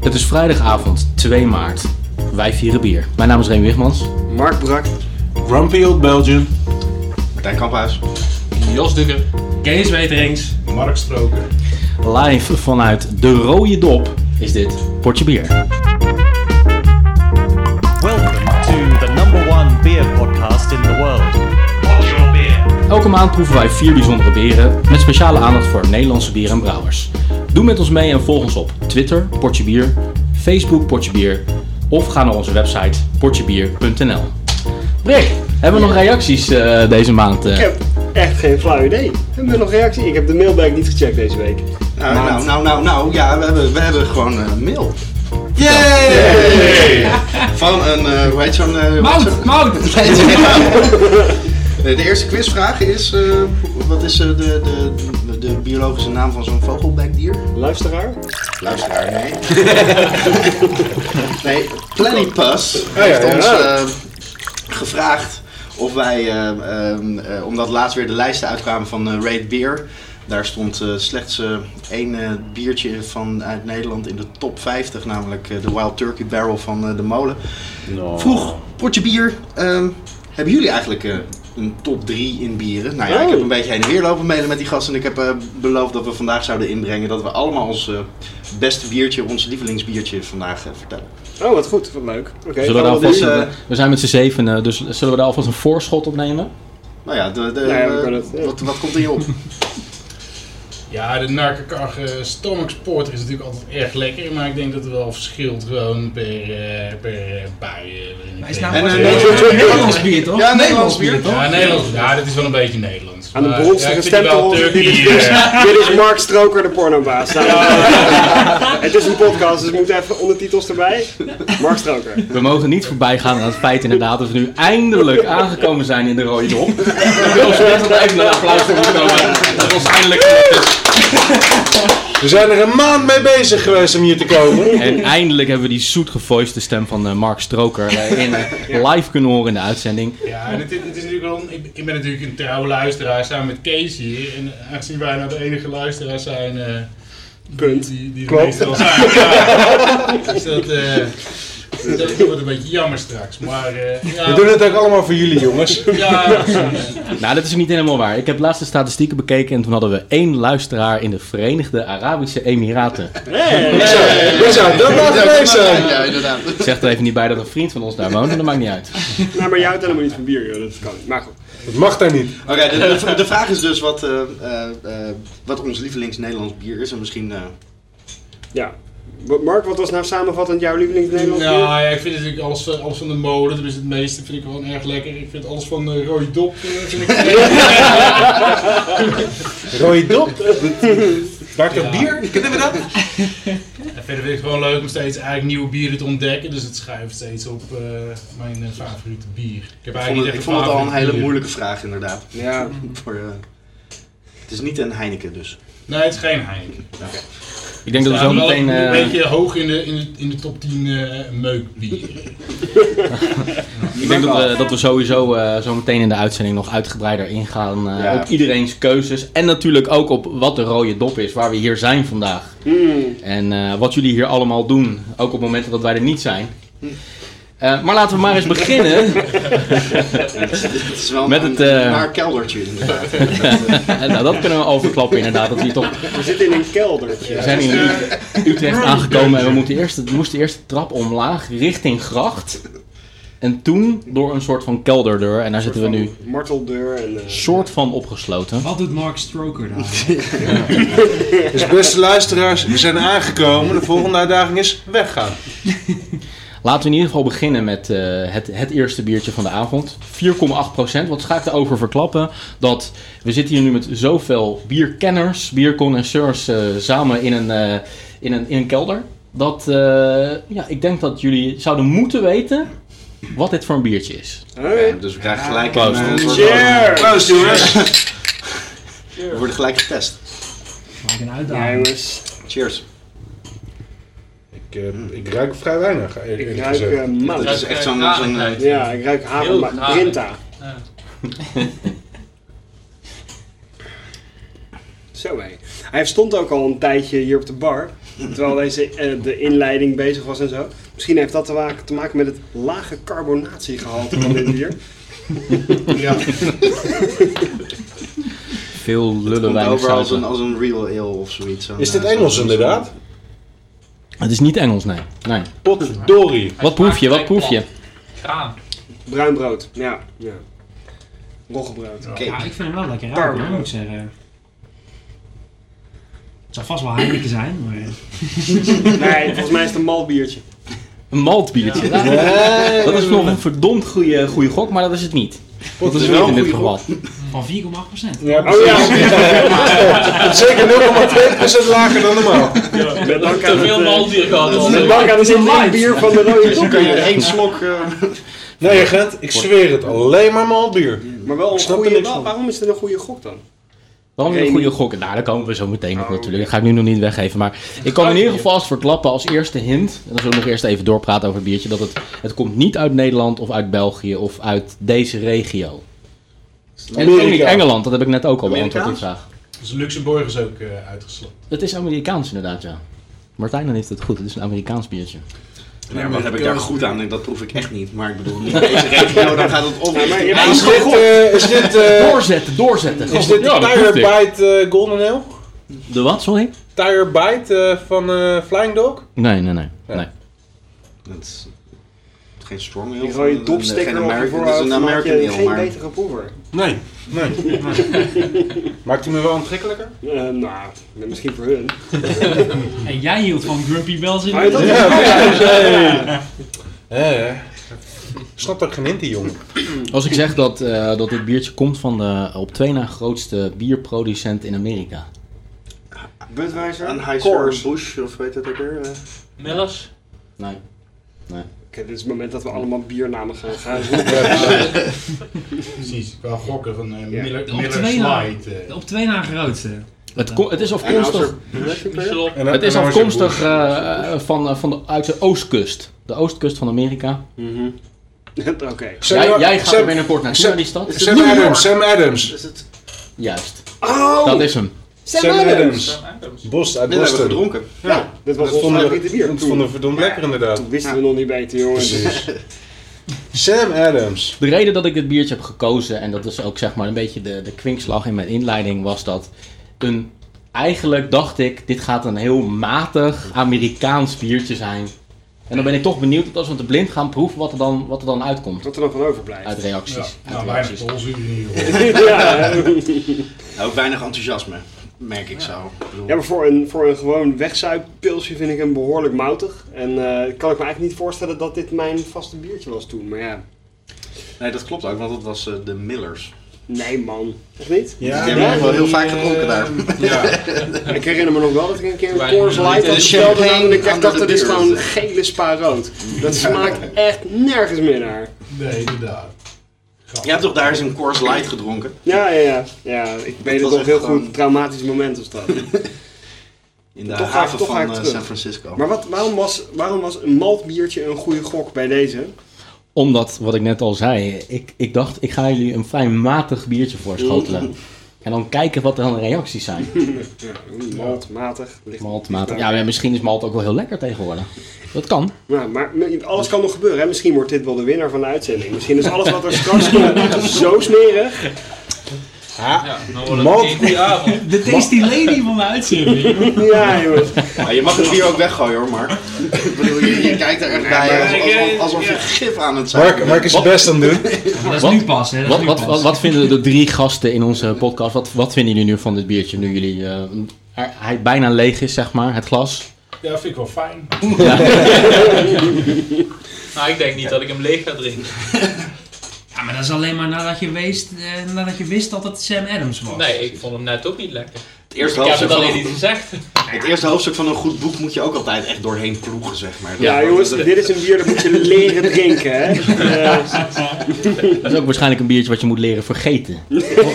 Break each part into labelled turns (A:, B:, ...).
A: Het is vrijdagavond 2 maart. Wij vieren bier. Mijn naam is Remy Wigmans.
B: Mark Brak.
C: Grumpy Old Belgium.
B: Tijn Kamphuis.
D: Jos Dukker. Kees Weterings.
C: Mark Stroker.
A: Live vanuit de rode dop is dit Potje Bier.
E: Welcome to the number one beer podcast in the world. What's your beer?
A: Elke maand proeven wij vier bijzondere beren met speciale aandacht voor Nederlandse bieren en brouwers. Doe met ons mee en volg ons op Twitter, Potje Bier, Facebook, Potje Bier of ga naar onze website potjebier.nl. Rick, hebben we nog reacties eh, deze maand? eh?
B: Ik heb echt geen flauw idee. Hebben we nog reactie? Ik heb de mailbag niet gecheckt deze week.
F: Nou, nou, nou, nou, nou, ja, we hebben, we hebben gewoon eh, mail. Van een, eh, hoe heet zo'n... eh, hoe heet zo'n-
D: Mout! Mout!
A: Nou,
F: Nee, nee. De eerste quizvraag is, eh, wat is eh, de, de, de, de biologische naam van zo'n vogelbekdier?
B: Luisteraar?
F: Luisteraar, nee. nee, Platypus heeft
B: Oh ja, ja.
F: ons eh, gevraagd of wij, eh, ehm, eh, omdat laatst weer de lijsten uitkwamen van eh, Raid Beer, daar stond eh, slechts eh, één eh, biertje van uit Nederland in de top 50, namelijk eh, de Wild Turkey Barrel van eh, de Molen. Vroeg, potje bier, ehm, hebben jullie eigenlijk eh, een top 3 in bieren? Nou ja, ik
B: Oh.
F: heb een beetje heen en weer lopen mailen met die gasten. En ik heb eh, beloofd dat we vandaag zouden inbrengen dat we allemaal ons eh, beste biertje, ons lievelingsbiertje vandaag eh, vertellen.
B: Oh, wat goed. Wat leuk. Oké.
A: Zullen we, daar
B: gaan
A: alvast,
B: nu,
F: doen?
A: een- we zijn met z'n zevenen, dus zullen we daar alvast een voorschot op nemen?
F: Nou ja, de, de,
B: Ja, ja, we
F: eh,
B: kunnen het, ja.
F: wat, wat komt er je op?
D: Ja, de Narkenkar eh Stormix Porter is natuurlijk altijd erg lekker, maar ik denk dat het wel verschilt gewoon per, eh, per eh, bui. eh, waarin het-
F: En, eh,
G: Nederlands bier toch?
F: Ja, Nederlands bier, toch?
D: ja, Nederlands. Ja, dit is wel een beetje Nederlands.
B: Aan de
D: Maar,
B: bronstige
D: ja, ik vind die
B: stempel.
D: wel Turkey,
B: Dit is-
D: eh,
B: eh, Dit is Mark Stroker, de pornobaas. Nou, Het is een podcast, dus we moeten even ondertitels erbij. Mark Stroker.
A: We mogen niet voorbij gaan aan het feit inderdaad dat we nu eindelijk aangekomen zijn in de rode dop. Ik wil ons net nog even een applaus voor moeten komen. Dat was eindelijk
C: We zijn er een maand mee bezig geweest om hier te komen.
A: En eindelijk hebben we die zoetgevoiste stem van eh, Mark Stroker eh, in, eh, live kunnen horen in de uitzending.
D: Ja, en het, is- het is natuurlijk wel. een- Ik, ik ben natuurlijk een trouwe luisteraar samen met Kees hier. En aangezien wij nou de enige luisteraars zijn. eh,
B: Punt.
D: Die, die
B: Klopt.
D: Klopt. meestal zijn. Ja. Dus dat, eh, dat wordt een beetje jammer straks. Maar eh, ja,
C: We doen het ook allemaal voor jullie, jongens.
D: ja, precies.
A: Nou, dat is niet helemaal waar. Ik heb laatst de statistieken bekeken en toen hadden we één luisteraar in de Verenigde Arabische Emiraten.
C: Wie zou dat nou geweest zijn?
F: Ja, inderdaad.
A: Ik zeg er even niet bij dat een vriend van ons daar woont, maar dat maakt niet uit.
B: Nou, maar jij houdt helemaal niet van bier, joh. Dat kan niet. Maar goed.
C: Dat mag daar niet.
F: Oké, de, de- de vraag is dus wat, eh, eh, eh, wat ons lievelings-Nederlands bier is. En misschien... eh,
B: Ja. Wat- Mark, wat was nou samenvattend jouw lievelings-Nederlands bier?
D: Nou, ja, ik vind natuurlijk alles, eh, alles van de molen, tenminste het meeste, vind ik gewoon erg lekker. Ik vind alles van de rode dop, eh, vind ik
C: Rooie dop. Daar toch
D: Ja.
C: bier? Kunnen we dat?
D: En verder vind ik het gewoon leuk om steeds eigenlijk nieuwe bieren te ontdekken, dus het schuift steeds op eh, mijn eh, favoriete bier. Ik, heb
F: Ik vond, het,
D: niet
F: ik
D: echt
F: vond het al een
D: favoriet
F: hele
D: bier.
F: moeilijke vraag, inderdaad.
B: Ja.
F: Voor, eh, het is niet een Heineken dus.
D: Nee, het is geen Heineken.
A: Ik denk dat we
D: Ja,
A: zo
D: wel
A: meteen...
D: Een
A: eh,
D: beetje hoog in de, in de, in de top 10 eh meukbieren.
A: Ik denk dat we, dat we sowieso eh, zo meteen in de uitzending nog uitgebreider ingaan eh,
F: Ja.
A: op iedereen's keuzes. En natuurlijk ook op wat de rode dop is, waar we hier zijn vandaag.
B: Hmm.
A: En eh, wat jullie hier allemaal doen, ook op momenten dat wij er niet zijn. Eh, maar laten we maar eens beginnen.
F: Het is- het is wel
A: Met
F: een,
A: het, eh,
F: een naar keldertje, inderdaad.
A: Eh, nou, dat kunnen we overklappen inderdaad. Dat we, hier toch,
B: We zitten in een keldertje.
A: we zijn hier in Ut- Utrecht aangekomen en we moeten eerst, we moesten eerst de trap omlaag richting gracht. En toen door een soort van kelderdeur. En daar zitten we nu een
B: Marteldeur en... eh,
A: soort van opgesloten.
G: Wat doet Mark Stroker daar?
C: Dus beste luisteraars, we zijn aangekomen. De volgende uitdaging is weggaan.
A: Laten we in ieder geval beginnen met eh, het, het eerste biertje van de avond. 4,8%. Wat ga ik daarover verklappen? Dat we zitten hier nu met zoveel bierkenners, bierconnoisseurs eh, samen in een, eh, in, een, in een kelder. Dat eh, ja, ik denk dat jullie zouden moeten weten wat dit voor een biertje is.
B: Hoi.
F: dus we krijgen gelijk een,
A: Proost.
F: eh, een soort van-
B: Cheers!
C: Proost, jongens.
F: we worden gelijk getest.
G: Maak een
B: Ja,
G: uitdaging.
B: jongens.
F: Cheers.
C: Ik, eh, ik ruik vrij weinig. eerlijk
B: Ik ruik
C: gezegd.
B: eh,
F: Dat
B: mout.
F: is echt zo'n... zo'n, eh,
B: Ja, ik ruik havermout.
D: Heel
B: Brinta. Zo hé. Hij stond ook al een tijdje hier op de bar. Terwijl deze eh, de inleiding bezig was en zo. Misschien heeft dat te maken, te maken met het lage carbonatiegehalte van dit bier.
D: Ja.
A: Veel lullen,
F: Komt
A: weinig
F: over als een,
A: zouten.
F: als een real ale of zoiets. Zo'n,
C: Is dit
F: eh,
C: Engels
F: zo'n-
C: inderdaad?
A: Het is niet Engels, nee. nee.
C: Potdorie.
A: Wat proef je, wat proef je?
H: Graan.
B: Bruin brood, ja. ja. Roggebrood.
F: Cake.
G: Ja, ik vind hem wel lekker ruiken, hoor, moet ik zeggen. Het zal vast wel Heineken zijn, maar...
B: Nee, volgens mij is het een malbiertje.
A: Een maltbiertje. Dat is nog een verdomd goede, goede gok, maar dat is het niet. Dat is niet in dit geval.
G: Van 4,8 procent.
C: Ja,
B: Oh ja,
C: Zeker 0,2% lager dan normaal.
B: met dank aan
H: Te veel
B: het,
H: maldier gehad
B: eh,
H: al.
B: met dank aan het
G: Light.
B: in bier van de rode
F: Dan
B: Kop.
F: kan je één slok... eh,
C: Nee, Gent, ik zweer het. Alleen maar malbier.
B: Maar wel een
C: snap er
B: goede,
C: niks van.
B: waarom is het een goede gok dan?
A: Waarom weer een
B: Geen-
A: goede gok? Nou, daar komen we zo meteen op
B: Oh,
A: natuurlijk. Dat ga ik nu nog niet weggeven. Maar ik kan in ieder geval vast verklappen als eerste hint. En dan zullen we nog eerst even doorpraten over het biertje. Dat het, het komt niet uit Nederland of uit België of uit deze regio. En ook niet
C: Amerika.
A: Engeland, dat heb ik net ook al beantwoord die
F: Amerikaans?
A: vraag.
D: Dus Luxemburg is ook eh uitgesloten.
A: Het is Amerikaans inderdaad, ja. Martijn dan heeft het goed. Het is een Amerikaans biertje.
F: Ja, maar wat heb ik daar goed aan? Dat proef ik echt niet. Maar ik bedoel, niet deze regio, dan gaat het op.
B: Ja, maar je hebt
C: Is dit, eh, is dit, eh,
A: Doorzetten, doorzetten.
C: is dit
A: Ja,
C: de
A: dat
C: Tire
A: proeft ik.
C: Bite eh, Golden Ale?
A: De wat, sorry?
C: Tire Bite eh, van eh, Flying Dog?
A: Nee, nee, nee. nee.
F: Dat is geen strong heel.
B: Die rode dopstekker op je
F: Dat is
B: voorhoofd
F: een
B: maak
F: American
B: je
F: heel,
B: geen
F: maar
B: betere proever.
C: Nee. nee. Maakt hij me wel aantrekkelijker?
B: Eh, nou, misschien voor hun.
G: En jij hield van Grumpy Bells in
B: Hou je dat?
C: Ja, ja, ja. Eh, Snap dat ik geen hint, die jongen.
A: Als ik zeg dat, eh, dat dit biertje komt van de op twee na grootste bierproducent in Amerika.
B: Budweiser?
F: een
B: Oké,
F: high source bush of weet dat ook weer. eh.
H: Millers.
A: Nee.
B: dit is het moment dat we allemaal biernamen gaan gaan zoeken.
D: Precies. Qua gokken van eh
B: Ja.
D: Miller,
G: Op
D: Miller
G: twee na.
D: Slide. eh.
G: Op twee na grootste.
A: Het, ko- het is
F: En
A: afkomstig,
H: Michelop.
C: En,
A: het is
C: en dan er
A: afkomstig eh, eh, van, eh, van de, uit de oostkust. De oostkust van Amerika.
B: Mhm. Oké.
C: boer. Sam-
A: Jij, jij gaat
C: Sam-
A: er binnenkort naartoe,
C: Sam-
A: naar die stad.
C: Sam Adams, Sam Adams.
F: Is het?
A: Juist,
B: Oh!
A: dat is hem.
B: Sam
C: Sam
B: Adams.
C: Adams. Bos uit
F: Dit hebben we
C: Boston.
F: gedronken.
B: Ja, dit was
C: Dat
B: ons
C: vonden
B: favoriete
C: we,
B: bier.
C: dat vonden
B: Toen,
C: we verdomd lekker inderdaad.
B: toen wisten we nog niet beter, jongens.
C: Precies. Sam Adams.
A: De reden dat ik dit biertje heb gekozen, en dat is ook zeg maar een beetje de, de kwinkslag in mijn inleiding, was dat een. Eigenlijk dacht ik, dit gaat een heel matig Amerikaans biertje zijn. En dan ben ik toch benieuwd, want als we het blind gaan proeven, wat er dan, wat er dan uitkomt.
B: Wat er nog van overblijft.
A: Uit
D: Ja,
A: reacties. Uit
D: nou, weinig
A: reacties.
D: tolzuur in ieder geval.
B: ja,
F: Nou, Ook weinig enthousiasme, merk ik zo. Ik bedoel,
B: ja, maar voor een, voor een gewoon wegzuippilsje vind ik hem behoorlijk moutig. En eh, kan ik me eigenlijk niet voorstellen dat dit mijn vaste biertje was toen. Maar ja,
F: Nee, dat klopt ook, want dat was eh, de Millers.
B: nee man. Of niet?
C: Ja,
F: die hebben we wel heel
C: die,
F: vaak
C: eh,
F: gedronken daar.
C: Ja.
B: Ik herinner me nog wel dat ik een keer een
H: Wij-
B: Coors Light
H: de
B: had besteld.
F: champagne
B: En ik echt
F: under
B: dacht,
F: the
B: dat is
F: beer.
B: gewoon gele spa rood. Dat smaakt echt nergens meer naar.
D: Nee, inderdaad. Grappig.
F: Je hebt toch daar eens een Coors Light gedronken?
B: Ja, ja, ja. ja ik weet het
F: was
B: nog
F: echt
B: heel
F: gewoon-
B: goed. Een traumatisch moment was dat.
F: In de
B: Toch ga-
F: haven
B: toch ga
F: van
B: ik
F: eh,
B: terug.
F: San Francisco.
B: Maar wat, waarom, was, waarom was een maltbiertje een goede gok bij deze?
A: Omdat, wat ik net al zei, ik, ik dacht, ik ga jullie een fijn matig biertje voorschotelen. En dan kijken wat er dan de reacties zijn.
B: Ja, malt, matig. Licht,
A: Malt, matig. Ja, maar misschien is malt ook wel heel lekker tegenwoordig. Dat kan.
B: Ja, maar alles kan nog gebeuren. Hè? Misschien wordt dit wel de winnaar van de uitzending. Misschien is alles wat er straks komt zo smerig.
C: Ha,
H: Ja, dan wordt het
C: Malt.
H: een goede avond.
G: De tasty lady van de uitzending.
B: Ja, jongens.
F: Ja, je mag het hier ook weggooien hoor, Mark. Ik bedoel, je, je kijkt er echt bij alsof, alsof, alsof je gif aan het zijn
C: Mark, Mark is zijn best aan het doen.
G: Dat is
A: Wat?
G: nu pas, hè. Dat is
A: Wat,
G: nu
A: wat,
G: pas.
A: wat, wat vinden de drie gasten in onze podcast, wat, wat vinden jullie nu van dit biertje? Nu jullie, eh, er- hij bijna leeg is, zeg maar, het glas.
D: Ja, vind ik wel fijn.
H: Nou, ik denk niet dat ik hem leeg ga drinken.
G: Ja, maar dat is alleen maar nadat je, wist, eh, nadat je wist dat het Sam Adams was.
H: Nee, ik vond hem net ook niet lekker.
F: Het eerste,
H: Ik heb
F: hoofdstuk
H: het
F: van
H: alleen niet
F: een,
H: gezegd.
F: het eerste hoofdstuk van een goed boek moet je ook altijd echt doorheen ploegen, zeg maar.
B: Ja, jongens, dit is een bier dat moet je leren drinken. Hè? Eh,
A: Dat is ook waarschijnlijk een biertje wat je moet leren vergeten.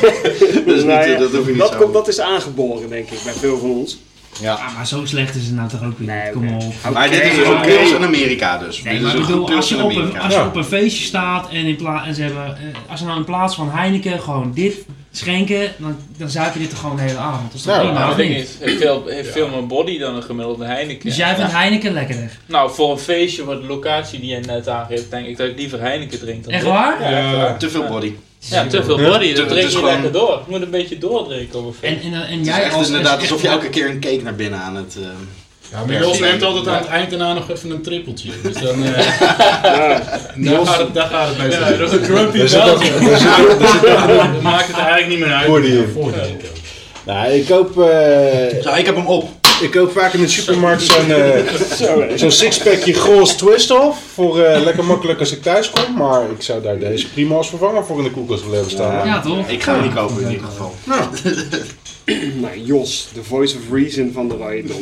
F: Dus niet,
B: nou ja,
F: eh, dat hoef je niet
B: dat,
F: zo.
B: komt, dat is aangeboren, denk ik, bij veel van ons.
G: Ja, maar zo slecht is het nou toch ook weer niet. Kom
B: oké.
G: op.
F: Maar dit is dus
B: Oké,
F: een
B: oké.
F: pils in Amerika dus.
G: Nee,
F: dit
G: maar
F: is
G: ik
F: een goed
G: bedoel, als
F: pils in
G: je, op een,
F: Amerika.
G: als je
C: Ja.
G: op een feestje staat en, in pla- en ze hebben, eh, als ze nou in plaats van Heineken gewoon dit schenken, dan, dan zuip je dit toch gewoon de hele avond. Dat is toch
C: Nou,
G: prima,
H: Nou,
G: of
H: ik denk
G: niet?
H: niet. Heeft veel, heeft veel meer body dan een gemiddelde Heineken.
G: Dus jij vindt Heineken lekkerder.
H: Nou, voor een feestje, voor de locatie die jij net aangeeft, denk ik dat ik liever Heineken drink dan
G: Echt
H: dit.
G: waar?
H: Ja, echt waar.
F: Te veel body.
H: Ja, te veel
C: Ja,
H: body,
F: te-
H: dat drink
F: het is
H: je
F: gewoon-
H: lekker door. Je moet een beetje doordrinken op een
G: En,
H: feestje.
G: en, en
F: Het is
G: jij
F: echt
G: als...
F: dus inderdaad
G: als-
F: alsof je elke keer een cake naar binnen aan het... eh,
D: Ja, maar Jos neemt altijd aan het eind daarna nog even een trippeltje. Dus dan... eh, daar, gaat het, daar gaat het bij zijn.
H: Ja, dat is een grumpy
C: Daar zit ook-
H: Belgian.
C: daar zit ook- daar zit ook-
D: Dat maakt het eigenlijk niet meer uit.
C: Voor die-
D: Ja, voor die-
C: Nou, ik koop, eh,
F: Zo, ik heb hem op.
C: ik koop vaak in de supermarkt zo'n eh,
B: Zo, hè.
C: zo'n sixpackje Grols Twist Off. Voor eh, lekker makkelijk als ik thuis kom. Maar ik zou daar deze prima als vervanger voor in de koelkast willen hebben staan.
G: Ja, toch?
F: Ik ga hem niet kopen in ieder geval.
B: Nou, Jos, de voice of reason van de Riot Dog,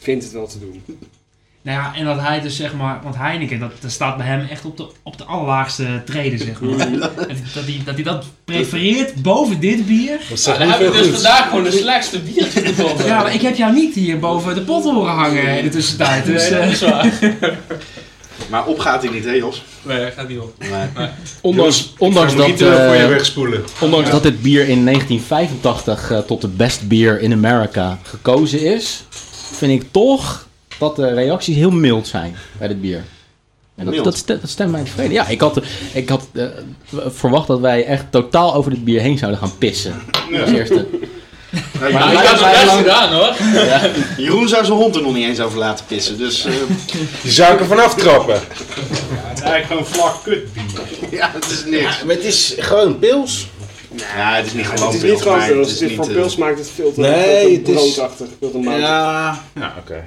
B: vindt het wel te doen.
G: Nou ja, en dat hij dus zeg maar, want Heineken, dat, dat staat bij hem echt op de, op de allerlaagste treden zeg maar. En dat, hij, dat hij dat prefereert boven dit bier.
C: Dat
H: Ja,
C: zegt
H: dan
C: niet
H: heb
C: veel
H: ik dus
C: goed.
H: vandaag gewoon de slechtste biertje gevonden.
G: Ja, maar ik heb jou niet hier boven de pot horen hangen in de tussentijd. Dus,
H: Nee, dat
G: eh,
H: is waar.
F: Maar op gaat hij niet, hè Jos?
H: Nee, dat gaat niet op.
F: Nee.
C: Jongens,
A: Ondanks, ondanks,
C: Ik ga hem
A: dat,
C: niet eh, voor je
A: eh,
C: wegspoelen.
A: ondanks dat dit bier in 1985 eh, tot de best beer in Amerika gekozen is, vind ik toch dat de reacties heel mild zijn bij dit bier. En dat,
F: Mild?
A: dat, ste- dat stemt mij tevreden. Ja, ik had, ik had eh, verwacht dat wij echt totaal over dit bier heen zouden gaan pissen. Als eerste.
H: Nou,
A: wij
H: ik had
A: zijn
H: het best
A: lang-
H: gedaan hoor.
F: Jeroen zou zijn hond er nog niet eens over laten pissen, dus eh,
C: Die zou ik er vanaf trappen.
D: Het is eigenlijk gewoon vlak kut bier.
F: ja, het is niks.
C: Maar het is gewoon pils.
F: Ja, het is niet gewoon
B: het is niet
F: pils,
B: gewoon
F: maar
B: pils.
F: het
B: Het
F: is
B: is
F: niet...
B: voor
F: eh,
B: pils maakt het veel te,
C: Nee,
B: veel te
C: het is-
B: broodachtig, veel te moutig.
G: Ah.
C: Ja, ja oké.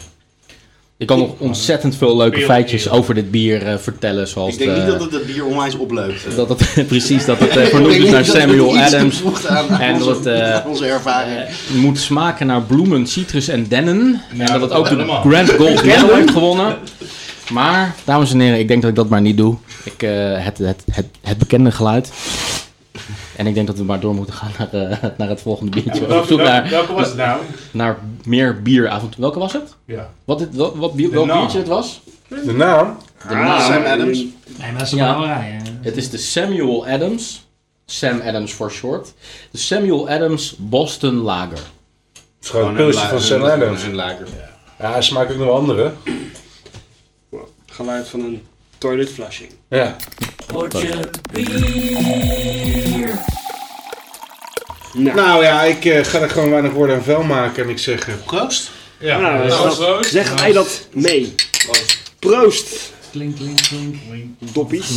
A: Je kan nog ontzettend veel leuke feitjes over dit bier eh, vertellen. Zoals
F: Ik denk niet
A: de-
F: dat het het bier onwijs opleukt. eh.
A: dat het precies dat het eh,
F: Ik
A: vernoemd
F: denk
A: is
F: niet
A: naar
F: dat het
A: Samuel
F: iets
A: Adams.
F: toevoegt aan, aan
A: En
F: onze,
A: dat, eh,
F: aan onze ervaring.
A: Eh, moet smaken naar bloemen, citrus en dennen. en dat het ook de
D: helemaal.
A: Grand Gold Medal heeft gewonnen. Maar, dames en heren, ik denk dat ik dat maar niet doe. Ik, eh, het, het, het, het bekende geluid. En ik denk dat we maar door moeten gaan naar, eh, naar het volgende biertje. Op
D: Welke,
A: zoek naar,
D: welke was het nou?
A: naar meer bieravond. Welke was het?
D: Ja.
A: Wat, dit, wat, wat bier- welk
D: naam.
A: biertje het was?
C: De naam?
A: De naam.
F: Sam
C: Ah.
F: Adams.
G: nee, maar dat is een
A: Ja.
G: brouwerij. hè.
A: Het is de Samuel Adams. Sam Adams for short. De Samuel Adams Boston Lager.
C: Het is gewoon Oh, een
F: Gewoon een
C: pilsje
F: la-
C: van St.
F: een-
C: Adams.
F: Een laker.
C: Ja, hij smaakt ook nog wel andere.
B: Geluid van een toilet flushing.
C: Ja.
B: Nou,
C: Nou ja, ik eh, ga er gewoon weinig woorden aan vuil maken en ik zeg eh, proost.
D: Ja,
B: Nou,
D: dat
B: dat
D: was
B: is zeg hij dat mee. Proost,
G: Klink, klink, klink.
B: doppies.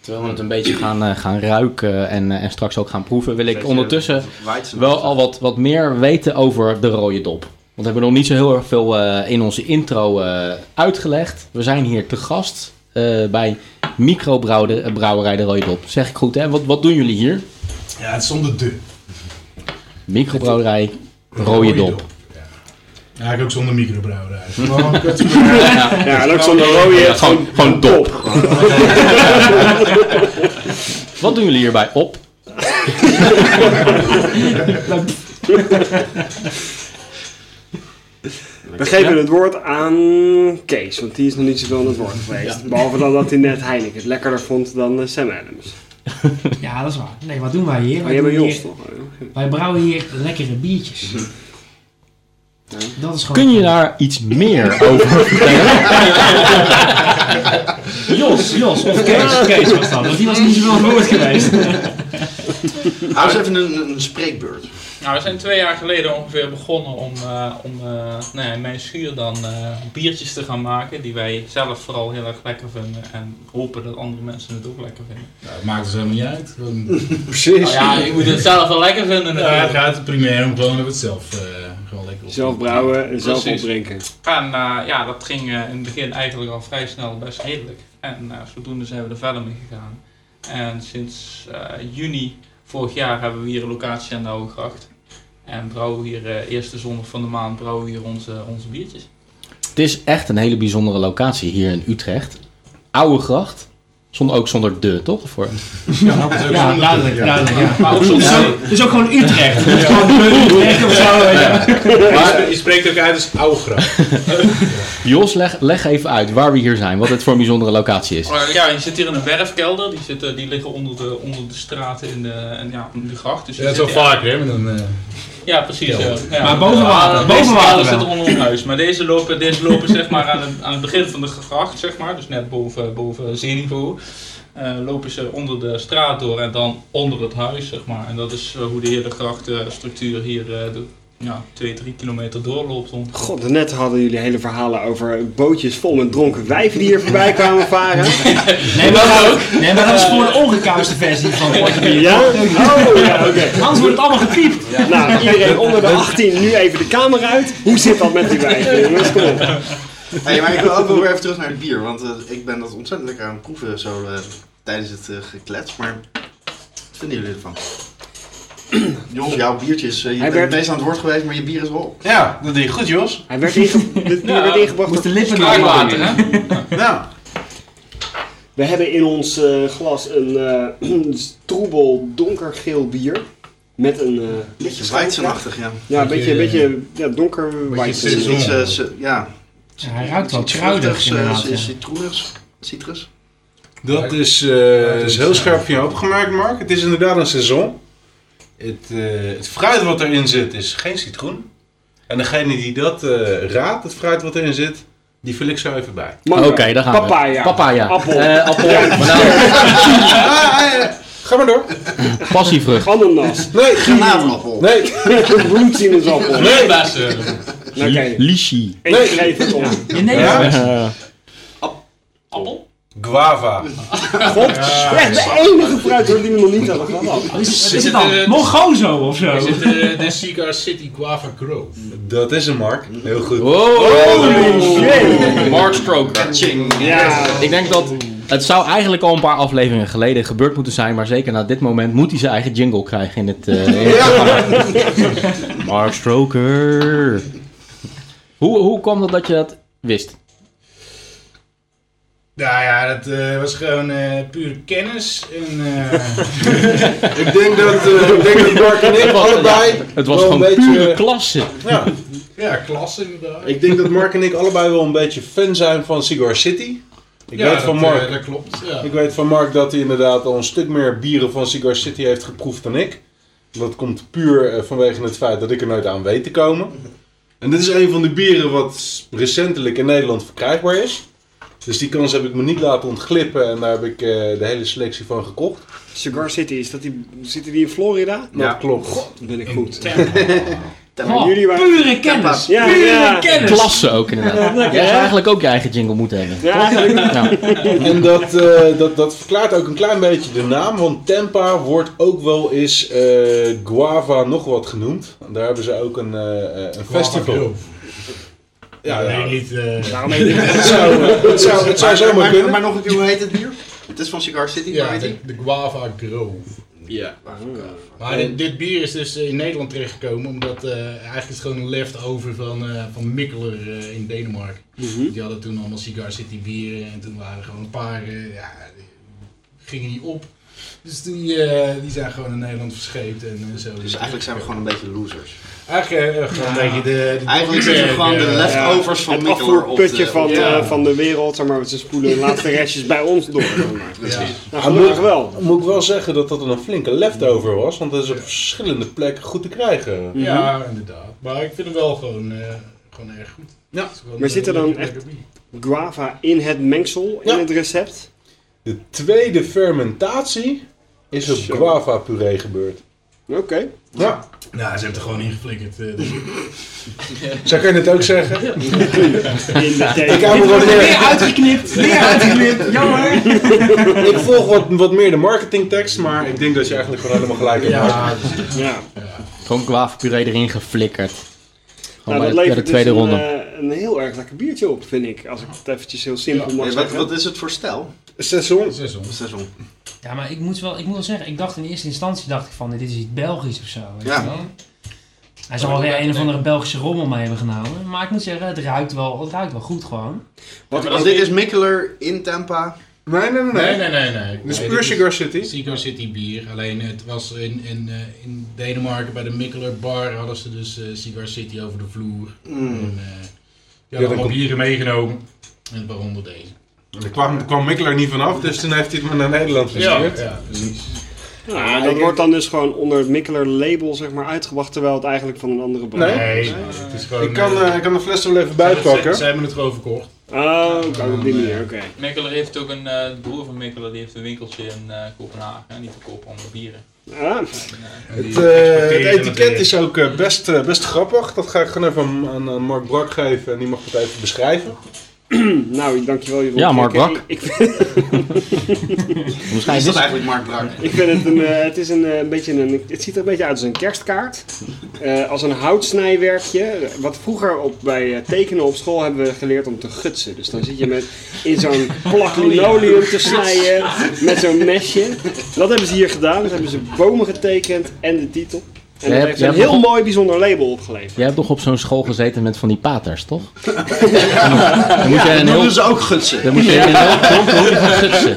A: Terwijl we het een beetje gaan, eh, gaan ruiken en, eh, en straks ook gaan proeven, wil ik ondertussen
F: Weizen.
A: wel al wat, wat meer weten over de rode dop. Want we hebben nog niet zo heel erg veel eh, in onze intro eh, uitgelegd. We zijn hier te gast eh, bij Microbrouwerij eh, Brouwerij de Rode Dop. Zeg ik goed, hè? Wat, wat doen jullie hier?
D: Ja, het stond de de.
A: Microbrouwerij Rode Dop.
D: Ja. Eigenlijk ook zonder microbrouwerij.
B: Ja, en ook zo'n rode.
A: Ja, gewoon, gewoon dop. wat doen jullie hierbij op?
B: We geven het woord aan Kees, want die is nog niet zoveel aan het woord geweest. Behalve dan dat hij net Heineken het lekkerder vond dan eh, Sam Adams.
G: Ja, dat is waar. Nee, wat doen wij hier? Wij,
B: Maar jij bent
G: doen
B: Jos
G: hier
B: toch? hè?
G: wij brouwen hier lekkere biertjes. Dat is gewoon...
A: Kun je daar iets meer over
G: Jos, Jos, of Kees. Kees was dat, want die was niet zoveel aan het woord geweest.
F: Hou eens even een, een spreekbeurt.
H: Nou, we zijn twee jaar geleden ongeveer begonnen om, eh, om eh, nou ja, in mijn schuur dan eh, biertjes te gaan maken. Die wij zelf vooral heel erg lekker vinden. En hopen dat andere mensen het ook lekker vinden.
D: Nou, het maakt dus helemaal niet uit. Gewoon-
C: Precies.
G: Oh,
H: Nou ja, ik moet het zelf wel lekker vinden
D: Ja, het
H: natuurlijk.
D: gaat er primair om gewoon dat we het zelf eh, gewoon lekker op.
B: Zelf brouwen en zelf
H: Precies.
B: opdrinken.
H: En eh, ja, dat ging eh, in het begin eigenlijk al vrij snel best redelijk. En eh, zodoende zijn we er verder mee gegaan. En sinds eh, juni vorig jaar hebben we hier een locatie aan de Oude Gracht. En brouwen we hier eh, eerste zondag van de maand brouwen we hier onze, onze biertjes.
A: Het is echt een hele bijzondere locatie hier in Utrecht. Oude gracht. Zonder, ook zonder de, toch? Voor,
G: Ja, duidelijk, duidelijk. Ja.
H: Maar ook soms
G: Dus,
H: ja.
G: ook, dus ook gewoon Utrecht. Dus gewoon de Utrecht of zo. weet je.
C: Maar je spreekt ook uit als Augra.
A: Jos, leg, leg even uit waar we hier zijn. Wat het voor een bijzondere locatie is.
H: eh, ja, je zit hier in een werfkelder. Die, zitten, die liggen onder de, onder de straten in de, en ja, in de gracht. Dus je
D: Dat is wel
H: zit hier-
D: vaak, hè? Met een, eh,
H: Ja, precies. Ja. Ja.
G: Maar boven
H: Ja,
G: water,
H: de
G: boven
H: meeste
G: water
H: kaders
G: wel.
H: zitten onder ons huis. Maar deze lopen, deze lopen zeg maar aan, het, aan het begin van de gracht, zeg maar, dus net boven, boven zeeniveau. eh, lopen ze onder de straat door en dan onder het huis, zeg maar. En dat is eh, hoe de hele grachtstructuur hier eh, de, ja, 2, 3 kilometer doorloopt. Om.
B: God, net hadden jullie hele verhalen over bootjes vol met dronken wijven die hier voorbij kwamen varen.
G: Nee, maar dat ook. Nee, maar dat is gewoon een ongekouste versie van Potje Bier.
B: Ja? Oh, ja, oké.
G: Anders wordt het allemaal gepiept.
B: Nou, iedereen onder de 18, nu even de kamer uit. Hoe zit dat met die wijven, jongens? Kom op.
F: Hey, maar ik wil ook wel weer even terug naar het bier, want eh, ik ben dat ontzettend lekker aan het proeven zo eh, tijdens het eh, geklets. Maar wat vinden jullie ervan? Jos, jouw biertje is... eh,
B: Hij
F: je bent
B: werd-
F: het meest aan het woord geweest, maar je bier is op.
C: Ja, dat deed je goed, Jos.
B: Hij werd, inge- dit bier werd ingebracht
G: Moest de
B: door
G: lippen
H: Kraakwater, hè?
C: Nou,
B: We hebben in ons eh, glas een eh troebel donkergeel bier. Met een eh,
F: Beetje
B: schuim-
F: Zwitserachtig, ja.
B: Ja, een beetje, een beetje ja, donker
C: Beetje
F: Het is
B: white.
C: seizoen.
F: iets, eh, se- ja,
G: Hij ruikt wel
F: iets
G: kruidig
F: vruchtigs, eh,
G: inderdaad.
F: ci-
G: ja.
F: citroenigs- Citrus.
C: dat is, eh, is heel scherp van je opgemaakt, Mark. Het is inderdaad een seizoen. Het, eh, het fruit wat erin zit is geen citroen. En degene die dat eh, raadt, het fruit wat erin zit, die vul ik zo even bij.
A: Oké,
B: Manga,
A: daar gaan
B: papaya,
A: we. Papaya.
B: Appel.
A: Eh, appel. banaan,
C: Ah, eh, ga maar door.
A: passievrucht.
B: ananas,
C: Nee,
F: Granaatappel.
C: nee,
B: bloedsinusappel. Oké,
C: nee.
D: Bessen.
A: Lichi.
B: één greep om.
G: In Nederland.
C: Ja?
H: Appel?
C: Guava.
B: God, echt de enige fruit hoor die we nog niet hadden gehad.
A: Oh.
G: Wat is, wat is het
D: Zit er,
G: dan?
D: eh,
G: Mongozo of zo?
D: Is het eh, de Cigar City Guava Grove?
C: Dat is een Mark. Heel goed.
A: Oh,
B: Jee.
A: Mark Stroker.
B: Ja,
A: Ik denk dat het zou eigenlijk al een paar afleveringen geleden gebeurd moeten zijn, maar zeker na dit moment moet hij zijn eigen jingle krijgen in het. eh, in het programma. Mark Stroker. Hoe, hoe kwam dat dat je dat wist?
D: Nou ja, dat eh, was gewoon eh, pure kennis. En, eh,
C: Ik denk dat, eh, ik denk dat Mark en ik allebei
A: Het was
C: wel
A: gewoon
C: een beetje...
B: Eh,
A: pure klasse.
C: ja,
D: ja, klas inderdaad.
C: ik denk dat Mark en ik allebei wel een beetje fan zijn van Cigar City. Ik
D: ja,
C: weet van
D: dat, eh,
C: Mark.
D: dat klopt. Ja.
C: ik weet van Mark dat hij inderdaad al een stuk meer bieren van Cigar City heeft geproefd dan ik. Dat komt puur eh, vanwege het feit dat ik er nooit aan weet te komen. En dit is een van de bieren wat recentelijk in Nederland verkrijgbaar is. Dus die kans heb ik me niet laten ontglippen en daar heb ik eh, de hele selectie van gekocht.
B: Cigar City, is dat die, zitten die in Florida?
C: Dat klopt.
B: God, ben ik
D: In
B: goed.
D: Tampa.
B: Maar jullie waren...
G: Pure kennis.
B: Ja,
G: Pure
B: ja.
G: kennis.
A: Klasse ook inderdaad. Jij zou eigenlijk ook je eigen jingle moeten hebben.
B: Ja, eigenlijk wel.
A: Nou,
C: En dat, eh, dat, dat verklaart ook een klein beetje de naam, want Tampa wordt ook wel eens eh, Guava nog wat genoemd. Daar hebben ze ook een, eh, eh, een festival.
D: Grove.
C: Ja, ja.
D: nee, niet. eh,
B: Daarom heet het-
C: Het, zou, eh, het, zou, het zou
F: maar,
C: zomaar
F: maar-
C: kunnen.
F: maar nog een keer, hoe heet het bier? Het is van Cigar City,
D: ja,
F: maar heet
D: de,
F: die?
D: de Guava Grove.
C: Ja.
D: Maar dit, dit bier is dus eh, in Nederland terechtgekomen omdat eh, eigenlijk is het gewoon een leftover van, eh, van Mikkeler eh, in Denemarken.
F: Mhm.
D: Die hadden toen allemaal Cigar City bieren en toen waren er gewoon een paar, eh, ja, die gingen niet op. Dus die, eh, die zijn gewoon in Nederland verscheept en eh, zo.
F: Dus eigenlijk zijn we gewoon een beetje losers.
D: Eigenlijk eh, gewoon een beetje de... de
F: Eigenlijk zitten we gewoon de
D: eh,
F: leftovers van
B: het
F: Mikkeler op
B: afvoerputje
F: de...
B: van,
F: op de-
D: ja.
B: eh, van de wereld, zeg maar, ze spoelen de laatste restjes bij ons door. zeg maar.
D: ja.
B: Nou,
F: Ah,
B: gelukkig wel.
C: Moet ik wel zeggen dat dat een flinke leftover was, want dat is op verschillende plekken goed te krijgen.
F: Mhm.
D: Ja, inderdaad. Maar ik vind hem wel gewoon, eh, gewoon erg goed.
C: Ja.
D: Het is gewoon
B: Maar
D: een
B: zit er dan
D: lekker-
B: echt-
D: lekker bier.
B: Guava in het mengsel, in
C: Ja.
B: het recept.
C: De tweede fermentatie is op Guava puree gebeurd.
B: Oké.
C: Ja,
D: Nou, ze hebben er gewoon ingeflikkerd. eh, dus-
C: zo kun je het ook zeggen.
B: In de
C: Ik
B: thee.
C: hou me wat meer-
G: Weer uitgeknipt. Weer uitgeknipt. Jammer.
C: Ik volg wat, wat meer de marketingtekst, maar ik denk dat je eigenlijk gewoon helemaal gelijk hebt. Mark.
D: Ja, dus-
B: Ja.
A: gewoon kwaafpuree erin geflikkerd. Gewoon
B: Nou, dat
A: bij, de- bij de
B: levert dus
A: tweede
B: een,
A: ronde.
B: eh, een heel erg lekker biertje op, vind ik. Als ik het eventjes heel simpel mag
F: Hey, Eh, wat,
B: zeggen.
F: wat is het voor stijl?
C: Seizoen.
D: seizoen.
F: Seizoen.
G: Ja, maar ik moet, wel, ik moet wel zeggen, ik dacht in eerste instantie dacht ik van, dit is iets Belgisch of zo. Weet
F: Ja.
G: je wel? Hij zal wel weer een of andere Belgische rommel mee hebben genomen. Maar ik moet zeggen, het ruikt wel, het ruikt wel goed gewoon.
F: Als dit is Mikkeler in Tampa,
C: Nee, nee, nee.
D: Nee,
C: nee.
D: nee, nee. nee.
F: Dus
C: Dit is
D: Nee,
C: puur
D: dit
C: Cigar City.
D: Cigar City bier. Alleen het was in, in, eh, in Denemarken bij de Mikkeler Bar hadden ze dus eh, Cigar City over de vloer. En, eh, die
C: Mm. dan
D: hadden allemaal
C: komt-
D: bieren meegenomen. En waaronder deze.
C: Daar kwam, daar kwam Mikkler niet vanaf, dus toen heeft hij het maar naar Nederland gestuurd.
D: ja, precies.
B: Ja, en dat wordt dan dus gewoon onder het Mikkeler label zeg maar uitgebracht, terwijl het eigenlijk van een andere brand
C: Nee.
D: Nee, het is gewoon...
C: Ik, kan,
D: eh,
C: eh, ik kan de fles er wel even
D: ze-
C: bij
D: Ze, ze
C: pakken.
D: hebben het gewoon verkocht.
B: Oh, oké, op die manier, oké.
H: Mikkeler heeft ook een, eh, de broer van Mikkeler die heeft een winkeltje in eh, Kopenhagen en die verkoopt allemaal bieren.
B: Ah,
D: En die
C: Het, eh,
D: exporteren
C: het etiket
D: weer.
C: is ook eh, best, eh, best grappig. Dat ga ik gewoon even aan, aan, eh, Mark Brak geven en die mag het even beschrijven.
B: nou, dankjewel Jeroen.
A: Ja, Mark
B: Ik-
A: Brak.
B: Ik, ik,
F: Is
A: Waarschijnlijk
F: dat
A: is-
F: eigenlijk Mark Brak?
B: ik vind het een, eh, het is een, eh, een beetje een, het ziet er een beetje uit als een kerstkaart. Eh, als een houtsnijwerkje. Wat vroeger op, bij eh, tekenen op school hebben we geleerd om te gutsen. Dus dan zit je met, in zo'n
D: Oh,
B: plak linoleum te snijden met zo'n mesje. Dat hebben ze hier gedaan. Dus hebben ze bomen getekend en de titel. En
A: Jij
B: dat
A: hebt-
B: heeft
A: jij
B: een
A: hebt
B: heel
A: nog-
B: mooi bijzonder label opgeleverd.
A: Jij hebt toch op zo'n school gezeten met van die paters, toch? Dan moet jij een
F: Dat
A: heel...
F: doen ze ook gutsen.
A: Dan moet je een heel klomp roer gaan gutsen.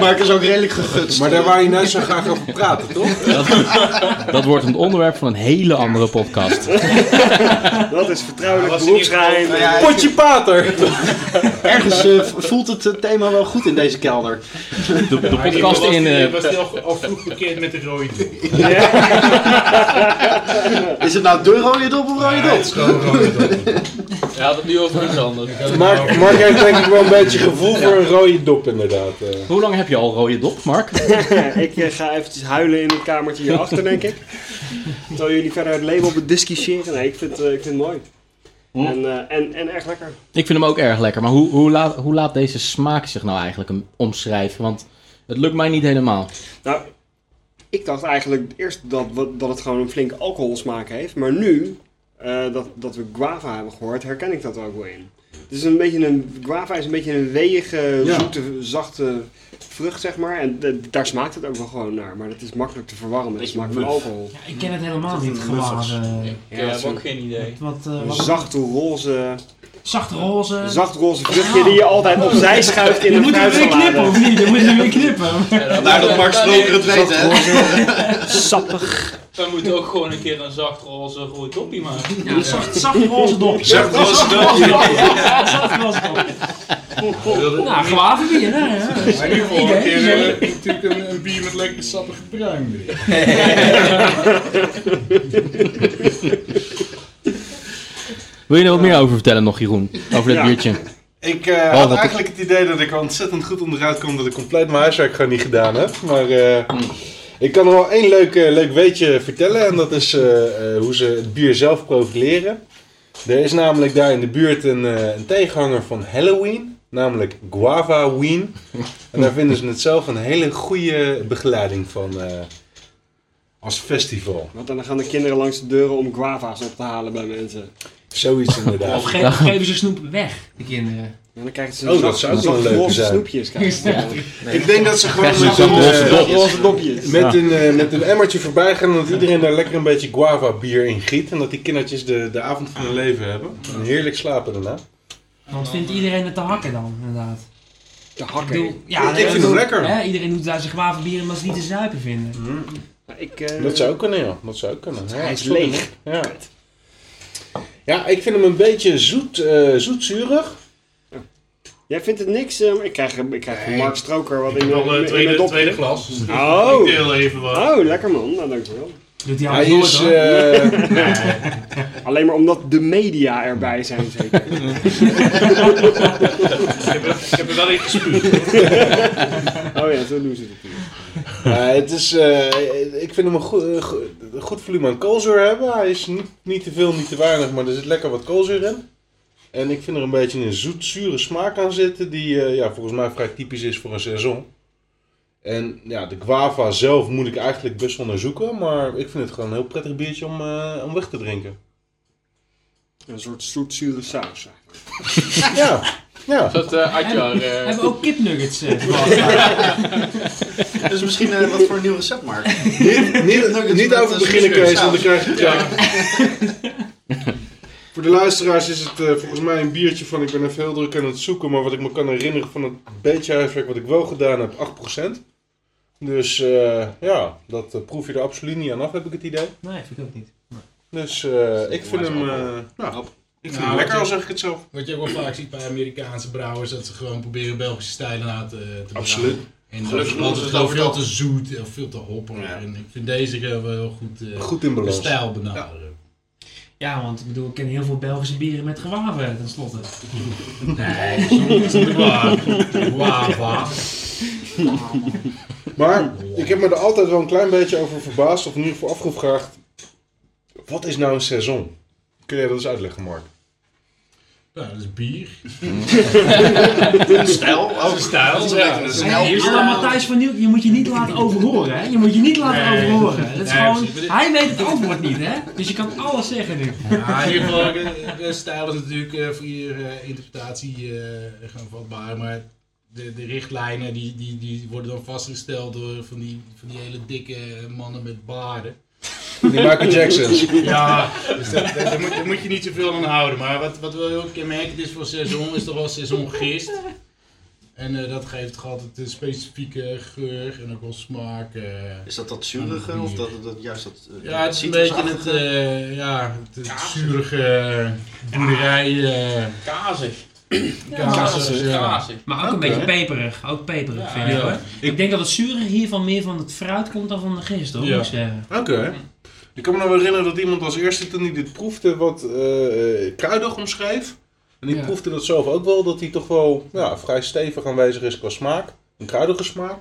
F: Maar het is ook redelijk gegutst.
C: Maar daar waar je nou zo graag over praten, toch?
A: Dat wordt een onderwerp van een hele andere podcast.
B: Dat is vertrouwelijk
D: was in ieder geval-
B: beroepsgeheim.
F: Nou ja,
C: Potje pater!
F: Ergens eh, voelt het eh, thema wel goed in deze kelder.
A: De, de
D: Maar die
A: podcast
D: was
A: in...
D: die-
A: eh,
D: was die al, al vroeg verkeerd met de rode dop.
F: Is het nou de rode dop of rode
D: Ja, het
F: dop?
D: is gewoon rode dop.
H: Hij had het nu over iets anders.
D: Ik had het nou-
C: Mark, Mark heeft denk ik wel een beetje gevoel voor een rode dop, inderdaad. eh.
A: Hoe lang heb je al rode dop, Mark?
B: ik eh, ga eventjes huilen in het kamertje hierachter, denk ik. Terwijl jullie verder het label bediscussiëren. Nee, ik vind, eh, ik vind het mooi.
F: Hm.
B: En, eh, en, en erg lekker.
A: Ik vind hem ook erg lekker. Maar hoe, hoe, laat, hoe laat deze smaak zich nou eigenlijk een- omschrijven? Want het lukt mij niet helemaal.
B: Nou, ik dacht eigenlijk eerst dat, we- dat het gewoon een flinke alcoholsmaak heeft. Maar nu eh, dat, dat we guava hebben gehoord, herken ik dat er ook wel in. Het is een beetje een, guava is een beetje een weeige,
C: Ja.
B: zoete, zachte vrucht, zeg maar. En d- daar smaakt het ook wel gewoon naar. Maar dat is makkelijk te verwarren met de
F: Beetje
B: smaak van
F: muf.
B: alcohol.
G: Ja, ik ken het helemaal niet,
F: muffers.
G: gewaar. eh,
H: Ik
B: Ja,
H: heb
B: zo-
H: ook geen idee.
G: Wat, eh,
B: Een
G: wat-
B: zachte roze...
G: zacht roze.
B: Een zacht roze vruchtje die je altijd opzij schuift in
G: je
B: een
G: moet hem weer knippen,
B: fruitsalade.
G: of niet? Je moet hem weer knippen.
F: Vandaar dat Mark Stroker het weet, hè?
B: Sappig.
H: We moeten ook gewoon een keer een zacht roze rode doppie maken.
G: Ja, zacht, zacht roze dop.
C: Zeg, dat was dat.
G: Zacht roze dop. Nou, glavenbier, hè? ja.
D: Maar in ieder geval
G: Idee,
D: een keer
G: idee.
D: eh, natuurlijk een, een bier met lekker sappige bruin erin.
A: Wil je er wat meer over vertellen nog, Jeroen? Over dit
B: Ja.
A: biertje?
C: Ik eh,
A: Behalve
C: had
A: dat ik-
C: eigenlijk het idee dat ik er ontzettend goed onderuit kwam dat ik compleet mijn huiswerk gewoon niet gedaan heb. Maar eh, ik kan er wel één leuk, eh, leuk weetje vertellen en dat is eh, eh, hoe ze het bier zelf profileren. Er is namelijk daar in de buurt een, eh, een tegenhanger van Halloween, namelijk Guava Ween. En daar vinden ze het zelf een hele goede begeleiding van eh, als festival.
B: Want dan gaan de kinderen langs de deuren om guava's op te halen bij mensen.
C: Zoiets inderdaad.
G: Of ge- of geven ze snoep weg, de kinderen.
B: En dan krijgen ze
C: Oh, dat
B: zacht-
C: zou ook
B: zacht
C: wel een leuke
B: roze
C: zijn.
B: snoepjes. krijgen ze.
G: Ja.
C: Ik denk dat ze gewoon met
A: zo'n
C: een,
A: roze
C: eh,
A: dop.
B: Roze dopjes.
C: Met, een, eh, met een emmertje voorbij gaan en dat iedereen daar lekker een beetje guava bier in giet. En dat die kindertjes de, de avond van hun leven hebben. En heerlijk slapen daarna.
G: Want vindt iedereen het te hakken dan, inderdaad?
B: Te
G: Ik
B: hakken.
G: bedoel, ja,
C: Ik- ik
G: eh,
C: vind het lekker.
G: Hè, iedereen doet daar zijn wapenbier omdat ze niet te zuipen vinden.
B: Ik, eh,
C: Dat zou ook kunnen, ja. Dat zou ook kunnen. Ja,
B: Hij is
C: sorry.
B: leeg.
C: Ja. ja, ik vind hem een beetje zoet, eh, zoetzurig.
B: Jij vindt het niks? eh, maar ik krijg, ik krijg van Mark Stroker wat
D: Ik
B: in
D: heb
B: mijn-
D: al eh,
B: in mijn
D: tweede,
B: dop.
D: tweede glas. Dus
B: Oh.
D: Ik deel even
C: Ah.
D: wat.
B: Oh, lekker man. Nou, dankjewel.
G: Doet hij
C: Hij
G: altijd nooit
C: is...
G: hoor.
C: eh,
B: Alleen maar omdat de media erbij zijn zeker.
D: Ik heb, er- ik heb er wel in gespuugd.
B: Oh ja, zo doen ze het natuurlijk.
C: maar het is eh, ik vind hem een goed, eh, go- een goed volume aan koolzuur hebben. Hij is niet, niet te veel, niet te weinig, maar er zit lekker wat koolzuur in. En ik vind er een beetje een zoet-zure smaak aan zitten, die eh, ja, volgens mij vrij typisch is voor een saison. En ja, de guava zelf moet ik eigenlijk best wel naar zoeken, maar ik vind het gewoon een heel prettig biertje om, eh, om weg te drinken.
B: Een soort zoet-zure saus.
C: Ja, ja.
H: Dat eh Atjar,
G: We
H: eh,
G: hebben ook kipnuggets. eh,
F: Dus misschien eh, wat voor een nieuw recept, Mark.
C: Niet, niet,
F: Nuggets
C: niet
F: met,
C: over
F: eh,
C: beginnen,
F: zoetzuur
C: Kees, want dan
F: saus.
C: krijg je
F: Ja.
C: Voor de luisteraars is het eh, volgens mij een biertje van ik ben even heel druk aan het zoeken. Maar wat ik me kan herinneren van het beetje huiswerk wat ik wel gedaan heb, 8%. Dus eh, ja, dat eh, proef je er absoluut niet aan af, heb ik het idee.
I: Nee, vind ik ook niet.
C: Dus eh, ik vind hem, eh, nou, ik vind hem
D: Nou,
C: lekker,
D: wat
C: al
D: je-
C: zeg ik het zelf.
D: Wat je ook wel vaak ziet bij Amerikaanse brouwers, dat ze gewoon proberen Belgische stijlen aan te, te
C: Absoluut.
D: brouwen. En
F: Gelukkig
D: Gelukkig
F: ons het
D: is het dan
F: over
D: veel
F: dat.
D: te zoet en veel te hopper.
C: Ja.
D: En ik vind deze eh, wel heel goed, eh,
C: Goed in
D: de
C: balans.
D: stijl benaderen.
I: Ja, want ik bedoel, ik ken heel veel Belgische bieren met gewaven, tenslotte.
D: Nee, dat is niet waar. Wawa.
C: Maar ik heb me er altijd wel een klein beetje over verbaasd, of in ieder geval afgevraagd. Wat is nou een seizoen? Kun jij dat eens uitleggen, Mark?
D: Nou, dat is bier.
F: Een stijl ook.
D: Dat is een stijl,
F: Dat is een beetje
D: ja.
F: een
I: Ja,
F: snel
I: Hier staat Matthijs van Nieuw, je moet je niet laten overhoren, hè? Je moet je niet laten
D: Nee.
I: overhoren. Dat is
D: Nee,
I: gewoon,
D: precies.
I: hij weet het antwoord niet, hè? Dus je kan alles zeggen nu.
D: Ja, in ieder geval, eh, eh, stijl is natuurlijk eh, voor iedere eh, interpretatie eh gewoon vatbaar, maar de, de richtlijnen die, die, die worden dan vastgesteld door van die, van die hele dikke mannen met baarden.
C: Die Michael Jacksons.
D: Ja, dus dat, dat- daar, moet, daar moet je niet zoveel aan houden. Maar wat, wat wel heel kenmerkend is voor seizoen, is toch wel seizoen gist. En eh, dat geeft toch altijd een specifieke geur en ook wel smaak. eh,
F: Is dat dat zurige of dat, dat juist dat eh,
D: Ja, het is een beetje
F: citrusachtige?
D: het, eh, ja, het, het zurige eh, boerderij. eh,
H: Kazig.
D: Kazig, ja.
H: Kazig.
I: Maar ook een beetje peperig, ook peperig
H: Ja,
I: vind ik
D: ja.
I: hoor. Ik denk dat het zure hiervan meer van het fruit komt dan van de gist, hoor.
D: Ja.
I: moet ik zeggen.
C: Oké. Ik kan me nog herinneren dat iemand als eerste toen hij dit proefde wat eh, eh, kruidig omschreef. En ik
I: Ja.
C: proefde dat zelf ook wel, dat hij toch wel ja, vrij stevig aanwezig is qua smaak. Een kruidige smaak.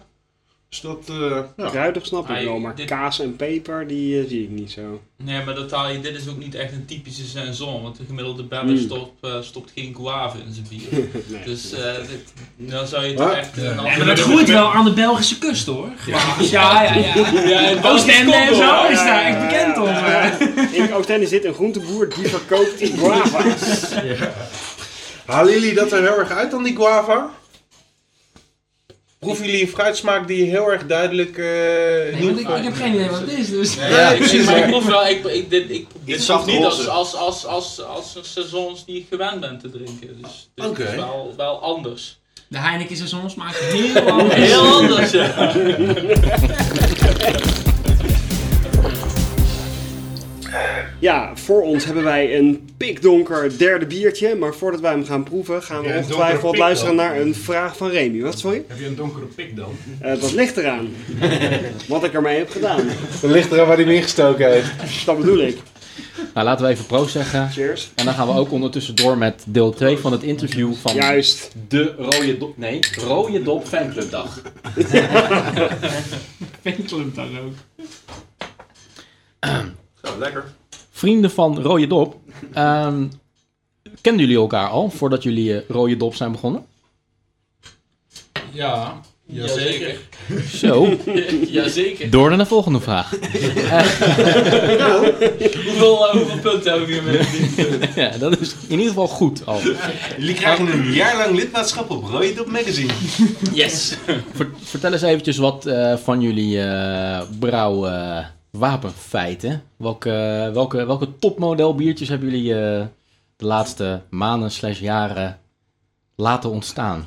C: Dus dat, eh, ja.
B: Kruidig snap ik
H: Hij-
B: wel, maar
H: dit-
B: kaas en peper, die eh, zie ik niet zo.
H: Nee, maar dat haal je, dit is ook niet echt een typische seizoen, want de gemiddelde Belg
B: Mm.
H: stopt, eh, stopt geen guave in zijn bier.
B: Nee.
H: Dus eh, dit- dan zou je toch
C: Ah,
H: echt...
D: ja.
H: een
D: Ja,
I: Ja, maar
H: andere-
I: dat groeit wel aan de Belgische kust, hoor. Ja, ja, ja.
H: Ja, en
I: Oostende en zo Oh, is daar echt
B: ja,
I: bekend om.
B: ja,
I: hè.
B: ja. In Oostende zit een groenteboer die verkoopt die guava's.
C: Halen jullie dat er heel erg uit dan die guava? Proeven jullie een fruitsmaak die heel erg duidelijk... eh, in
I: Nee, want
C: ieder
I: ik,
C: geval-
I: ik heb geen idee wat het is, dus...
H: Nee,
C: Ja,
H: ik-
C: precies,
H: Maar
C: maar-
H: ik proef wel, ik, ik, dit, ik dit
F: Dit
H: proef
F: zacht
H: niet als,
F: roze.
H: als, als, als, als een seizoens die ik gewend ben te drinken. Dus dit
C: Oké.
H: is wel, wel anders.
I: De Heineken is er soms, maar heel anders.
H: Heel anders, ja.
B: Ja, voor ons hebben wij een pikdonker derde biertje. Maar voordat wij hem gaan proeven, gaan we
D: Ja, een donkere
B: ongetwijfeld
D: pik
B: luisteren
D: dan.
B: naar een vraag van Remy. Wat, sorry?
D: Heb je een donkere pik dan?
B: Eh dat ligt eraan. Wat ik ermee heb gedaan.
C: Het ligt eraan waar hij hem ingestoken heeft.
B: Dat bedoel ik.
A: Nou, laten we even pro zeggen.
B: Cheers.
A: En dan gaan we ook ondertussen door met deel 2 van het interview van
B: Juist.
A: de Rode Dop... Nee, Rode Dop Fanclubdag.
I: Fanclub dan ook.
F: Zo, Oh, lekker.
A: Vrienden van Rode Dop, ehm, kenden jullie elkaar al voordat jullie eh, Rode Dop zijn begonnen?
D: Ja, jazeker.
A: Zo,
H: Jazeker.
A: door naar de volgende vraag.
H: Hoeveel, eh, hoeveel punten hebben we hiermee verdiend?
A: Ja, dat is in ieder geval goed al.
F: Jullie krijgen een jaar lang lidmaatschap op Royd op Magazine.
H: Yes.
A: Ver- vertel eens eventjes wat eh, van jullie eh brouw eh, wapenfeiten. Welke, welke, welke topmodel biertjes hebben jullie eh, de laatste maanden slash jaren laten ontstaan?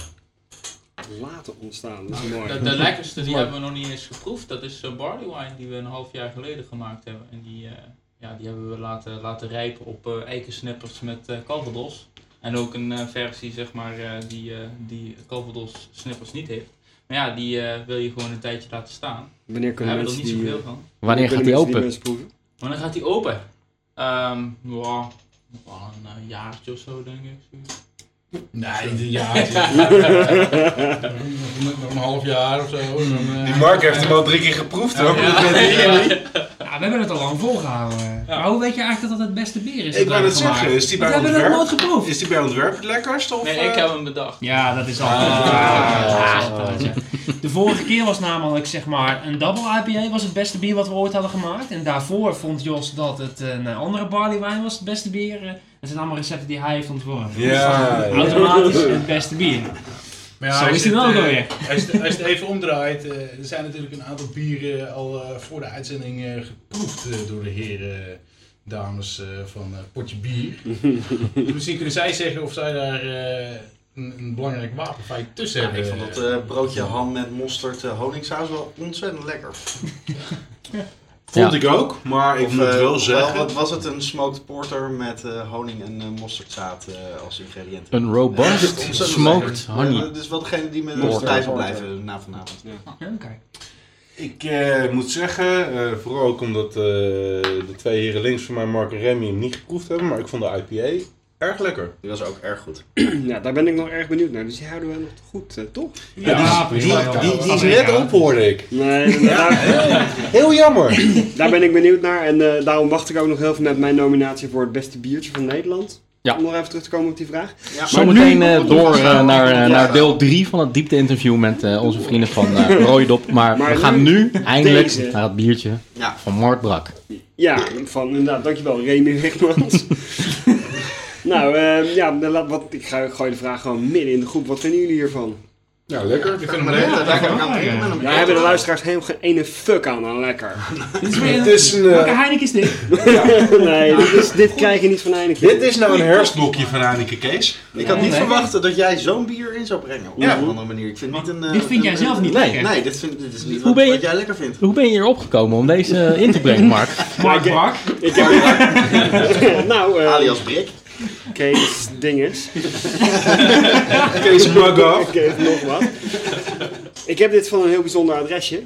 B: Laten ontstaan. Dat is
H: De,
B: mooi.
H: de lekkerste die hebben we nog niet eens geproefd. Dat is eh, barley wine die we een half jaar geleden gemaakt hebben. En die, eh, ja, die hebben we laten, laten rijpen op eh eikensnippers met eh calvados. En ook een eh, versie zeg maar, eh, die, eh die calvados snippers niet heeft. Maar ja, die eh, wil je gewoon een tijdje laten staan.
B: Wanneer
H: Daar
B: kunnen
H: hebben we er
B: mensen
H: niet
B: die... eh,
H: zoveel van.
A: Wanneer gaat
B: kunnen
A: die
B: mensen
A: open?
B: mensen proeven?
H: Maar dan gaat die open. Ehm ja, wel een eh, jaartje of zo denk ik. zoiets.
D: Nee, niet een jaartje. Nog nog een half jaar of zo. en dan, eh,
C: Die Mark heeft hem al drie keer geproefd hoor.
I: Ja, we hebben het al lang volgehouden. Maar hoe weet je eigenlijk dat dat het beste bier is?
C: Ik wou
I: het
C: het zeggen, is die
I: We
C: bij
I: hebben het nooit
C: ontwerp?
I: geproefd.
C: Is die bij ontwerp het lekkerst? Of,
H: Nee,
C: eh?
H: ik heb hem bedacht.
I: Ja, dat is al.
C: Ah.
I: De vorige keer was namelijk zeg maar een double IPA was het beste bier wat we ooit hadden gemaakt. En daarvoor vond Jos dat het een eh, andere barley wine was het beste bier. Eh, Het zijn allemaal recepten die hij heeft ontworpen. Dus
C: Ja, ja.
I: Automatisch het beste bier.
D: Maar ja,
I: Zo
D: als
I: is
D: je
I: die wel
D: eh,
I: alweer.
D: Als je, als je het even omdraait, eh, er zijn natuurlijk een aantal bieren al eh, voor de uitzending eh, geproefd eh, door de heren. dames eh, van eh, Potje Bier. dus misschien kunnen zij zeggen of zij daar eh, een, een belangrijk wapenfeit tussen
F: Ja,
D: hebben.
F: ik vond dat eh, broodje ham met mosterd eh, honingsaus wel ontzettend lekker.
A: Ja.
C: Vond ik ook, maar ik
F: Of,
C: moet
F: eh,
C: wel
F: of
C: zeggen...
F: wat was het? Een smoked porter met eh, honing en eh, mosterdzaad eh, als ingrediënt.
A: Een robust
F: Ja, ontzettend
A: smoked
F: lekker.
A: honey.
F: Ja, dat is wel degene die met
B: Porter.
F: ons thuis wil blijven na vanavond.
G: Oké.
C: Ik eh, moet zeggen, eh, vooral ook omdat eh, de twee heren links van mij, Mark en Remy, hem niet geproefd hebben. Maar ik vond de IPA erg lekker.
F: Die was ook erg goed.
B: Ja, daar ben ik nog erg benieuwd naar. Dus die houden we nog goed, eh, toch?
D: Ja,
C: die,
D: prima,
C: die,
D: ja.
C: die, is
D: Amerika.
C: net op, hoorde ik.
B: Nee, daar,
C: Heel jammer.
B: daar ben ik benieuwd naar. En eh, daarom wacht ik ook nog heel veel met mijn nominatie voor het beste biertje van Nederland.
A: Ja.
B: Om nog even terug te komen op die vraag.
A: Zometeen eh, door eh, naar, eh,
F: Ja.
A: naar deel 3 van het diepte-interview met eh, onze vrienden van eh Rooidop. Maar,
B: Maar
A: we gaan nu eindelijk
B: deze.
A: naar het biertje
F: Ja.
A: van Mark Brak.
B: Ja, van inderdaad, dankjewel Remy Wigmans. nou, eh, ja, dan laat- wat, ik ga, gooi de vraag gewoon midden in de groep. Wat vinden jullie hiervan?
C: Ja, lekker.
D: Ik vind
F: Maar
D: hem
F: de hele
D: lekker.
F: tijd eigenlijk aan het drinken met hem.
B: Daar hebben de luisteraars helemaal geen ene fuck aan, aan lekker.
G: Dit is weer
C: Het
G: een...
C: is een,
G: Welke
C: eh,
G: Heineken is dit?
B: nee, dit, is- dit krijg je niet van Heineken.
C: dit is nou een herfstblokje van Heineken Kees.
F: Ik had niet
G: Nee.
F: verwacht dat jij zo'n bier in zou brengen. Op
B: Ja.
F: een andere manier. Ik vind niet een, eh,
G: Dit vind jij
F: een-
G: zelf niet
A: Nee.
G: lekker.
F: Nee, dit, vind, dit is niet
A: Hoe
F: wat,
A: ben je-
F: wat jij lekker vindt.
A: Hoe ben je hier opgekomen om deze eh, in te brengen, Mark?
G: Mark Brak.
B: Ik heb- nou,
C: Ah,
B: eh,
F: Alias Brik.
B: Kees Dinges.
C: Kees Mugga.
B: Oké, even nog wat. Ik heb dit van een heel bijzonder adresje.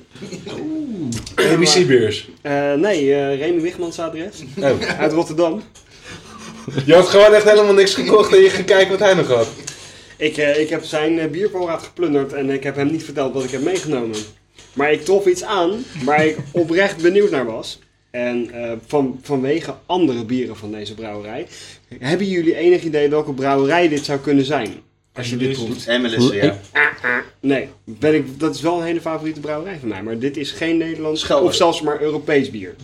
C: ABC Beers.
B: Eh, nee, eh Remy Wigmans adres.
C: Oh.
B: Uit Rotterdam.
C: Je had gewoon echt helemaal niks gekocht en je ging kijken wat hij nog had.
B: Ik, eh, ik heb zijn eh, biervoorraad geplunderd en ik heb hem niet verteld wat ik heb meegenomen. Maar ik trof iets aan waar ik oprecht benieuwd naar was. En eh, van, vanwege andere bieren van deze brouwerij. Hebben jullie enig idee welke brouwerij dit zou kunnen zijn? Als je dit proeft.
F: MLS, ja.
B: Nee, ben ik, dat is wel een hele favoriete brouwerij van mij. Maar dit is geen Nederlands
F: Schelder.
B: of zelfs maar Europees bier.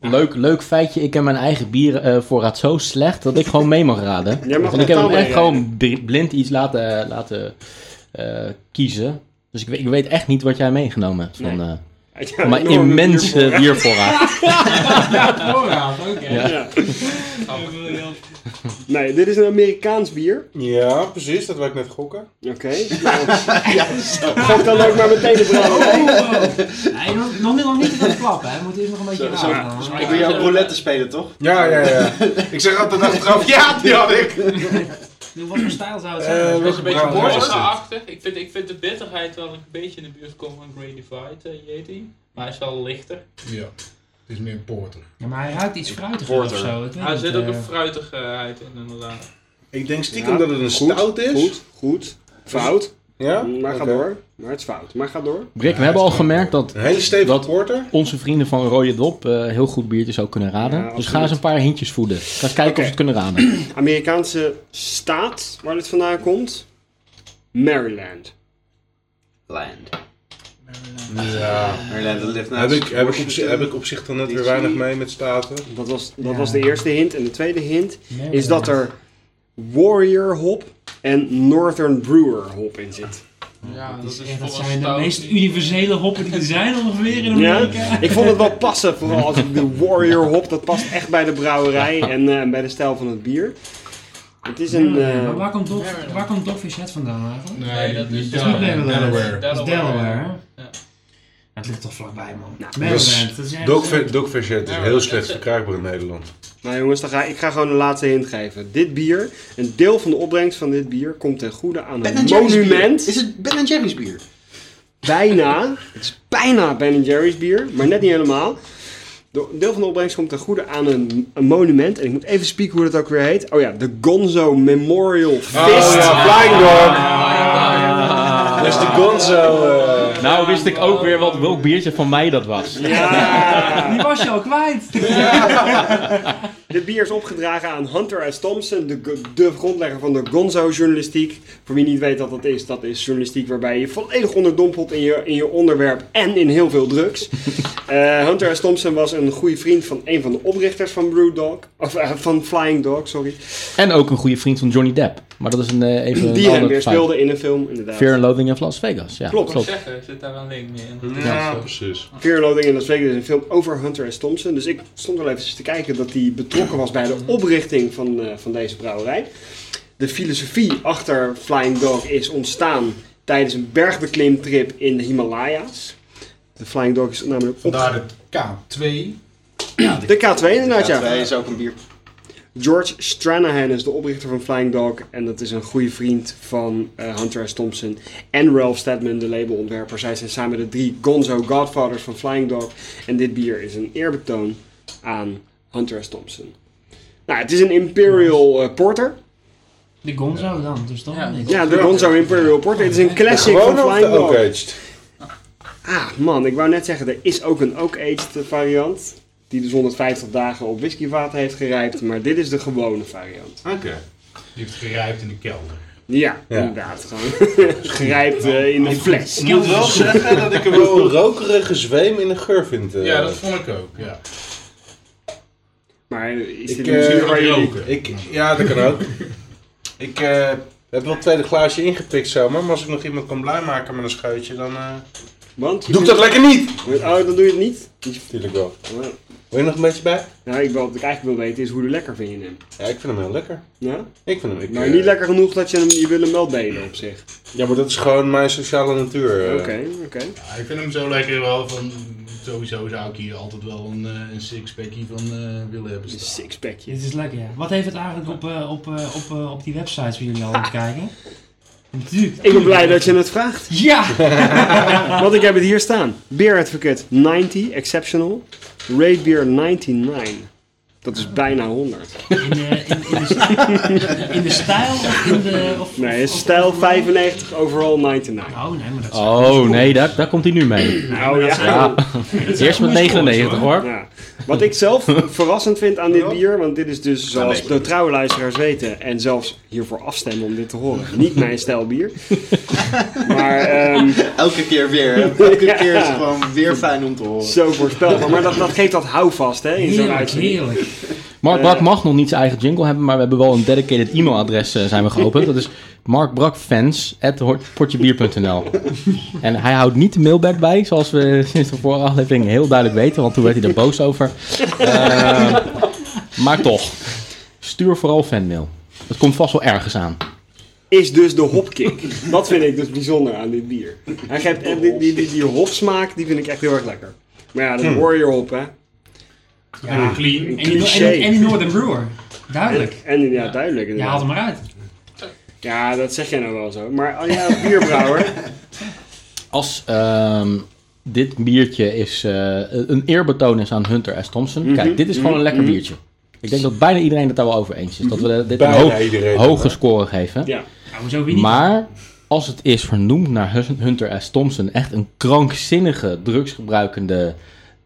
A: Leuk, leuk feitje, ik heb mijn eigen biervoorraad zo slecht dat ik gewoon mee mag raden.
B: Jij mag
A: Want ik heb
B: mentaal
A: hem echt
B: meerijden.
A: gewoon bri- blind iets laten, eh, laten eh, kiezen. Dus ik, we- ik weet echt niet wat jij meegenomen hebt van,
B: Nee.
A: eh,
B: Uit jouw
A: van mijn
B: enorme
A: immense
B: biervoorraad.
A: biervoorraad.
G: Voorraad, oké.
A: Ja.
B: Ja. Nee, dit is een Amerikaans bier.
C: Ja, precies. Dat wou ik net gokken.
B: Oké. Ga ik dan ook maar meteen de brouwerij.
G: Nee, nog, nog niet- nog niet te klappen, hè. We moeten eerst nog een beetje
F: Zo,
G: raden.
F: volgens mij wil jou roulette spelen, toch?
C: Ja, ja, ja. Ik zeg altijd achteraf, ja, die had ik.
G: Doe, Wat voor stijl zou het
C: Eh,
G: zijn?
C: welke
H: Een beetje
C: brouwerij is dit?
H: borstachtig. Ik vind, ik vind de bitterheid wel een beetje in de buurt komen van Grey Divide, eh, Yeti. Maar hij is wel lichter.
D: Ja, het is meer een porter.
G: Ja, maar hij ruikt iets fruitiger
F: Porter.
G: of zo. Ik weet
H: Hij
G: niet,
H: zit ook
G: eh.
H: een fruitigheid in, inderdaad.
C: Ik denk stiekem
B: Ja,
C: dat het een stout is.
B: Goed, goed. Fout.
C: Ja?
B: Maar ga
C: Oké.
B: door. Maar het is fout. Maar ga door.
A: Brik, we hebben al gemerkt dat
C: Een hele stevige
A: Dat-
C: porter.
A: onze vrienden van Rode Dop eh, heel goed biertjes ook kunnen raden.
B: Ja,
A: dus
B: absoluut.
A: ga eens een paar hintjes voeden. Ga eens kijken
B: Oké.
A: of ze het kunnen raden.
B: Amerikaanse staat waar dit vandaan komt. Maryland.
F: Land.
C: Ja.
F: Maryland, dat ligt
C: Heb
F: naast
C: ik, heb, ik op, zich-
F: Washington.
C: heb ik op zich dan net weer
F: DC.
C: weinig mee met staten.
B: Dat was, dat
G: Ja.
B: was de eerste hint. En de tweede hint
G: Nee,
B: is dat er Warrior Hop en Northern Brewer Hop in zit.
H: Ja, dat,
G: Dat,
H: is
G: is echt- dat
H: voor een
G: zijn de
H: stout
G: meest
H: niet.
G: universele hoppen die er zijn ongeveer in
B: Ja,
G: Amerika.
B: ik vond het wel passen, vooral als ik de Warrior hop, dat past echt bij de brouwerij en eh, bij de stijl van het bier. Het is een. eh,
G: Maar waar komt Dog- waar komt Dogfish Head vandaan eigenlijk?
H: Nee, dat is-
D: ja,
H: dat is
G: Maryland.
D: Delaware.
G: Dat is Delaware, hè?
H: Ja.
G: Dat ligt toch vlakbij, man.
B: Nou,
C: dat
B: dus
C: is-
G: Maryland, dat is echt-
C: Dogfish Dogfish Head is
H: Ja,
C: heel
H: dat
C: slecht
H: is-
C: verkrijgbaar in Nederland.
B: Nou jongens, dan ga, ik ga gewoon een laatste hint geven. Dit bier, een deel van de opbrengst van dit bier komt ten goede aan een
F: Ben Jerry's bier.
B: monument.
F: Is het Ben Jerry's bier?
B: Bijna, het is bijna Ben Jerry's bier, maar net niet helemaal. De- Een deel van de opbrengst komt ten goede aan een, een monument. En ik moet even spieken hoe dat ook weer heet. Oh ja, de Gonzo Memorial
C: Ah.
B: Fist.
C: Oh Flying Dog.
B: Ah,
C: Dat is de Gonzo. eh.
A: Nou wist ik ook weer wat, welk biertje van mij dat was.
B: ja.
G: Ah, Die was je al kwijt.
B: Dit bier is opgedragen aan Hunter S. Thompson, de, g- de grondlegger van de Gonzo-journalistiek. Voor wie niet weet wat dat is, dat is journalistiek waarbij je volledig onderdompelt in je, in je onderwerp en in heel veel drugs. Eh, Hunter S. Thompson was een goede vriend van een van de oprichters van Brewdog, of eh, van Flying Dog, sorry.
A: En ook een goede vriend van Johnny Depp. Maar dat is een, eh, even een
B: Die hem
A: ander
B: weer
A: feit.
B: speelde in een film, inderdaad.
A: Fear and Loathing in Las Vegas. Ja,
B: Klopt.
H: Ik wou zeggen, zit daar een link mee in?
C: Ja, precies.
B: Fear Loading in Las Vegas is een film over Hunter S. Thompson. Dus ik stond wel even te kijken dat hij betrokken was bij de oprichting van, eh, van deze brouwerij. De filosofie achter Flying Dog is ontstaan tijdens een bergbeklimtrip in de Himalaya's. De Flying Dog is namelijk op...
D: Vandaar de K2.
B: De K2 inderdaad, ja.
F: Wij is ook een bier.
B: George Stranahan is de oprichter van Flying Dog. En dat is een goede vriend van eh, Hunter S. Thompson en Ralph Steadman, de labelontwerper. Zij zijn samen de drie Gonzo Godfathers van Flying Dog. En dit bier is een eerbetoon aan Hunter S. Thompson. Nou, het is een Imperial eh, Porter.
G: De Gonzo dan, dus dan
H: Ja.
G: niet.
B: Ja, de Gonzo Imperial Porter. Het is een classic van
C: Gewoon of de
B: Flying Dog.
C: oak-aged?
B: Ah, man, ik wou net zeggen, er is ook een oak-aged variant. Die dus 150 dagen op whiskyvaten heeft gerijpt. Maar dit is de gewone variant.
C: Oké.
D: Die heeft gerijpt in de kelder.
B: Ja,
C: Ja.
B: inderdaad. Gewoon grijpt eh, in een fles.
C: Ik moet wel zeggen dat ik er wel een rokerige zweem in de geur vind. eh.
D: Ja, dat vond ik ook. Ja.
B: Maar is
C: Ik,
B: dit
C: eh,
B: misschien
C: ik
B: waar jullie...
D: roken.
C: Ik, ja, dat kan ook. ik eh, heb wel het tweede glaasje ingepikt zomaar, maar als ik nog iemand kan blij maken met een scheutje, dan eh,
B: Want je
C: doe ik dat lekker niet!
B: vindt- Oh, dan doe je het niet?
C: Natuurlijk wel.
B: Oh.
C: Wil je nog een beetje bij?
B: Nou, ik, wat ik eigenlijk wil weten is hoe lekker vind je hem?
C: Ja, ik vind hem heel lekker.
B: Ja?
C: Ik vind hem... Ik,
B: Maar
C: eh,
B: niet lekker genoeg dat je hem... Je wil hem wel delen op zich.
C: Ja, maar dat is gewoon mijn sociale natuur. eh.
B: Oké, oké.
D: Ja, ik vind hem zo lekker wel van. Sowieso zou ik hier altijd wel een, eh, een sixpackie van eh, willen hebben.
B: Een
D: staan.
B: sixpackje.
G: Dit is lekker, ja. Wat heeft het eigenlijk op, eh, op, eh, op, eh, op die websites waar jullie al aan het kijken? Natuurlijk.
B: Ik ben blij dat je het vraagt.
G: Ja!
B: Want ik heb het hier staan. Beer Advocate 90, exceptional. Raid Beer 99. Dat is bijna 100.
G: In, eh, in, in, de, st- in de stijl of in de... Of,
B: Nee,
G: of-
B: stijl
G: of-
B: 95, overall 99.
G: Oh, nee, maar dat is...
A: Oh nee, daar, daar komt hij nu mee.
B: Nou
A: Ja, eerst met 99 hoor.
B: Ja. Wat ik zelf verrassend vind aan dit bier, want dit is dus zoals de trouwe luisteraars weten en zelfs hiervoor afstemmen om dit te horen, niet mijn stijl bier. Maar ehm,
F: Elke keer weer. hè. Elke keer is het gewoon weer fijn om te horen.
B: zo voorspelbaar. Maar dat, dat geeft dat houvast hè, in zo'n
G: Heerlijk,
B: uitzending.
G: heerlijk.
A: Mark Brak mag nog niet zijn eigen jingle hebben, maar we hebben wel een dedicated e-mailadres eh, zijn we geopend. Dat is markbrakfans.potjebier.nl En hij houdt niet de mailback bij, zoals we sinds de vorige aflevering heel duidelijk weten, want toen werd hij er boos over. Eh, maar toch, stuur vooral fanmail. Dat komt vast wel ergens aan.
B: Is dus de hopkick. Dat vind ik dus bijzonder aan dit bier. Hij geeft, en die, die, die, die hopsmaak, die vind ik echt heel erg lekker. Maar ja, dat hoor je op hè.
D: En clean.
G: En die, en,
B: Cliché.
G: die- en die Northern Brewer. Duidelijk.
B: En ja, duidelijk
G: Je haalt
B: inderdaad.
G: hem eruit.
B: Ja, dat zeg jij nou wel zo. Maar oh ja, bierbrouwer.
A: Als ehm, dit biertje is, eh, een eerbetoon is aan Hunter S. Thompson.
C: Mhm.
A: Kijk, dit is gewoon een lekker biertje. Ik denk dat bijna iedereen het daar wel over eens is. Dat we dit een
C: Mhm. Bijna
A: hoog-
C: iedereen,
A: hoge
C: hè?
A: score geven.
B: Ja.
G: Nou, hoezo wie niet?
A: Maar als het is vernoemd naar Hus- Hunter S. Thompson, echt een krankzinnige drugsgebruikende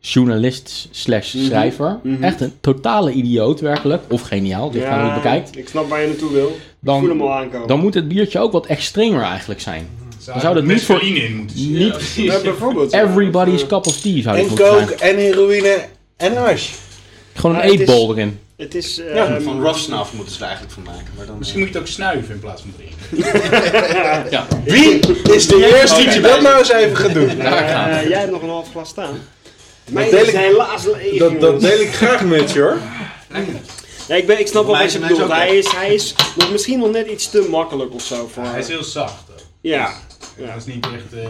A: journalist slash
C: Mhm.
A: schrijver. Echt een totale idioot werkelijk. Of geniaal, dit gaan we niet bekijkt.
B: Ik snap waar je naartoe wil.
A: Dan-
B: ik voel hem al aankomen.
A: Dan moet het biertje ook wat extremer eigenlijk zijn.
D: Zou,
A: zou dat niet voor-
D: mescaline in moeten zitten.
A: Niet
B: Ja, bijvoorbeeld. ja.
A: everybody's cup of tea zou dit
C: En
A: moeten
C: coke,
A: zijn.
C: en heroïne, en hash.
A: Gewoon een
B: Maar het is-
A: eetbol erin.
B: Het is... ehm,
F: Van rough snuff moeten ze er eigenlijk van maken. Maar dan,
D: Misschien moet je het ook snuiven in plaats van drinken.
C: Wie is de eerste die dat nou eens even gaat doen?
B: eh, jij hebt nog een half glas staan. Mijn
C: deel ik-
B: is helaas leeg,
C: Dat, dat
B: jongens.
C: deel ik graag met je hoor.
B: Ja, ik, ben, ik snap wel
F: Mijn
B: wat je
F: is- mijn is
B: bedoelt.
F: ook
B: Hij is, hij is nog, misschien nog net iets te makkelijk of zo. Voor,
D: Hij is heel zacht ook.
B: ja.
D: Dat is niet echt... eh,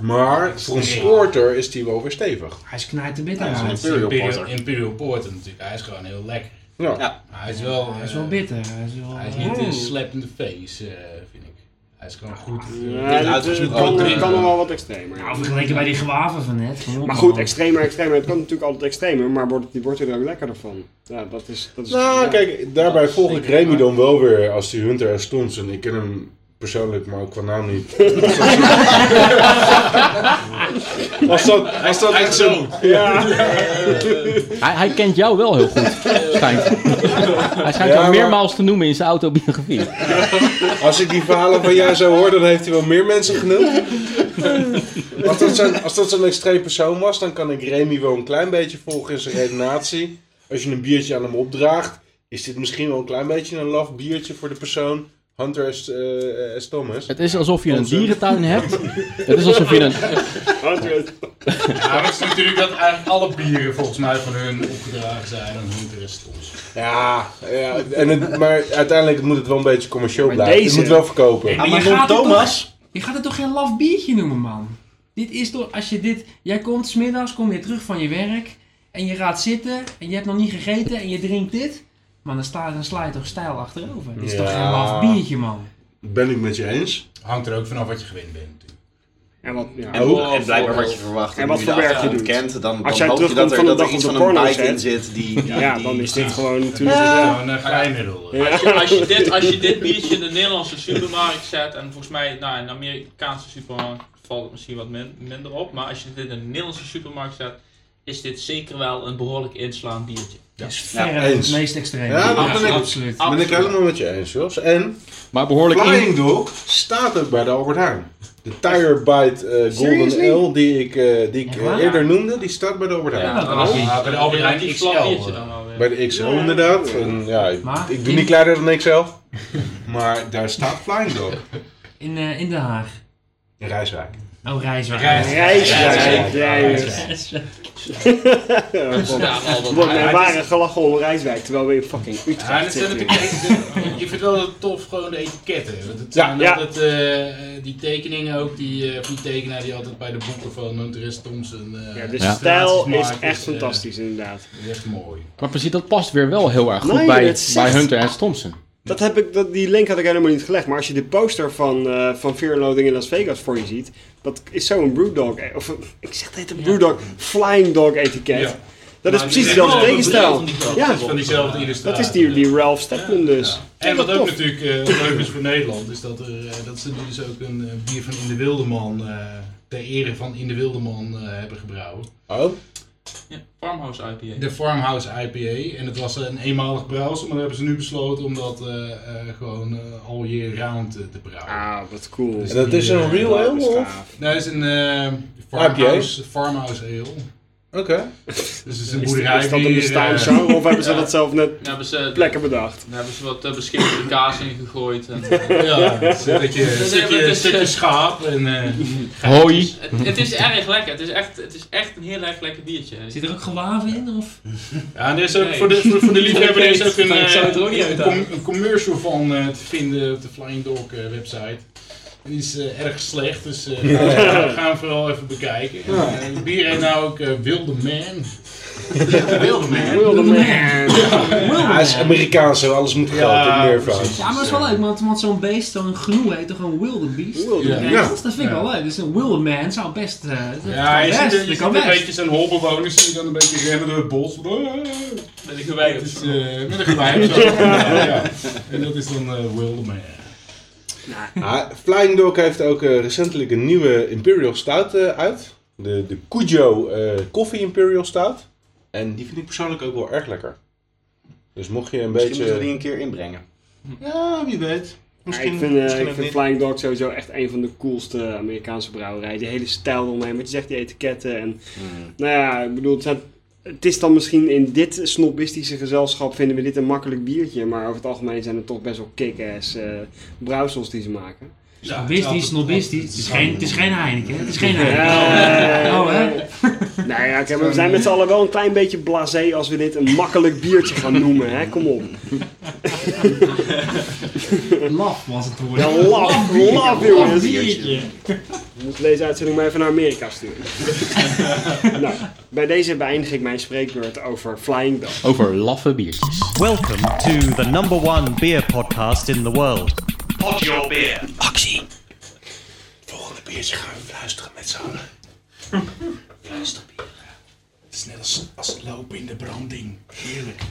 C: Maar voor een sporter is die wel weer stevig.
G: Hij is knijt de bitter.
D: ja,
G: hij,
D: het
G: is,
D: is
F: Imperial
D: Imperial,
F: Porter.
D: Imperial Porter natuurlijk. Hij is gewoon heel lekker.
C: Ja.
D: Maar hij is wel... eh,
G: wel bitter. Hij is wel... Oh.
D: Hij is niet een slap in the face, eh, vind ik. Hij is gewoon goed.
B: Ja, dat, eh,
F: uitgesproken
B: kan,
D: drinken.
B: kan nog wel wat extremer. ja.
G: Nou, vergeleken bij die gewaven van net. Kom op,
B: Maar goed,
G: man.
B: extremer, extremer. Het kan natuurlijk altijd extremer, maar wordt, die wordt er ook lekkerder van. Ja, dat is... Dat is
C: Nou,
B: ja.
C: kijk, daarbij volg ik Remy dan wel weer als die Hunter S. Thompson. Ik ken hem persoonlijk, maar ook qua naam niet. als dat, als dat echt zo...
A: Hij, hij kent jou wel heel goed, schijnt. Hij schijnt
C: Ja,
A: jou
C: maar-
A: meermaals te noemen in zijn autobiografie.
C: Als ik die verhalen van jou zou hoor, dan heeft hij wel meer mensen genoemd. Als dat zo'n- als dat zo'n extreem persoon was, dan kan ik Remy wel een klein beetje volgen in zijn redenatie. Als je een biertje aan hem opdraagt, is dit misschien wel een klein beetje een laf biertje voor de persoon. Hunter S. eh, S. Thomas.
A: Het is alsof je een
C: Onze.
A: dierentuin hebt. Het is alsof je een...
D: Ja, maar het is natuurlijk dat eigenlijk alle bieren volgens mij van hun opgedragen zijn en hun rest ons.
C: Ja, ja en het, maar uiteindelijk moet het wel een beetje commercieel
B: Maar
C: blijven.
B: deze-
C: Je moet wel verkopen.
G: Maar
F: Ah,
G: je
F: maar
G: gaat het
F: Mont
G: toch-
F: Thomas,
G: Je gaat het toch geen laf biertje noemen, man? Dit is toch, als je dit... Jij komt smiddags, kom je terug van je werk... en je gaat zitten en je hebt nog niet gegeten en je drinkt dit... Maar dan, sta, dan sla je toch stijl achterover. Dit is toch geen
C: Ja.
G: laf biertje, man?
C: Ben ik met je eens?
D: Hangt er ook vanaf wat je gewend bent natuurlijk.
B: En wat, ja.
F: en,
C: Ook.
F: en blijkbaar wat je verwacht.
B: En wat
F: nu
B: voor
F: de
B: werk je
F: achtergrond
B: doet.
F: kent, dan,
B: Als
F: dan
B: jij
F: hoop je
B: terugkomt
F: dat er,
B: van de
F: dat er
B: dag
F: iets
B: op de
F: van een
B: porno
F: bite in
B: set.
F: zit. Die, die-
B: ja,
F: die-
B: dan is dit
F: Ja.
B: gewoon
D: Dus
B: natuurlijk...
D: Gewoon een eh, glijmiddel.
B: Ja.
H: Als je, als, je dit, als je dit biertje in de Nederlandse supermarkt zet, en volgens mij, nou in de Amerikaanse supermarkt valt het misschien wat min- minder op, maar als je dit in de Nederlandse supermarkt zet, is dit zeker wel een behoorlijk inslaand biertje.
G: Dat is verre
C: eens.
G: het meest extreme.
C: Ja, dat
H: ben ik-
G: absoluut.
H: Ah,
C: Ben ik
H: Absoluut.
C: helemaal met je eens, Jos. En
A: Maar behoorlijk... in-
C: Flying Dog staat ook bij de Albert Heijn. De Tire Bite eh, Golden
B: Seriously?
C: Ale die ik, eh, die ik eh,
G: Ja.
C: eerder noemde, die staat bij de Albert Heijn.
G: dat was niet.
D: bij de Albert Heijn
H: Relatief
D: XL.
H: slap biertje dan
D: eh,
H: alweer.
C: Bij de XL inderdaad. En, ja, ik,
G: Maar
C: ik doe
G: in-
C: niet kleiner dan ik zelf. Maar daar staat Flying Dog.
G: In, eh, in Den Haag.
C: In Rijswijk.
G: Oh, Rijswijk.
D: Rijswijk.
B: Rijswijk.
D: Rijswijk.
B: Rijswijk.
H: Ja, Albert
B: Wordt
H: Heijn.
B: mijn
D: het
B: ware gelachen om Rijswijk, terwijl we in fucking
D: Ja, en
B: Utrecht
D: het zijn
B: zitten.
D: natuurlijk, de- ik vind het wel tof gewoon de etiketten. Want het
B: Ja,
D: zijn
B: ja.
D: altijd eh, eh, die tekeningen ook, die, eh, van die tekenaar die altijd bij de boeken van een toerist Thompson. eh,
B: Ja, de
A: Ja.
B: stijl is
D: illustraties maakt,
B: echt
D: eh,
B: fantastisch, inderdaad.
D: dat is echt mooi.
A: Maar precies, dat past weer wel heel erg goed
B: Nee,
A: bij,
B: dat zegt-
A: bij Hunter en Thompson.
B: Dat heb ik, dat, die link had ik helemaal niet gelegd. Maar als je de poster van, eh van Fear and Loathing in Las Vegas voor je ziet, dat is zo'n Brewdog, eh, of een- ik zeg het heet een Brewdog, Flying Dog etiket.
D: Ja.
B: Dat is
D: Maar
B: precies
D: die zijn
B: dezelfde
D: wel
B: tegenstijl.
H: van die grote
B: Ja,
D: Dat is van diezelfde
B: dat
D: illustratie.
B: is die, die Ralph Stepman dus.
D: En wat
B: dat
D: ook
B: tof.
D: natuurlijk eh, leuk is voor Nederland, is dat, er, eh, dat ze dus ook een eh, bier van In de Wildeman, eh ter ere van In de Wildeman eh, hebben gebrouwen.
C: Oh,
H: Ja, Farmhouse IPA.
D: De Farmhouse IPA. En het was een eenmalig brouwsel, maar dan hebben ze nu besloten om dat eh, eh, gewoon eh, all year round eh, te brouwen.
B: Ah, wat cool.
C: en dat is een real
B: Dat
C: ale
B: is
C: of?
B: gaaf.
D: Nou, het is een eh, farmhouse, farmhouse ale.
C: Oké.
D: Dus het is een
B: Is,
D: boerderij. eh,
B: is dat een bestaan zo? Of hebben ze dat zelf net
H: Daar hebben ze, daar
B: plekken bedacht?
H: hebben ze wat eh, beschikbare kaas in gegooid. En, eh,
D: Ja, het is een beetje- een stukje, een stukje schaap. En, eh,
A: Hoi.
H: het, het is erg lekker. Het is echt, het is echt een heel erg lekker biertje.
G: Zit er ook gewaven in? Of?
D: ja, en er is ook
H: Nee.
D: voor de, voor, voor de liefhebber er is ook een,
H: Ik zou het er ook
D: eh,
H: niet
D: een,
H: uithalen.
D: com- een commercial van eh, te vinden op de Flying Dog eh, website. Die is eh, erg slecht, dus eh ga ga hem vooral even bekijken. En, eh, het bier heet nou ook eh, Wilde Man.
F: Wilde man.
C: Ja, hij is Amerikaans, zo alles moet geld
D: Ja,
C: in meer van.
D: precies.
G: Ja, maar dat is wel leuk, want, want zo'n beest, zo'n genoe heet toch een wildebeest?
B: Wildebeest.
G: Ja,
C: Ja.
G: Dat vind ik wel leuk. Dus een wildeman zou best... eh, dat
D: Ja,
G: kan
D: je
G: best,
D: ziet,
G: dat
D: je ziet
G: kan
D: een
G: best.
D: beetje zo'n holbewoners die dan een beetje rennen door het bos.
H: Met een
D: Het is eh, met een gewijn of zo. Ja, ja. En dat is dan eh Wilderman.
C: Ah, Flying Dog heeft ook eh, recentelijk een nieuwe Imperial Stout eh, uit. De, de Cujo eh, Coffee Imperial Stout. En die vind ik persoonlijk ook wel erg lekker. Dus mocht je een
F: Misschien moeten we die
C: beetje...
F: een keer inbrengen.
C: Ja, wie weet.
B: Ja,
C: Misschien,
B: ik vind, eh,
C: misschien
B: ik
C: ook
B: vind
C: niet.
B: Flying Dog sowieso echt een van de coolste Amerikaanse brouwerijen. Die hele stijl eromheen, wat je zegt, die etiketten. En, Nou ja, ik bedoel, het, zijn- het is dan misschien in dit snobistische gezelschap vinden we dit een makkelijk biertje. Maar over het algemeen zijn het toch best wel kick-ass eh, brouwsels die ze maken.
G: Snobistisch, snobistisch. Het is geen, het is geen Heineken, hè. het is geen Heineken.
B: Eh,
G: Oh, hè.
B: Nou ja, kijk, maar we zijn met z'n allen wel een klein beetje blasé als we dit een makkelijk biertje gaan noemen. Hè? Kom op.
G: Laf was het woord.
B: Ja, laf, laf jongens.
G: Biertje.
B: Je moet deze uitzending maar even naar Amerika sturen. nou, bij deze beëindig ik mijn spreekbeurt over Flying Dog.
A: Over laffe biertjes.
E: Welcome to the number one beer podcast in the world. Pod your beer.
C: Volgende biertje gaan we fluisteren met z'n allen.
D: Het is net als, als lopen in de branding. Heerlijk.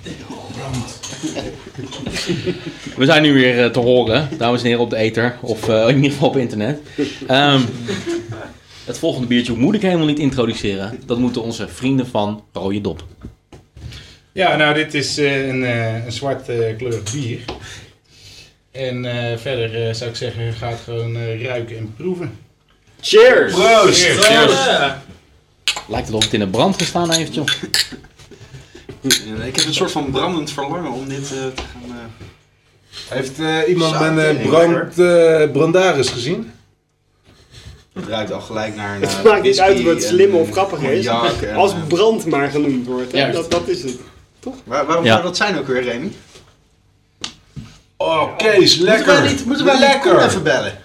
D: Brand.
A: We zijn nu weer eh, te horen, dames en heren, op de ether. Of eh, in ieder geval op internet. Ehm, het volgende biertje moet ik helemaal niet introduceren. Dat moeten onze vrienden van Rode Dop.
D: Ja, nou, dit is eh, een, eh, een zwart eh kleurig bier. En eh, verder eh, zou ik zeggen, ga het gewoon eh, ruiken en proeven.
B: Cheers!
C: Proost!
A: Lijkt het of het in de brand gestaan heeft, joh.
F: Ik heb een soort van brandend verlangen om dit eh, te gaan... eh,
C: Heeft eh, iemand
F: Zo,
C: mijn eh,
F: tering,
C: brand, eh, brandaris gezien?
F: Het ruikt al gelijk naar een.
B: Het
F: eh,
B: maakt niet
F: whisky
B: uit wat
F: en
B: slim of grappig is.
F: cognac en,
B: Als
F: eh,
B: brand maar genoemd wordt. hè.
A: Juist.
B: Dat, dat is het.
F: waar- waarom
A: Ja.
F: zou dat zijn ook weer, Remy?
C: Oh, Kees, lekker.
F: Moeten wij niet, moeten wij niet Koen even bellen?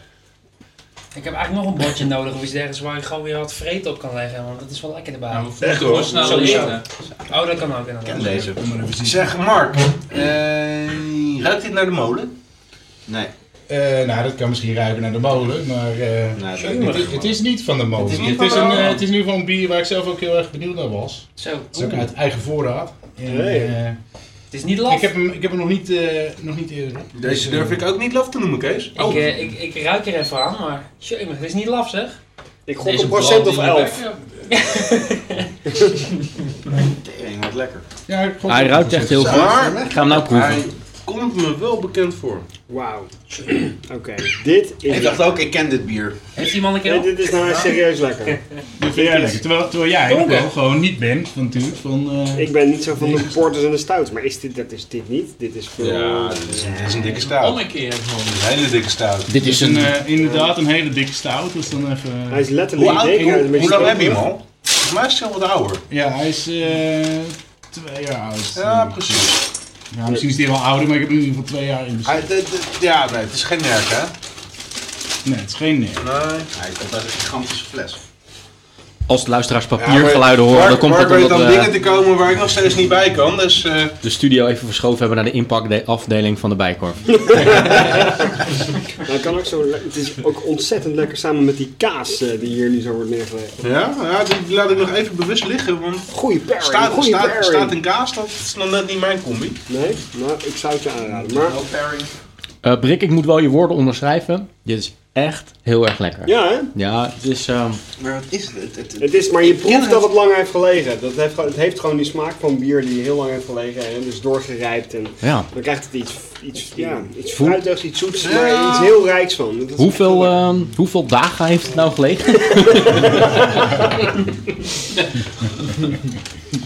I: Ik heb eigenlijk nog een bordje nodig of iets dergelijks waar ik gewoon weer wat vreten op kan leggen, want dat is wel lekker erbij.
H: Nou, we
C: Echt
H: moeten
C: hoor.
H: wel sneller
I: Sowieso.
H: eten.
I: oh, dat kan ook inderdaad.
F: Ken deze.
C: Zeg, Mark.
F: Eh, ruikt dit naar de molen? Nee.
D: Eh, nou, dat kan misschien ruiken naar de molen, maar eh,
F: ruikt
D: het-
F: niet naar de
D: het, het is niet van de molen.
F: Nou, Het
D: Het
F: is niet
D: is,
F: van de
D: een,
F: molen.
D: eh, het is in ieder geval een bier waar ik zelf ook heel erg benieuwd naar was.
I: Zo,
D: Het is ook
F: Oh.
I: oeh,
D: uit eigen voorraad. En,
B: Nee.
D: eh,
I: het is niet laf.
D: ik, heb hem, ik heb hem nog niet, eh, nog niet eerder. op. Dus,
C: Deze
D: eh,
C: durf ik ook niet laf te noemen, Kees. Oh.
I: Ik, eh, ik, ik ruik er even aan, maar tjonge, het is niet laf zeg.
B: Ik gok
H: Deze
B: een procent
H: brand
B: of
H: in je
B: elf.
H: bek, ja.
F: Tering, wat lekker.
D: ja, ik vond
A: Hij
D: het
A: ruikt
D: wel
A: echt
D: goed.
A: heel
F: Maar-
A: goed. Ik ga hem nou proeven.
C: Hij komt me wel bekend voor.
B: Wauw. Oké, dit is...
F: Ik dacht ook, ik ken dit bier.
I: Heeft iemand een keer
B: Nee,
I: al?
B: dit is nou serieus lekker.
D: Dat vind ik lekker. Terwijl, terwijl jij ook wel gewoon niet bent, van, natuurlijk. Van, eh,
B: Ik ben niet zo van de porters en de stouts, maar is dit, dat is dit niet. Dit is veel...
C: Ja, dit is, dit is een dikke
H: Om
C: stout.
H: een keer gewoon.
C: Een hele dikke stout.
A: Dit
D: dus
A: is
D: een,
A: een...
D: eh, inderdaad een hele dikke stout. Dus dan even,
B: Hij is letterlijk...
C: Hoe, oud,
B: ik denk, hij is een
C: hoe,
B: beetje
C: hoe lang heb je hem
B: stroperig.
C: al? Volgens mij is hij al wat ouder.
D: ja, hij is eh, twee jaar oud.
C: Ja, precies.
D: Ja, misschien is die wel ouder, maar ik heb hem in ieder geval twee jaar in bezit.
C: Hij- de- de- ja, nee, het is geen merk, hè?
D: Nee, het is geen nee.
C: Nee.
F: Hij komt uit een gigantische fles.
A: Als de luisteraars
C: Mark-
A: papiergeluiden horen, dan komt
C: Mark
A: dat
C: weet
A: omdat
C: aan dingen
A: we
C: te komen waar ik nog steeds niet bij kan, dus... eh,
A: de studio even verschoven hebben naar de inpakafdeling van de Bijkorf.
B: Nou, het kan ook zo, le- het is ook ontzettend lekker samen met die kaas eh, die hier nu zo wordt neergelegd.
C: ja, ja, die laat ik nog even bewust liggen, want...
B: Goeie pairing,
C: Staat,
B: goeie
C: staat,
B: pairing.
C: staat een kaas, dat is nog net niet mijn combi.
B: Nee, nou, ik zou het je aanraden. Maar,
F: No pairing.
A: Eh, Brik, ik moet wel je woorden onderschrijven. Dit is echt heel erg lekker.
B: ja hè?
A: Ja, het is... ehm,
F: Maar wat is het? Het, het,
B: Het is, maar je proeft dat het lang heeft gelegen. Dat heeft, gewoon- het heeft gewoon die smaak van bier die heel lang heeft gelegen en is doorgerijpt. En
A: ja.
B: dan krijgt het iets, iets, ja, iets
A: Voel-
B: fruitigs, iets zoets,
F: Ja.
B: maar iets heel rijks van. Dat is echt
A: Hoeveel,
B: heel
D: eh,
A: ehm, hoeveel dagen heeft het nou gelegen?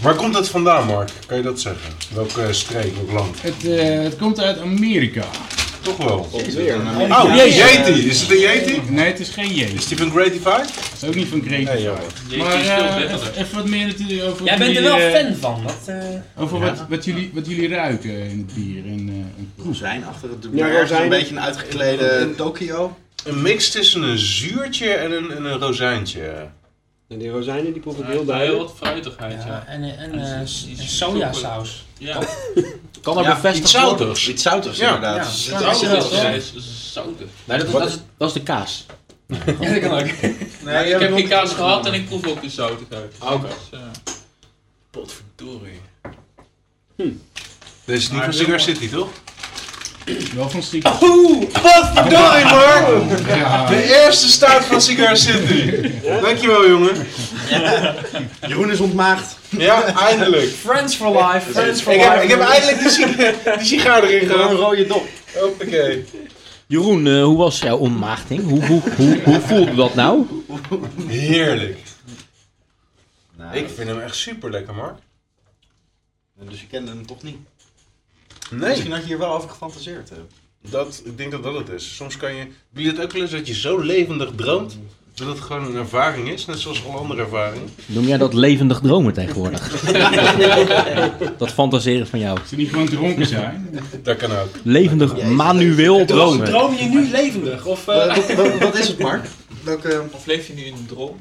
C: Waar komt dat vandaan, Mark? Kan je dat zeggen? Welke eh, streek, welk land?
D: Het, eh, het komt uit Amerika.
C: Toch wel.
B: lekker. Weer.
C: Oh, Yeti. Is het een Yeti?
D: Nee, het is geen Jezus.
C: Is die van Grady 5?
D: Het is ook niet van Greek.
C: Nee, joh.
H: Jeetje,
D: Maar
H: is veel
D: eh,
H: bitterder.
D: even- even wat meer natuurlijk over,
I: Jij
D: wat
I: bent er
D: jullie,
I: wel
D: eh,
I: fan van. Dat, eh,
D: over wat, wat, jullie, wat jullie ruiken in het bier. En, eh, en proeven.
F: Rozijn achter het doet
B: Ja,
F: me ergens
B: rozijn.
F: een beetje een uitgeklede Tokio.
C: Een mix tussen een zuurtje en een, en een rozijntje.
B: En die rozijnen die proef ik heel
H: Ja, heel
B: duidelijk.
H: wat fruitigheid,
I: ja,
H: ja.
I: en eh, en,
H: En
I: eh,
H: het is-
I: s-
H: het
I: en
H: is
I: sojasaus.
H: Ja,
A: Kan er bevestigd worden?
C: zoutigs.
F: Iets zoutigs
C: Ja.
I: Ja,
F: inderdaad.
I: smaakt
F: Er zit
I: wel,
F: iets
I: hè?
F: in.
H: hij is zoutig.
A: Nee, dat, is- dat, is, dat is de kaas.
I: Ja, dat kan ook.
C: Nee,
H: Ik heb geen kaas gehad en ik proef ook de zoutigheid.
A: Oké.
H: Dus, eh,
F: Potverdorie.
C: Dit is niet van Cigar City, toch?
D: Wel van stiekem.
C: Oeh, wat verdorie, Mark!
D: Ja.
C: Oh. De eerste staat van Cigar City. Dankjewel, jongen.
F: Jeroen is ontmaagd.
C: Ja, eindelijk.
I: Friends for life, friends for
C: Ik heb,
I: life.
C: ik heb eindelijk die, sig- die sigaar erin
F: Gewoon een
C: gehad.
F: rode dop.
C: Hoppakee.
A: Jeroen, eh, hoe was jouw ontmaagding? Hoe, hoe, hoe, hoe voelde dat nou?
C: Heerlijk.
F: Nou,
C: Ik vind hem echt super lekker, Mark.
F: Dus je kende hem toch niet.
C: Nee, Eh,
F: Misschien had je hier wel over gefantaseerd. hè.
C: dat, ik denk dat dat het is. Soms kan je... Heb je dat ook wel eens dat je zo levendig droomt? Dat het gewoon een ervaring is, net zoals alle andere ervaringen.
A: Noem jij dat levendig dromen tegenwoordig? dat fantaseren van jou.
D: Ze niet gewoon dronken zijn.
C: Dat kan ook.
A: Levendig manueel dromen.
I: Droom je nu levendig? Of, eh,
F: Wat, wat- wat is het, Mark? Welke...
H: Of leef je nu in een droom?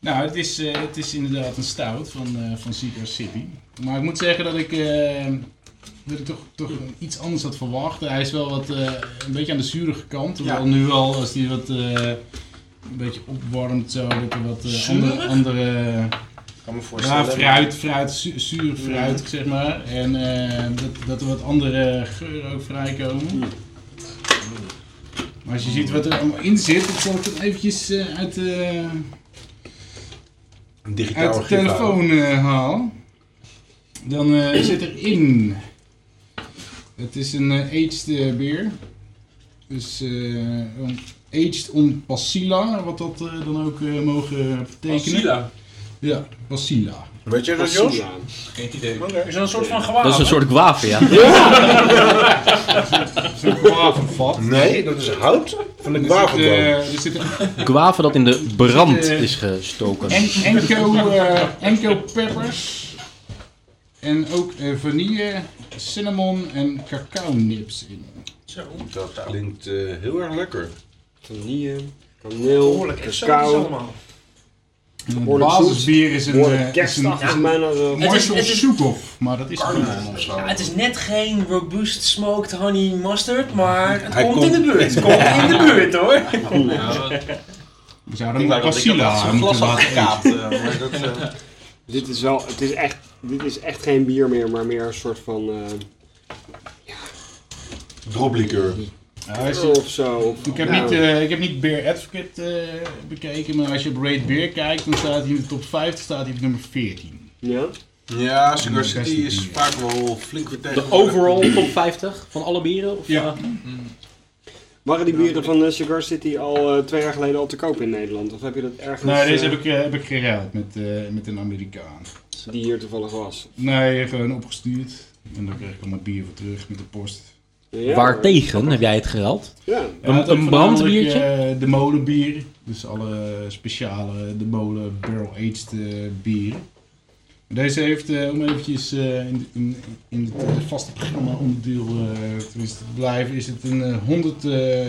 D: Nou, het is, eh, het is inderdaad een stout van, eh van Secret City. Maar ik moet zeggen dat ik, eh, dat ik toch, toch iets anders had verwacht. Hij is wel wat, eh, een beetje aan de zurige kant. Terwijl nu al, als die wat eh, een beetje opwarmt, zo, dat er wat eh, andere, andere
F: kan me voorstellen.
D: ja, fruit, fruit, zu- zuur fruit, zeg maar. En eh, dat, dat er wat andere geuren ook vrijkomen. Maar als je ziet wat er allemaal in zit, dat zal ik dan eventjes eh, uit... eh,
C: Een
D: uit
C: digitale
D: de telefoon eh, haal, dan eh, zit erin. Het is een eh, aged eh, bier. Dus eh, een aged on passilla, wat dat eh, dan ook eh, mogen eh, betekenen.
H: Sila.
D: Ja, passilla.
C: Weet je dat, Jos?
B: Cassia.
H: Geen idee.
C: Oké.
I: Is dat een soort van gewaar?
A: Dat is een soort gwaven, ja.
D: vat.
C: Nee, dat is hout van de
D: Er zit, eh,
C: kwavelboom.
D: er zit een
A: Gwaven dat in de brand is gestoken.
D: en- Enco, eh, Enco peppers. En ook eh, vanille, cinnamon en cacao nips in.
C: Dat klinkt eh, heel erg lekker.
B: Vanille, kaneel,
I: Behoorlijk exotisch
B: cacao.
I: allemaal.
D: En het
B: Behoorlijk
D: basisbier is een,
B: Mooi
D: eh, is een
B: kerstachtig bijna zo.
I: Het is-
D: Marshall
I: het is-
D: Soekoff, maar dat is gewoon of zo.
I: Ja, het is net geen robust smoked honey mustard, maar het
C: Hij
I: komt,
C: komt-
I: in de buurt. Het komt in de buurt hoor.
D: We zouden
F: Ik
D: hem
F: wou dat ik dat
D: Passila
F: als
D: aan
F: een
D: moeten
F: glas had
D: laten eten.
F: gekaapt. eh, maar dat, eh,
B: Dit is wel, het is echt, dit is echt geen bier meer, maar meer een soort van eh
C: Droplikeur.
D: Ja, hij is-
B: of zo. Of,
D: Ik heb,
B: nou,
D: niet, eh, ik heb niet Beer Advocate eh, bekeken, maar als je op Rate Beer kijkt, dan staat hij in de top 50, staat hij op nummer 14.
B: Ja?
C: Ja, Cigar
D: Beste
C: City is
D: bier.
C: vaak wel flink weer tegen.
A: De overall top 50 van alle bieren? Of,
D: Ja.
A: eh,
B: Waren die bieren van eh, Cigar City al eh, twee jaar geleden al te koop in Nederland? Of heb je dat ergens
D: Nou, deze
B: eh,
D: heb ik, eh, heb ik geruild met, eh, met een Amerikaan.
B: die hier toevallig was?
D: Nee, gewoon opgestuurd. En dan kreeg ik al mijn bier voor terug met de post.
B: Ja,
A: waartegen heb jij het gerald?
B: Ja.
D: Hij had ook
A: een
D: voornamelijk,
A: brandbiertje?
D: eh, de molenbier. Dus alle speciale, de molen barrel-aged eh, bieren. Deze heeft, eh, om eventjes eh, in, in, in het eh, vaste programma onderdeel eh, tenminste te blijven, is het een eh, 100 eh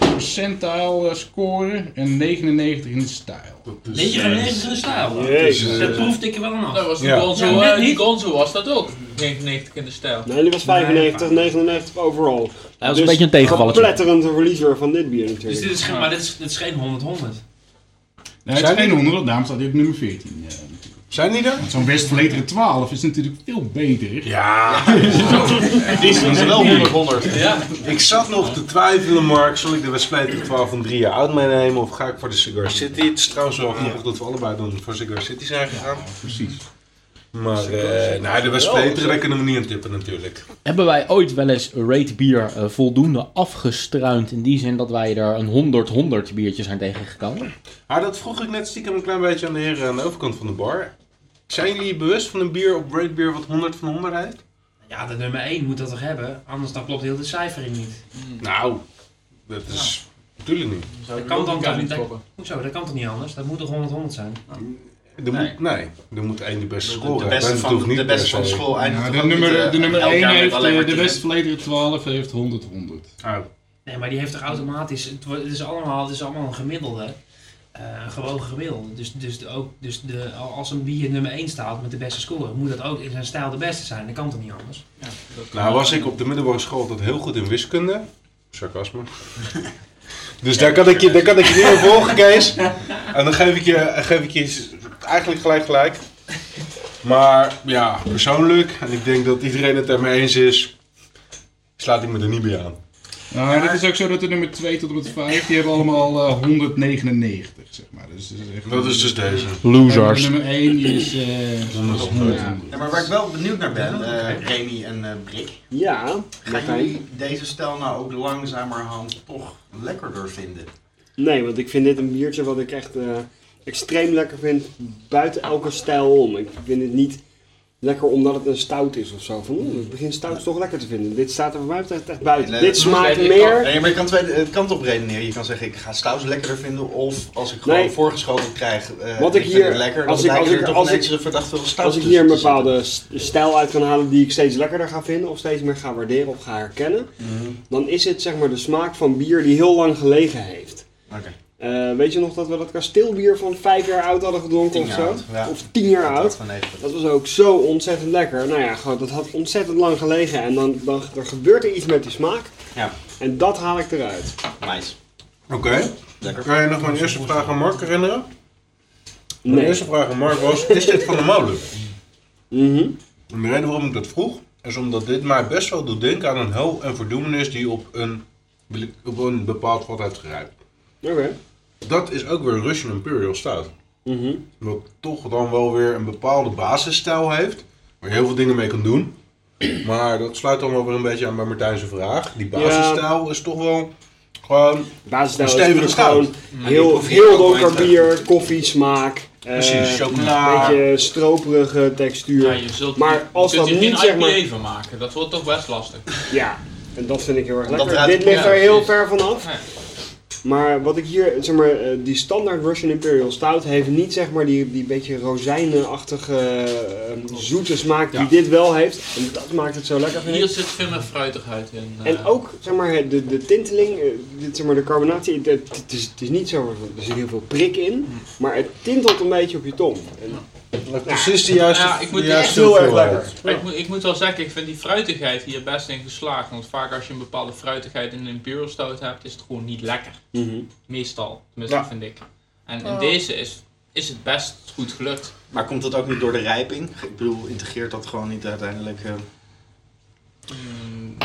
D: percentile eh, score en 99 in de stijl.
C: Dat is,
I: Weet je,
C: eh,
I: geen eens in de stijl. hoor.
C: dat is,
B: Jezus.
C: eh,
I: Dus, Dat proefde ik er wel aan af.
H: Dat was de
C: Ja.
H: Gonzo,
I: Ja, net
H: eh, die
I: niet.
H: Gonzo was dat ook. 99 in de stijl.
B: Nee, die was 95, 99 overal.
A: Dat was een beetje een tegenvallertje.
B: Een de verliezer van dit bier
I: Dus dit
B: natuurlijk.
I: is, geen- maar dit is, dit is geen 100-100.
D: Nou, het is
C: Zijn
D: geen
C: die-
D: 100, daarom staat hij op nummer 14. eh, natuurlijk.
C: Zijn die er?
D: Want Zo'n West Vleteren 12 is natuurlijk veel beter.
C: Ja.
F: Die is dus wel 100 100.
H: Ja,
C: Ik zat nog te twijfelen, Mark. Zal ik de wedstrijd 12 van 3 jaar oud meenemen of ga ik voor de Cigar City? Het is trouwens wel grappig dat we allebei dan voor Cigar City zijn gegaan.
D: Precies.
C: Maar eh nou, de Westpleter, daar kunnen we niet aan tippen natuurlijk.
A: Hebben wij ooit wel eens rate bier eh, voldoende afgestruind in die zin dat wij er een 100-100 biertjes zijn tegengekomen?
C: Maar Ah, dat vroeg ik net stiekem een klein beetje aan de heren aan de overkant van de bar. Zijn jullie bewust van een bier op Great Beer wat 100 van 100 heeft?
I: Ja, de nummer 1 moet dat toch hebben? Anders dan klopt heel de cijfering niet.
C: Nou, dat is natuurlijk niet.
H: zou
I: kan dan
H: elkaar
I: toch
H: niet
I: niet-
H: kloppen.
I: Hoezo, dat kan toch niet anders? Dat moet toch 100-100 zijn?
C: Er moet, nee, er moet één de beste scoren.
F: De beste
C: hebben. Dat hoeft
F: van,
C: niet
F: de beste
C: per
F: van
C: se.
F: school eindigt
D: Nou,
F: toch
D: de
F: ook niet,
D: nummer,
F: eh,
D: de nummer
F: elk
D: 1
F: jaar met
D: heeft,
F: alleen
D: eh,
F: maar
D: de
F: tien.
D: West Vleteren 12 heeft 100-100.
C: Oh,
I: Nee, maar die heeft toch automatisch. Het, wordt- het is, allemaal, het is allemaal een gemiddelde. eh, een gewoon gemiddelde. Dus, dus, de- ook, dus de, al- als een bier nummer 1 staat met de beste score, moet dat ook in zijn stijl de beste zijn. Dat kan toch niet anders?
C: Nou was ik op de middelbare school altijd heel goed in wiskunde. Sarcasme. Dus daar kan ik je, daar kan ik je niet meer volgen, Kees. En dan geef ik je, geef ik je s- eigenlijk gelijk gelijk. Maar ja, persoonlijk, en ik denk dat iedereen het ermee eens is, slaat ik me er niet bij aan.
D: Nou, en het is ook zo dat de nummer 2 tot en met 5, die hebben allemaal eh, 199, zeg maar. Dus, dat is echt-
C: Dat is dus deze.
D: En de nummer 1 is... eh
C: 100.
D: ja.
F: Ja, maar waar ik wel benieuwd naar ben, eh Remy en eh Brik,
B: Ja,
F: gaan
B: Martijn.
F: jullie deze stijl nou ook langzamerhand toch lekkerder vinden?
B: Nee, want ik vind dit een biertje wat ik echt eh, extreem lekker vind. Buiten elke stijl om. Ik vind het niet lekker omdat het een stout is of zo. Van, oeh, ik begin stouts toch lekker te vinden. Dit staat er voor mij betreft echt buiten.
F: Nee,
B: dit
F: dat-
B: smaakt
H: nee,
B: meer.
F: Nee, maar je kan twee eh, kanten op redeneren. Je kan zeggen, ik ga stouts lekkerder vinden. Of als ik gewoon
B: Nee.
F: voorgeschoten krijg, eh,
B: Wat ik
F: vind
B: hier-
F: het lekker.
B: als
F: dan
B: ik- als
F: blijkt er
B: ik-
F: toch
B: als
F: ineens
B: ik-
F: een verdachte van stout
B: Als ik hier
F: tussen
B: een
F: te zitten.
B: bepaalde s- stijl uit kan halen die ik steeds lekkerder ga vinden of steeds meer ga waarderen of ga herkennen,
F: Mhm.
B: dan is het zeg maar de smaak van bier die heel lang gelegen heeft.
F: Oké.
B: Eh, weet je nog dat we dat kasteelbier van vijf jaar oud hadden gedronken
F: Tien
B: of
F: jaar
B: zo?
F: oud, ja.
B: Of tien jaar oud.
F: Van negen.
B: Dat was ook zo ontzettend lekker. Nou ja, gewoon, dat had ontzettend lang gelegen en dan, dan er gebeurt er iets met die smaak.
F: Ja.
B: En dat haal ik eruit.
F: Nice.
C: Oké, kan je nog mijn eerste vraag aan Mark herinneren? Mijn
B: Nee.
C: eerste vraag aan Mark was, is dit van de molen?
B: Mhm.
C: En de reden waarom ik dat vroeg, is omdat dit mij best wel doet denken aan een hel en verdoemenis die op een, op een bepaald vat heeft gerijpt.
B: Oké.
C: Dat is ook weer Russian Imperial Stout.
B: Mhm.
C: Wat toch dan wel weer een bepaalde basisstijl heeft, waar je heel veel dingen mee kan doen. Maar dat sluit dan wel weer een beetje aan bij Martijn's vraag. Die basisstijl is toch wel Gewoon
B: Basisstijl
C: Een stevige
B: is
C: stout.
B: gewoon
J: Maar die
B: heel,
J: proef je
B: heel
J: ook nooit
B: donker
J: echt.
B: bier, koffiesmaak. eh,
C: precies,
B: Een
C: chocola.
B: beetje stroperige
H: Ja,
B: textuur.
H: je zult,
B: Maar
H: je
B: als
H: kunt
B: dat
H: hier
B: niet,
H: geen
B: zeg
H: IPA
B: maar-
H: van maken. Dat wordt toch best lastig.
B: Ja, en dat vind ik heel erg
F: Dat
B: lekker.
F: eruit
B: Dit
F: komt,
B: ligt
H: ja,
B: er heel
H: precies.
B: ver vanaf.
H: Ja.
B: Maar wat ik hier, zeg maar, eh, die standaard Russian Imperial Stout heeft niet zeg maar die, die beetje rozijnenachtige eh, zoete smaak die
H: Ja.
B: dit wel heeft. En dat maakt het zo lekker. vind ik.
H: Hier zit veel meer fruitigheid in. eh.
B: En ook zeg maar, de, de tinteling, eh, dit, zeg maar, de carbonatie, het, het- het is, het is niet zo, er zit heel veel prik in,
H: Mm.
B: maar het tintelt een beetje op je tong. En,
C: Precies de juiste.
H: Ja, ik moet
C: de
H: die
C: juiste
H: echt
C: heel
F: erg
H: Maar ik, moet, ik moet wel zeggen, ik vind die fruitigheid hier best in geslaagd. Want vaak als je een bepaalde fruitigheid in een Imperial Stout hebt, is het gewoon niet lekker.
B: Mhm.
H: Meestal, tenminste
C: Ja.
H: vind ik. En in deze is, is het best goed gelukt.
F: Maar komt dat ook niet door de rijping? Ik bedoel, integreert dat gewoon niet uiteindelijk? eh,
H: Mm,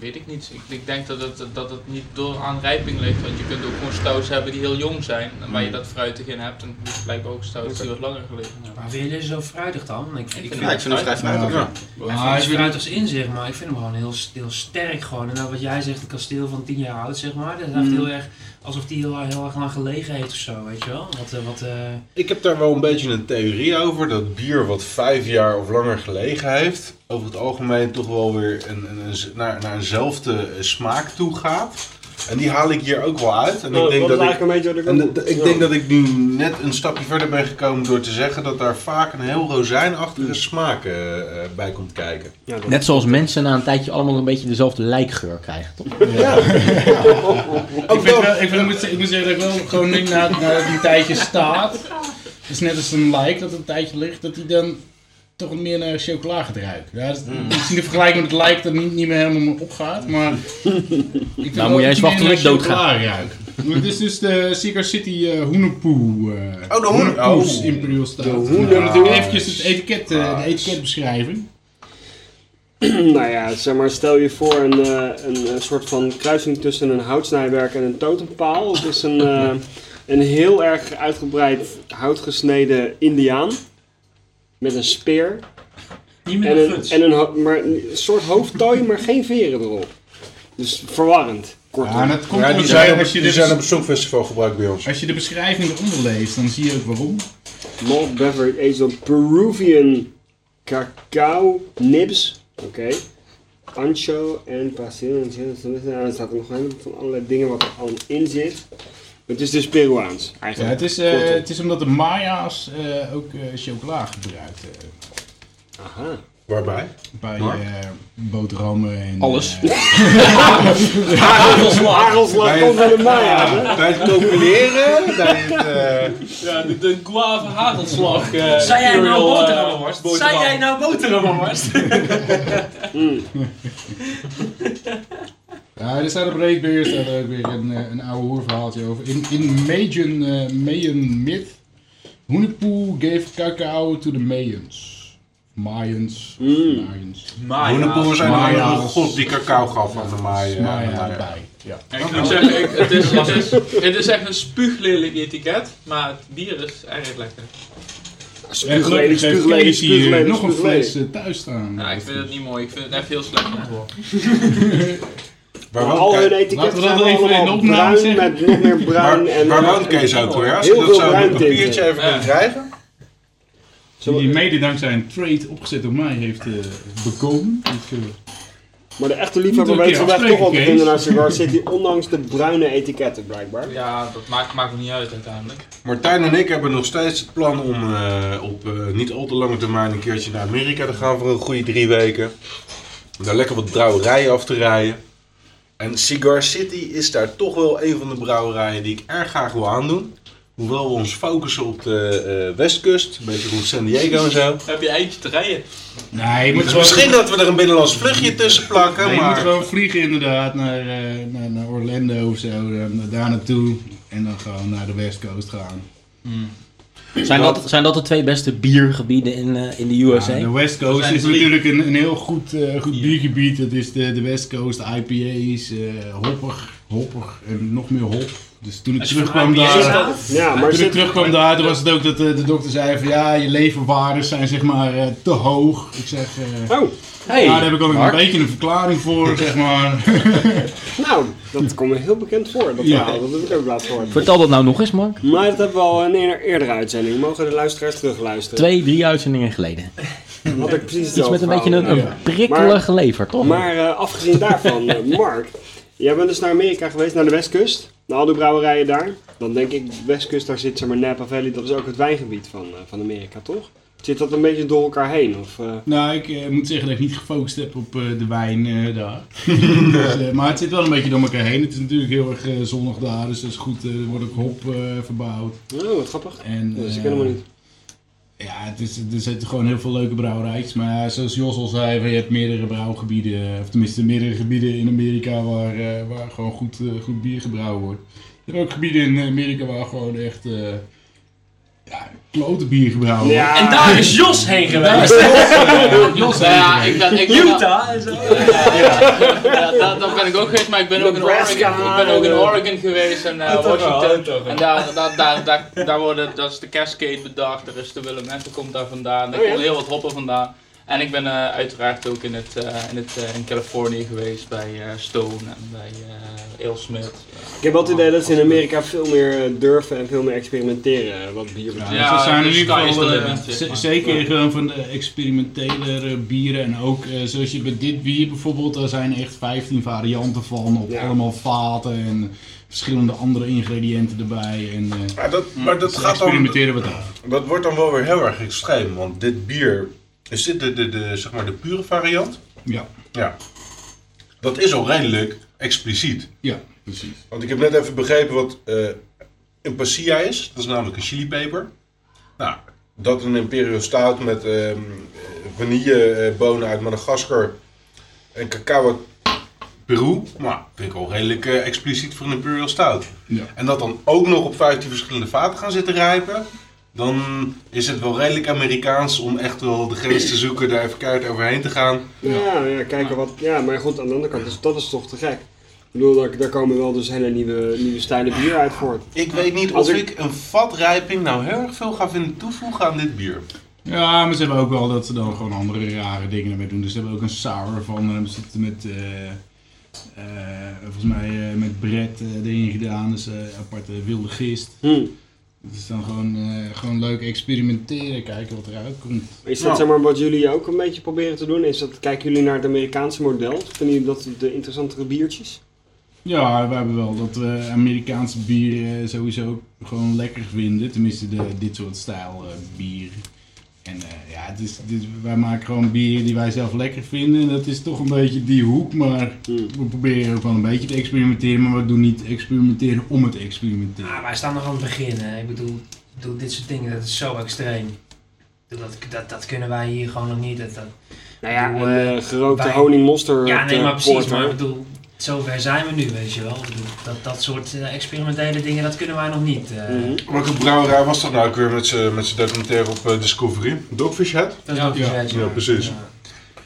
H: weet ik niet. Ik, ik denk dat het, dat het niet door aan rijping ligt. Want je kunt ook gewoon stouts hebben die heel jong zijn. En waar je
B: Hmm.
H: dat fruitig in hebt. En dus blijkbaar ook stouts die wat langer gelegen hebben.
I: Maar vind je deze zo fruitig dan? Want Ik, ik,
H: vind
I: vind
F: Ja, ik vind het vrij fruitig.
C: Ja.
I: Hij heeft iets fruitigs in zich, maar ik vind hem gewoon heel, heel sterk. Gewoon. En nou, wat jij zegt, een kasteel van 10 jaar oud, zeg maar. Dat heeft
B: Mm.
I: heel erg, alsof die heel, heel erg lang gelegen heeft of zo, weet je wel. Wat, eh, wat, eh,
C: Ik heb daar wel een beetje een theorie over dat bier wat vijf jaar of langer gelegen heeft, over het algemeen toch wel weer een, een, een- naar, naar eenzelfde eh, smaak toe gaat. En die haal ik hier ook wel uit. En
B: Nou,
C: ik
B: dat
C: denk dat
B: is eigenlijk
C: ik,
B: een beetje wat ik
C: en
B: ook-
C: de- de- ik
B: ja.
C: denk dat ik nu net een stapje verder ben gekomen door te zeggen dat daar vaak een heel rozijnachtige smaak eh, eh, bij komt kijken.
B: Ja, dat-
A: Net zoals mensen na een tijdje allemaal een beetje dezelfde lijkgeur krijgen, toch?
D: Ik, vind wel, ik, vind, ik, moet, zeggen- ik moet zeggen dat ik wel gewoon denk na, na het een tijdje staat. Het is net als een like dat het een tijdje ligt, dat hij dan toch wat meer naar chocola gaat ruiken. Ja, dat is
C: Mm.
D: misschien de vergelijking met het like dat niet, niet meer helemaal meer opgaat, maar... Ik vind wel
A: Nou, moet jij
D: dat
A: eens
D: hij
A: wachten
D: meer
A: tot ik
D: naar
A: doodga.
D: chocola ruikt. Maar het is dus de Secret City eh Hoenepoe.
C: Oh, de Hoene-
D: Hoenepoes
C: oh.
D: Imperial Stout. Nou,
B: Hoene-
D: we moeten eventjes het etiket, eh,
C: Nice.
D: de etiket beschrijven.
B: nou ja, zeg maar, stel je voor een, eh, een, eh, soort van kruising tussen een houtsnijwerk en een totempaal. Het is een, eh, een heel erg uitgebreid houtgesneden indiaan met een speer
I: niet meer
B: en
I: een
B: een,
I: guts.
B: en een, ho- maar een soort hoofdtooi, maar geen veren erop. Dus verwarrend, kortom.
D: Ja, dat komt
C: Ja,
D: ook
C: die
D: door
C: zijn op,
D: als je
C: die
D: dit-
C: zijn op het Songfestival gebruikt bij ons.
D: Als je de beschrijving eronder leest, dan zie je ook waarom.
B: Malt beverage aged on Peruvian cacao nibs. Oké. Ancho en Brazil. En zo- en er staat er nog een heleboel van allerlei dingen wat er al in zit. Het is dus Peruaans,
D: Ja,
B: eigenlijk.
D: het, is, eh,
B: Kortom.
D: het is omdat de Maya's eh, ook eh, chocola gebruikt. eh,
B: Aha.
C: Waarbij?
D: bij
C: Maar?
D: eh boterhammen en...
A: Alles.
D: eh,
B: Hagelslag, hagelslag komt van de
D: Ah.
B: Maya. hè?
C: Bij het compileren, bij het... eh,
H: Ja, de, de guava hagelslag.
I: Zijn jij nou
B: eh,
I: boterhammenworst? Zijn jij nou boterhammenworst?
H: eh,
D: ja, er staat op Raidbeer staat ook weer een, eh, een oude hoorverhaaltje over. In, in Mayan, eh, Mayan myth, Hunepoe gave cacao to the Mayans. Mayans,
B: Mm.
D: Mayans,
C: Hoenepoel zijn
D: Maya's.
C: een andere god die cacao gaf aan de Maya.
D: Maya bij. Ja.
H: Ik moet zeggen, ik- het, is, het, is, het is echt een spuuglelijk etiket, maar het bier is erg lekker.
D: En
B: Spuuglelijk,
D: gelukkig heeft
B: spuuglelijk,
D: Felix hier
B: spuuglelijk,
D: nog een
B: spuuglelijk.
D: fles eh, thuis staan.
H: Nou, ik vind het niet mooi, ik vind het echt heel slecht antwoord.
C: Waar woont
B: Al hun
C: Kees-
B: etiketten
D: Laten we dat
B: zijn
D: even in de
B: allemaal
D: opname
B: bruin
D: zeggen.
B: met nog meer bruin.
C: waar-
B: en,
C: waar
B: eh,
C: woont Kees ook weer? Als je
B: Heel
C: dat
B: veel
C: zou op een
B: bruintinten.
C: papiertje even
H: Ja.
C: kunnen krijgen.
B: Zo-
D: Die mede dankzij een trade opgezet door mij heeft eh, bekomen. Dus, eh,
B: Maar de echte liefhebber
D: Moet een
B: weet
D: keer
B: vandaag toch wel te
D: afspreken,
B: vinden naar Cigar City, ondanks de bruine etiketten blijkbaar.
H: Ja, dat maakt, maakt ook niet uit uiteindelijk.
C: Martijn en ik hebben nog steeds het plan om eh, op eh, niet al te lange termijn een keertje naar Amerika te gaan voor een goede drie weken. Om daar lekker wat brouwerijen af te rijden. En Cigar City is daar toch wel een van de brouwerijen die ik erg graag wil aandoen. Hoewel we ons focussen op de eh, westkust, een beetje rond San Diego en zo.
H: Heb je eindje te rijden?
D: Nee, je moet gewoon,
C: Misschien dat we er een binnenlands vluchtje tussen plakken,
D: nee, je moet
C: maar...
D: gewoon vliegen inderdaad naar, eh, naar, naar Orlando of zo, dan daar naartoe en dan gewoon naar de West Coast gaan.
A: Zijn dat, zijn dat de twee beste biergebieden in, eh, in de USA?
D: Ja, de West Coast
H: zijn
D: is
H: drie.
D: natuurlijk een, een heel goed, eh, goed biergebied. Dat is de, de West Coast IPA's, eh hoppig, hoppig en nog meer hop. Dus toen ik
I: Als je
D: terugkwam
I: vraagt wie is
D: daar,
I: dat?
B: Ja, maar
D: toen ik
B: zit-
D: terugkwam daar, toen was het ook dat eh, de, dokter zei van ja, je leverwaardes zijn zeg maar eh, te hoog. Ik zeg, eh,
B: Oh,
A: Hey,
D: nou, daar heb ik ook
A: Mark.
D: een beetje een verklaring voor, zeg maar.
B: nou, dat komt me heel bekend voor, dat
D: Ja.
B: verhaal. Dat heb ik ook laatst gehoord.
A: Vertel dat nou nog eens, Mark.
B: Maar dat hebben we al in een eerdere uitzending. Mogen de luisteraars terugluisteren?
A: Twee, drie uitzendingen geleden.
B: Had ik precies
A: Iets met een beetje een, een prikkelige lever, toch?
B: Maar eh, afgezien daarvan, eh, Mark, jij bent dus naar Amerika geweest, naar de Westkust, naar al die brouwerijen daar. Dan denk ik, de Westkust, daar zit zeg maar Napa Valley, dat is ook het wijngebied van, eh, van Amerika, toch? Zit dat een beetje door elkaar heen? Of, eh,
D: nou, ik eh, moet zeggen dat ik niet gefocust heb op eh, de wijn eh, daar. dus, eh, maar het zit wel een beetje door elkaar heen. Het is natuurlijk heel erg eh, zonnig daar, dus dat is goed. eh, er wordt ook hop eh, verbouwd.
B: oh, wat grappig.
D: En,
B: Dat is ik
D: eh,
B: helemaal niet.
D: Ja, het is, er zitten gewoon heel veel leuke brouwerijtjes. Maar zoals Jos al zei, van, je hebt meerdere brouwgebieden. Of tenminste, meerdere gebieden in Amerika waar, eh, waar gewoon goed, eh, goed bier gebrouwen wordt. Je hebt ook gebieden in Amerika waar gewoon echt eh ja, klote bier gebrouwen wordt.
B: Ja,
C: Ah.
I: En daar is Jos heen geweest.
D: Jos,
H: Nou ja, ik ben, ik ben,
I: Utah en zo.
H: ja, dat, dat ben ik ook geweest, maar ik ben ook in
B: Nebraska,
H: Oregon, ik ben ook in
B: eh,
H: Oregon geweest en eh, Washington. En daar, daar, daar, daar, daar worden, dat is de Cascade bedacht, er is de Willamette komt daar vandaan, daar
B: Oh ja?
H: komt heel wat hoppen vandaan. En ik ben eh, uiteraard ook in, het, eh, in, het, eh, in Californië geweest bij eh, Stone en bij eh Alesmith.
B: ik heb wel het idee dat ze in Amerika veel meer eh, durven en veel meer experimenteren eh, wat bier betreft.
H: Ja,
D: ze zijn in
H: de
D: ieder
H: sky is
D: geval
H: the
D: eh,
H: limit, zeg
D: ze-
H: maar.
D: zeker gewoon van de experimentelere bieren. En ook eh, zoals je bij dit bier bijvoorbeeld, daar zijn echt 15 varianten van. Op
B: Ja.
D: allemaal vaten en verschillende andere ingrediënten erbij. En, eh,
C: Maar dat, maar dat
D: ze
C: gaat dan
D: experimenteren wat af.
C: Dat wordt dan wel weer heel erg extreem, want dit bier, is dit de, de, de, zeg maar de pure variant?
D: Ja,
C: Ja. Dat is al redelijk expliciet.
D: ja, precies.
C: Want ik heb net even begrepen wat eh, een pasilla is, dat is namelijk een chilipeper. Nou, dat een imperial stout met ehm vanillebonen uit Madagaskar en cacao uit Peru. Nou, vind ik al redelijk eh, expliciet voor een imperial stout.
D: Ja.
C: En dat dan ook nog op 15 verschillende vaten gaan zitten rijpen. Dan is het wel redelijk Amerikaans om echt wel de grens te zoeken, daar even keihard overheen te gaan.
B: Ja, ja, kijken wat. Ja, maar goed, aan de andere kant, dus dat is toch te gek. Ik bedoel, daar, daar komen wel dus hele nieuwe, nieuwe stijlen bier uit voort.
C: Ik weet niet
B: Als
C: of
B: ik-
C: ik een vatrijping nou heel erg veel ga vinden toevoegen aan dit bier.
D: Ja, maar ze hebben ook wel dat ze dan gewoon andere rare dingen ermee doen. Dus ze hebben ook een sour van, eh, ze zitten met, eh, eh, volgens mij eh, met Brett eh erin gedaan. Dus eh, aparte wilde gist.
B: Hm.
D: Het is dan gewoon, eh, gewoon leuk experimenteren, kijken wat eruit komt.
B: Is dat
C: Nou.
B: zeg maar wat jullie ook een beetje proberen te doen? Is dat, kijken jullie naar het Amerikaanse model? Vinden jullie dat de interessantere biertjes?
D: Ja, we hebben wel dat we Amerikaanse bieren sowieso gewoon lekker vinden. Tenminste, de, dit soort stijl eh bier. En eh, ja, het is, dit, wij maken gewoon bieren die wij zelf lekker vinden. En dat is toch een beetje die hoek. Maar
B: Hmm.
D: we proberen ook wel een beetje te experimenteren. Maar we doen niet experimenteren om het te experimenteren.
I: Ah, wij staan nog aan het begin. Hè. Ik bedoel, ik bedoel, dit soort dingen, dat is zo extreem. Ik bedoel, Dat, dat, dat kunnen wij hier gewoon nog niet. Dat, dat...
B: Nou
I: ja,
B: ja,
I: eh,
B: gerookte
I: wijn.
B: honingmonster.
I: Ja, nee,
B: eh,
I: maar precies.
B: porter.
I: Maar ik bedoel, zover zijn we nu, weet je wel. Ik bedoel, dat, dat soort eh, experimentele dingen, dat kunnen wij nog niet. eh.
B: Mhm.
C: Welke brouwerij was dat nou ook weer met zijn met z'n documentaire op eh, Discovery? Dogfish Head?
I: Dat is ook
D: Ja,
I: verzet,
C: ja,
I: maar-
C: precies.
I: ja.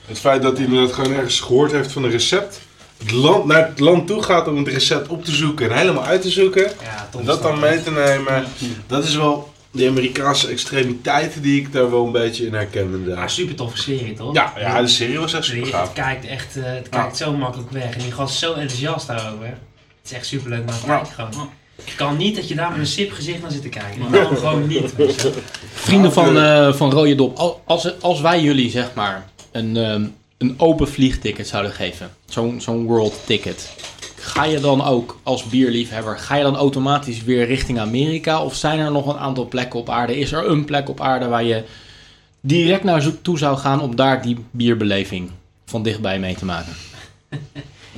C: Het feit dat hij dat gewoon ergens gehoord heeft van een recept. Het land, naar het land toe gaat om het recept op te zoeken en helemaal uit te zoeken.
I: Ja,
C: Om
I: top,
C: dat dan
I: snap
C: mee
I: ik.
C: te nemen. Dat is wel de Amerikaanse extremiteiten die ik daar wel een beetje in herken
I: Maar
C: inderdaad.
I: super toffe serie, toch?
C: Ja, ja, de serie was echt
I: Weet
C: super
I: je,
C: gaaf.
I: Het kijkt echt eh, het kijkt zo makkelijk weg. En die gast is zo enthousiast daarover. Het is echt superleuk, maar het kijkt gewoon. Het kan niet dat je daar met een sip gezicht naar zit te kijken. Dat kan gewoon niet. weet je wel.
A: Vrienden van, eh, van Rode Dop, al- als, als wij jullie zeg maar een, ehm, een open vliegticket zouden geven, zo'n zo'n world ticket, ga je dan ook als bierliefhebber, ga je dan automatisch weer richting Amerika? Of zijn er nog een aantal plekken op aarde? Is er een plek op aarde waar je direct naar zo- toe zou gaan om daar die bierbeleving van dichtbij mee te maken?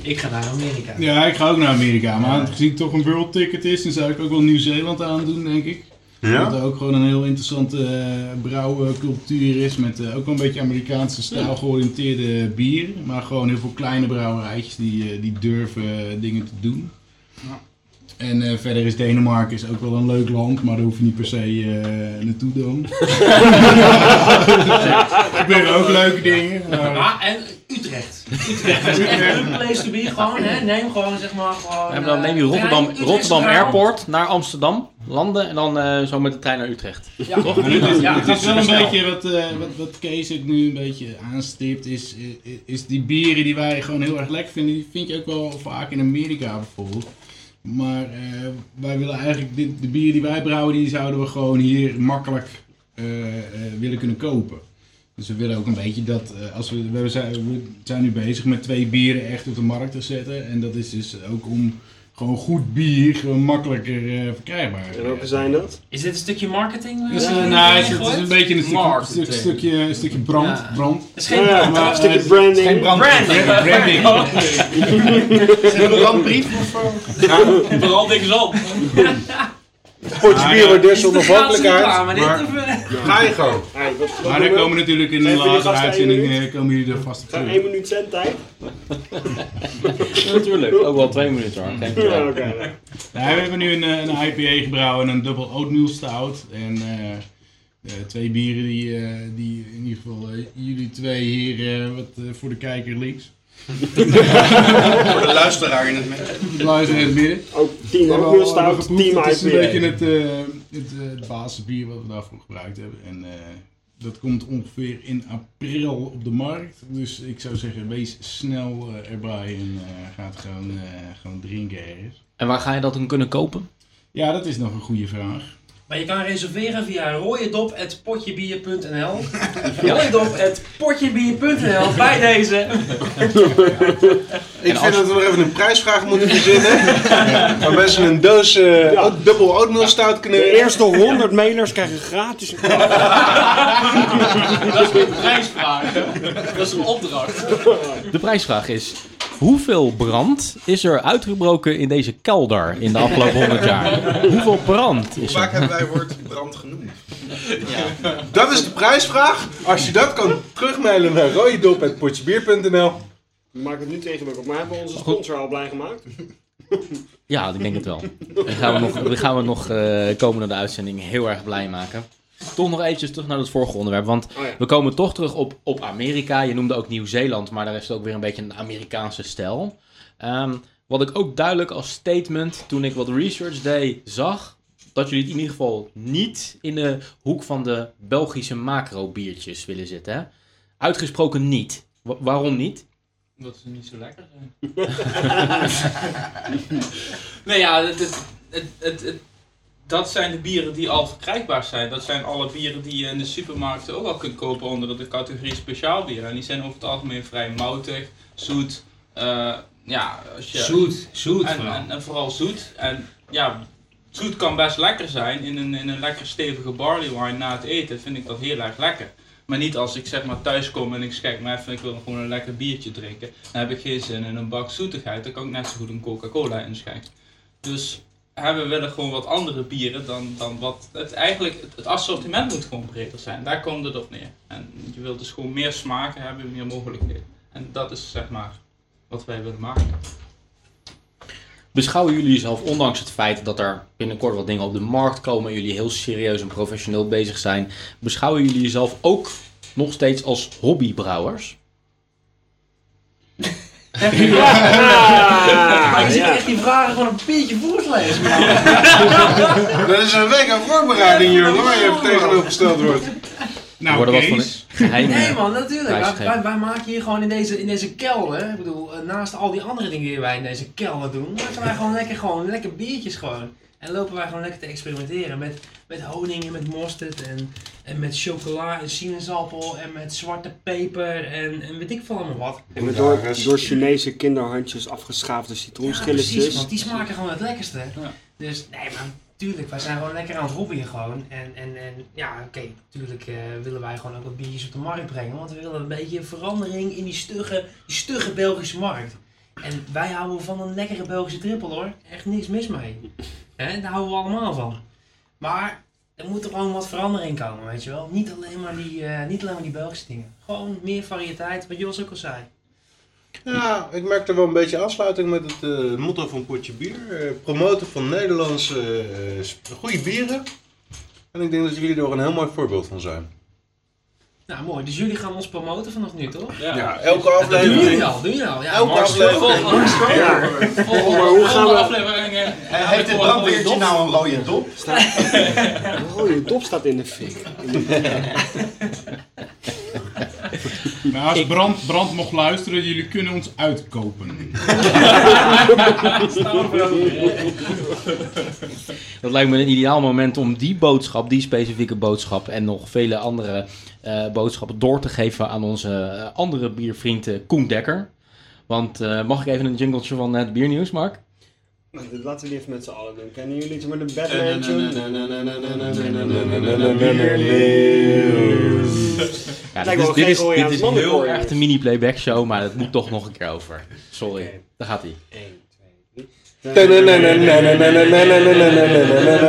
I: Ik ga naar Amerika.
D: Ja, ik ga ook naar Amerika. Maar aangezien het toch een world ticket is, dan zou ik ook wel Nieuw-Zeeland aandoen, denk ik. Dat
C: Ja?
D: er ook gewoon een heel interessante eh, brouwcultuur is. Met eh, ook wel een beetje Amerikaanse stijl georiënteerde bier. Maar gewoon heel veel kleine brouwerijtjes die, eh, die durven eh, dingen te doen. En eh, verder is Denemarken is ook wel een leuk land, maar daar hoef je niet per se eh, naartoe dan. Ik ben ook leuke dingen. maar-
I: Ah, en Utrecht. Utrecht is echt een good place to be. Gewoon, hè. Neem gewoon, zeg maar, gewoon...
A: En dan
I: eh,
A: neem je Rotterdam,
I: trein, Utrecht
A: Rotterdam
I: Centraal.
A: Airport naar Amsterdam, landen en dan eh, zo met de trein naar Utrecht.
I: Ja.
A: Toch?
D: Maar dit is-
I: Ja,
D: het is wel een
I: snel.
D: beetje wat, eh, wat, wat Kees ook nu een beetje aanstipt. Is, is, is die bieren die wij gewoon heel erg lekker vinden, die vind je ook wel vaak in Amerika bijvoorbeeld. Maar eh, wij willen eigenlijk, dit, de bieren die wij brouwen, die zouden we gewoon hier makkelijk eh, eh, willen kunnen kopen. Dus we willen ook een beetje dat, eh, als we, we, zijn, we zijn nu bezig met twee bieren echt op de markt te zetten. En dat is dus ook om gewoon goed bier gewoon makkelijker eh, verkrijgbaar
B: En welke zijn dat?
I: Is dit een stukje marketing? eh,
D: dus, eh,
I: die
D: nou,
I: je
D: het is, het is
I: gooit?
D: een beetje een stuk,
K: Marketing.
D: stuk, stukje, een stukje brand.
I: Ja.
D: brand.
I: Het is
B: Ja,
I: geen brand.
B: een stukje
F: Geen
B: branding.
F: brand.
D: Branding.
I: Branding.
F: brandbrief of zo?
H: Vooral niks op.
C: Potje bier wordt dus
I: Is het de gratis
C: onafhankelijkheid.
I: reclame, dit,
C: Maar
I: of, eh?
C: ga je gewoon.
B: Hey, wat- wat
D: Maar
B: doen
D: dan
B: we?
D: komen natuurlijk in de
B: Zijn jullie
D: laatste
B: gasten
D: uitzending
B: één minuut?
D: eh, komen jullie er vast op
B: Gaan
D: terug.
B: 1 minuut zendtijd?
A: Natuurlijk, ook wel twee minuten hoor. Geen probleem.
B: Ja, oké. ja.
D: Nou, we hebben nu een, eh, een IPA gebrouwen en een dubbel oatmeal stout. En eh, eh, twee bieren die, eh, die in ieder geval eh, jullie twee hier eh, wat eh, voor de kijker links.
F: Voor de luisteraar in het midden.
D: Luisteren in het midden.
B: Ook team
D: hebben
B: Oatmeal
D: al- al
B: Stout,
D: geproefd.
B: team
D: Het is een beetje
B: IPA.
D: het, eh, het, eh, het basisbier wat we daarvoor gebruikt hebben. En eh, dat komt ongeveer in april op de markt. Dus ik zou zeggen, wees snel eh, erbij en eh, ga het gewoon, eh, gewoon drinken ergens.
A: En waar ga je dat dan kunnen kopen?
D: Ja, dat is nog een goede vraag.
I: Maar je kan reserveren via rooiedop.potjebier.nl rooiedop.potjebier.nl bij deze.
C: Ik
A: als-
C: vind dat we nog even een prijsvraag moeten verzinnen. Waar mensen een doos eh,
B: Ja.
C: oat- dubbel oatmeal stout kunnen
B: De eerste 100 mailers krijgen gratis een kaart.
L: Dat is geen prijsvraag. Dat is een opdracht.
A: De prijsvraag is: hoeveel brand is er uitgebroken in deze kelder in de afgelopen 100 jaar? Hoeveel brand is
F: Vaak
A: er?
F: hebben wij woord brand genoemd.
C: Dat is de prijsvraag. Als je dat kan terugmailen naar rooiedop.potjebier.nl.
B: Maak het nu tegen me op, maar hebben we onze sponsor al blij gemaakt?
A: Ja, ik denk het wel. Dan gaan we nog, die gaan we nog eh komende de uitzending heel erg blij maken. Toch nog eventjes terug naar het vorige onderwerp. Want
B: Oh ja.
A: we komen toch terug op, op Amerika. Je noemde ook Nieuw-Zeeland, maar daar is het ook weer een beetje een Amerikaanse stijl. Ehm, wat ik ook duidelijk als statement toen ik wat research deed zag. Dat jullie het in ieder geval niet in de hoek van de Belgische macro-biertjes willen zitten. Hè? Uitgesproken niet. Wa- waarom niet?
H: Omdat ze niet zo lekker zijn.
I: Nee ja, dit is...
H: Het, het, het, dat zijn de bieren die al verkrijgbaar zijn. Dat zijn alle bieren die je in de supermarkten ook al kunt kopen onder de categorie speciaalbieren. En die zijn over het algemeen vrij moutig, zoet. eh, ja, als je,
I: Zoet, zoet
H: en,
I: vooral.
H: en, en vooral zoet. En ja, zoet kan best lekker zijn. In een, in een lekker stevige barley wine na het eten vind ik dat heel erg lekker. Maar niet als ik zeg maar thuis kom en ik zeg maar even, ik wil gewoon een lekker biertje drinken. Dan heb ik geen zin in een bak zoetigheid. Dan kan ik net zo goed een Coca-Cola inschenken. Dus hè, we willen gewoon wat andere bieren dan, dan wat... Het, eigenlijk, het, het assortiment moet gewoon breder zijn. Daar komt het op neer. En je wilt dus gewoon meer smaken hebben, meer mogelijkheden. En dat is zeg maar wat wij willen maken.
A: Beschouwen jullie jezelf, ondanks het feit dat er binnenkort wat dingen op de markt komen en jullie heel serieus en professioneel bezig zijn, beschouwen jullie jezelf ook nog steeds als hobbybrouwers?
I: Maar je ziet
B: ja.
I: echt die vragen gewoon een beetje voortlezen. man.
C: Dat is een week aan voorbereiding, jongen, waar je even tegenovergesteld wordt.
D: Nou,
A: wat van
D: Kees.
A: de geheime.
I: Nee man, natuurlijk. Wij,
A: prijsgeven.
I: wij, wij maken hier gewoon in deze, in deze kelder, ik bedoel, eh, naast al die andere dingen die wij in deze kelder doen, maken wij gewoon lekker, gewoon lekker biertjes gewoon. En lopen wij gewoon lekker te experimenteren met, met honing en met mosterd en, en met chocola en sinaasappel en met zwarte peper en, en weet ik veel allemaal wat.
B: En met door, door Chinese kinderhandjes afgeschaafde
I: Ja, precies,
B: citroenschilletjes.
I: want die smaken gewoon het lekkerste.
H: Ja.
I: Dus nee, maar tuurlijk, wij zijn gewoon lekker aan het hobbyen gewoon. En, en, en ja, oké, tuurlijk eh, willen wij gewoon ook wat biertjes op de markt brengen. Want we willen een beetje verandering in die stugge, die stugge Belgische markt. En wij houden van een lekkere Belgische trippel hoor. Echt niks mis mee. Hè, daar houden we allemaal van. Maar er moet er gewoon wat verandering komen, weet je wel. Niet alleen maar die, eh, niet alleen maar die Belgische dingen. Gewoon meer variëteit, wat Jos ook al zei.
C: Ja, ik merk er wel een beetje afsluiting met het eh, motto van Potje Bier. Eh, promoten van Nederlandse eh, sp- goede bieren. En ik denk dat jullie er een heel mooi voorbeeld van zijn.
I: Nou, mooi. Dus jullie gaan ons promoten vanaf nu, toch?
C: Ja, elke aflevering.
I: Doen jullie al, doen jullie al. Ja,
C: Elke
I: Mars,
C: aflevering.
I: volgende-
C: Ja.
M: Volgende,
B: Maar hoe gaan we-
M: volgende aflevering. eh,
F: Eh,
M: heb
F: Heeft
M: ik
F: dit
M: voor een mooie
F: brandweertje
M: dop.
F: nou een rode dop?
B: Oh, je top staat in de fik.
D: Maar als brand, brand mocht luisteren, jullie kunnen ons uitkopen.
A: Dat lijkt me een ideaal moment om die boodschap, die specifieke boodschap en nog vele andere eh, boodschappen door te geven aan onze eh, andere biervriend eh, Koen Dekker. Want eh, mag ik even een jingletje van eh, het biernieuws, Mark?
B: Nou, dit laten we die even met z'n allen doen. Kennen jullie iets met een
F: Eh,
B: Batman
F: na,
B: tune?
F: na, na, na, na, na, na, na, na, na, na, na.
C: Biernieuws.
A: Ja, dit
B: Lijkt
A: is,
B: wel
A: dit
B: geen
A: is,
B: goeie
A: dit
B: aan
A: is
B: het
A: heel
B: mannenkoor.
A: erg de mini-playback show, maar dat moet toch nog een keer over. Sorry,
B: Oké.
A: daar gaat hij.
B: 1, 2,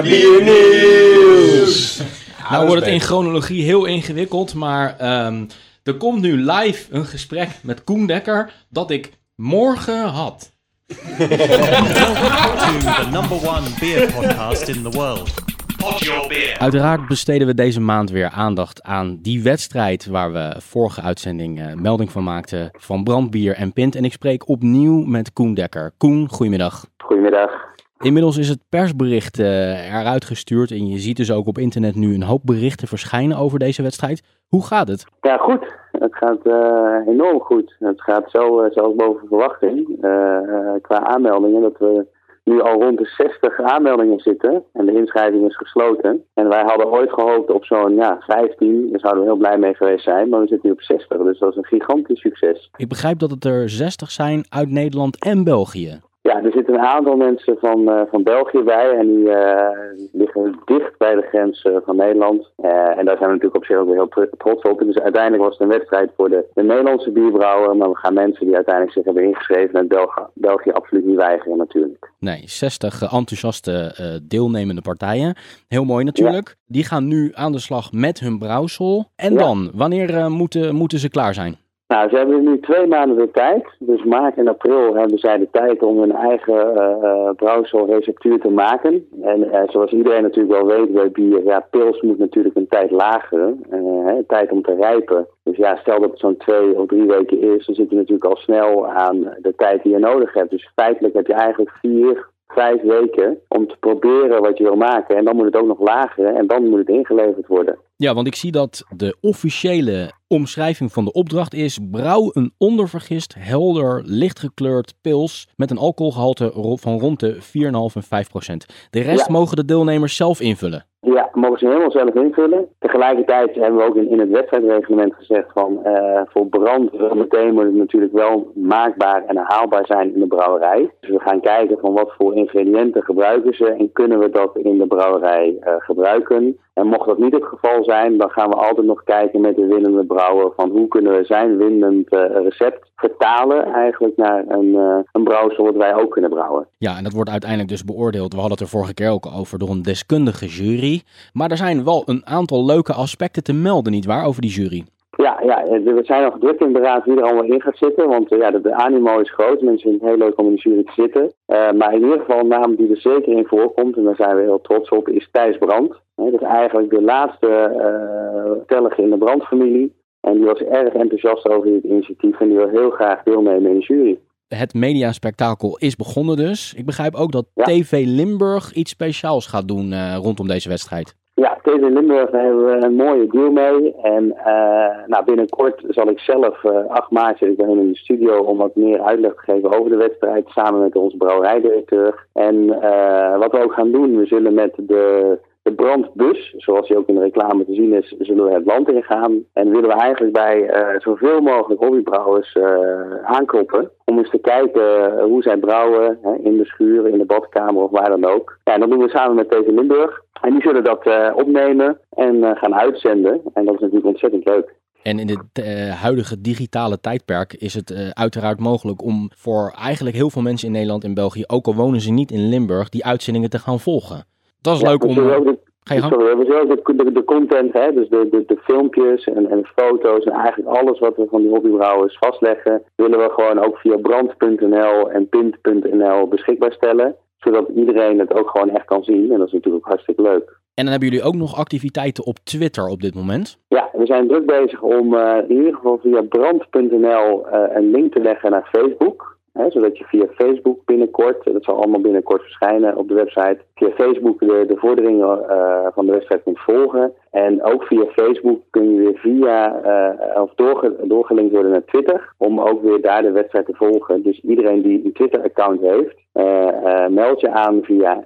B: 3.
C: Biernieuws.
A: nou wordt het in chronologie heel ingewikkeld, maar ehm, er komt nu live een gesprek met Koen Dekker dat ik morgen had.
E: To the number one beer podcast in the world. Pod Your Beer.
A: Uiteraard besteden we deze maand weer aandacht aan die wedstrijd waar we vorige uitzending eh, melding van maakten van brandbier en pint. En ik spreek opnieuw met Koen Dekker. Koen, goedemiddag.
H: Goedemiddag.
A: Inmiddels is het persbericht eh, eruit gestuurd en je ziet dus ook op internet nu een hoop berichten verschijnen over deze wedstrijd. Hoe gaat het?
H: Ja, goed. Het gaat eh, enorm goed. Het gaat zo, eh, zelfs boven verwachting eh, eh, qua aanmeldingen. Dat we nu al rond de 60 aanmeldingen zitten. En de inschrijving is gesloten. En wij hadden ooit gehoopt op zo'n ja, 15. Daar zouden we heel blij mee geweest zijn. Maar we zitten nu op 60. Dus dat is een gigantisch succes.
A: Ik begrijp dat het er 60 zijn uit Nederland en België.
H: Ja, er zitten een aantal mensen van, eh, van België bij en die eh, liggen dicht bij de grens eh, van Nederland. Eh, en daar zijn we natuurlijk op zich ook weer heel tr- trots op. Dus uiteindelijk was het een wedstrijd voor de, de Nederlandse bierbrouwer. Maar we gaan mensen die uiteindelijk zich hebben ingeschreven uit Belga- België absoluut niet weigeren natuurlijk.
A: Nee, 60 enthousiaste eh, deelnemende partijen. Heel mooi natuurlijk. Die gaan nu aan de slag met hun brouwsel. En
H: Ja.
A: dan, wanneer eh, moeten, moeten ze klaar zijn?
H: Nou, ze hebben nu twee maanden de tijd. Dus maart en april hebben zij de tijd om hun eigen eh eh, brouwselreceptuur te maken. En eh, zoals iedereen natuurlijk wel weet bij bier, ja, pils moet natuurlijk een tijd lageren. eh, hè, tijd om te rijpen. Dus ja, stel dat het zo'n twee of drie weken is, dan zit je natuurlijk al snel aan de tijd die je nodig hebt. Dus feitelijk heb je eigenlijk vier, vijf weken om te proberen wat je wil maken. En dan moet het ook nog lageren en dan moet het ingeleverd worden.
A: Ja, want ik zie dat de officiële omschrijving van de opdracht is: brouw een ondervergist, helder, lichtgekleurd pils met een alcoholgehalte ro- van rond de 4,5 en 5 procent. De rest
H: Ja.
A: mogen de deelnemers zelf invullen.
H: Ja, mogen ze helemaal zelf invullen. Tegelijkertijd hebben we ook in, in het wedstrijdreglement gezegd van eh, voor brand wel meteen moet het natuurlijk wel maakbaar en haalbaar zijn in de brouwerij. Dus we gaan kijken van wat voor ingrediënten gebruiken ze en kunnen we dat in de brouwerij eh, gebruiken. En mocht dat niet het geval zijn, dan gaan we altijd nog kijken met de winnende brouwer van hoe kunnen we zijn winnend eh, recept vertalen eigenlijk naar een, eh een brouwsel wat wij ook kunnen brouwen.
A: Ja, en dat wordt uiteindelijk dus beoordeeld. We hadden het er vorige keer ook over door een deskundige jury. Maar er zijn wel een aantal leuke aspecten te melden, nietwaar, over die jury.
H: Ja, ja, eh, we zijn nog druk in de raad wie er allemaal in gaat zitten. Want eh, ja, de, de animo is groot. Mensen vinden het heel leuk om in de jury te zitten. Eh, maar in ieder geval een naam die er zeker in voorkomt, en daar zijn we heel trots op, is Thijs Brand. Hè, dat is eigenlijk de laatste eh tellige in de brandfamilie. En die was erg enthousiast over dit initiatief en die wil heel graag deelnemen in de jury.
A: Het mediaspectakel is begonnen dus. Ik begrijp ook dat
H: Ja.
A: TV Limburg iets speciaals gaat doen eh, rondom deze wedstrijd.
H: Ja, TV Limburg daar hebben we een mooie deal mee. En eh, nou, binnenkort zal ik zelf eh 8 maart zit ik bij hun in de studio om wat meer uitleg te geven over de wedstrijd. Samen met onze brouwerijdirecteur. En eh, wat we ook gaan doen, we zullen met de, de brandbus, zoals die ook in de reclame te zien is, zullen we het land ingaan. En willen we eigenlijk bij eh, zoveel mogelijk hobbybrouwers eh, aankloppen. Om eens te kijken eh, hoe zij brouwen hè, in de schuur, in de badkamer of waar dan ook. Ja, en dat doen we samen met TV Limburg. En die zullen dat eh, opnemen en eh, gaan uitzenden. En dat is natuurlijk ontzettend leuk.
A: En in het eh, huidige digitale tijdperk is het eh, uiteraard mogelijk om voor eigenlijk heel veel mensen in Nederland en België, ook al wonen ze niet in Limburg, die uitzendingen te gaan volgen. Dat is
H: Ja, dus
A: leuk
H: we
A: om. eh,
H: zullen ook de-
A: Ga je gang.
H: Sorry, we zullen ook de, de, de content, hè, dus de, de, de filmpjes en, en foto's en eigenlijk alles wat we van die hobbybrouwers vastleggen, willen we gewoon ook via brand.nl en pint.nl beschikbaar stellen. Zodat iedereen het ook gewoon echt kan zien. En dat is natuurlijk hartstikke leuk.
A: En dan hebben jullie ook nog activiteiten op Twitter op dit moment.
H: Ja, we zijn druk bezig om eh, in ieder geval via brand.nl eh, een link te leggen naar Facebook. Hè, zodat je via Facebook binnenkort, eh, dat zal allemaal binnenkort verschijnen op de website, via Facebook de, de vorderingen eh, van de wedstrijd kunt volgen. En ook via Facebook kun je weer via, eh, of doorge- doorgelinkt worden naar Twitter, om ook weer daar de wedstrijd te volgen. Dus iedereen die een Twitter-account heeft, eh, eh, meld je aan via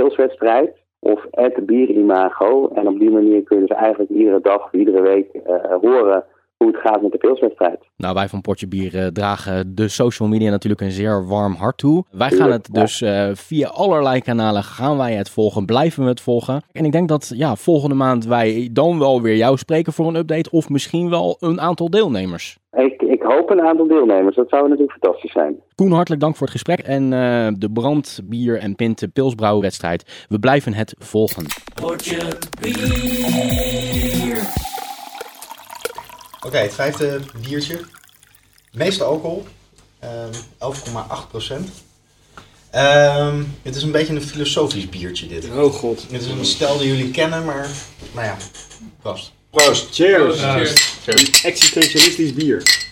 H: pilswedstrijd of het bierimago. En op die manier kun je dus eigenlijk iedere dag, iedere week eh, horen hoe het gaat met de pilswedstrijd.
A: Nou, wij van Potje Bier eh, dragen de social media natuurlijk een zeer warm hart toe. Wij gaan het dus eh, via allerlei kanalen gaan wij het volgen, blijven we het volgen. En ik denk dat ja, volgende maand wij dan wel weer jou spreken voor een update of misschien wel een aantal deelnemers.
H: Ik, ik hoop een aantal deelnemers, dat zou natuurlijk fantastisch zijn.
A: Koen, hartelijk dank voor het gesprek en eh, de brand, bier en pinten pilsbrouwwedstrijd. We blijven het volgen.
N: Potje bier.
F: Oké, het vijfde biertje. Meeste alcohol. Ehm, 11,8 procent. Ehm, het is een beetje een filosofisch biertje dit.
B: Oh god.
F: Het is een stel die jullie kennen, maar nou ja, past.
B: Proost. Cheers.
F: Cheers.
B: Een Existentialistisch bier.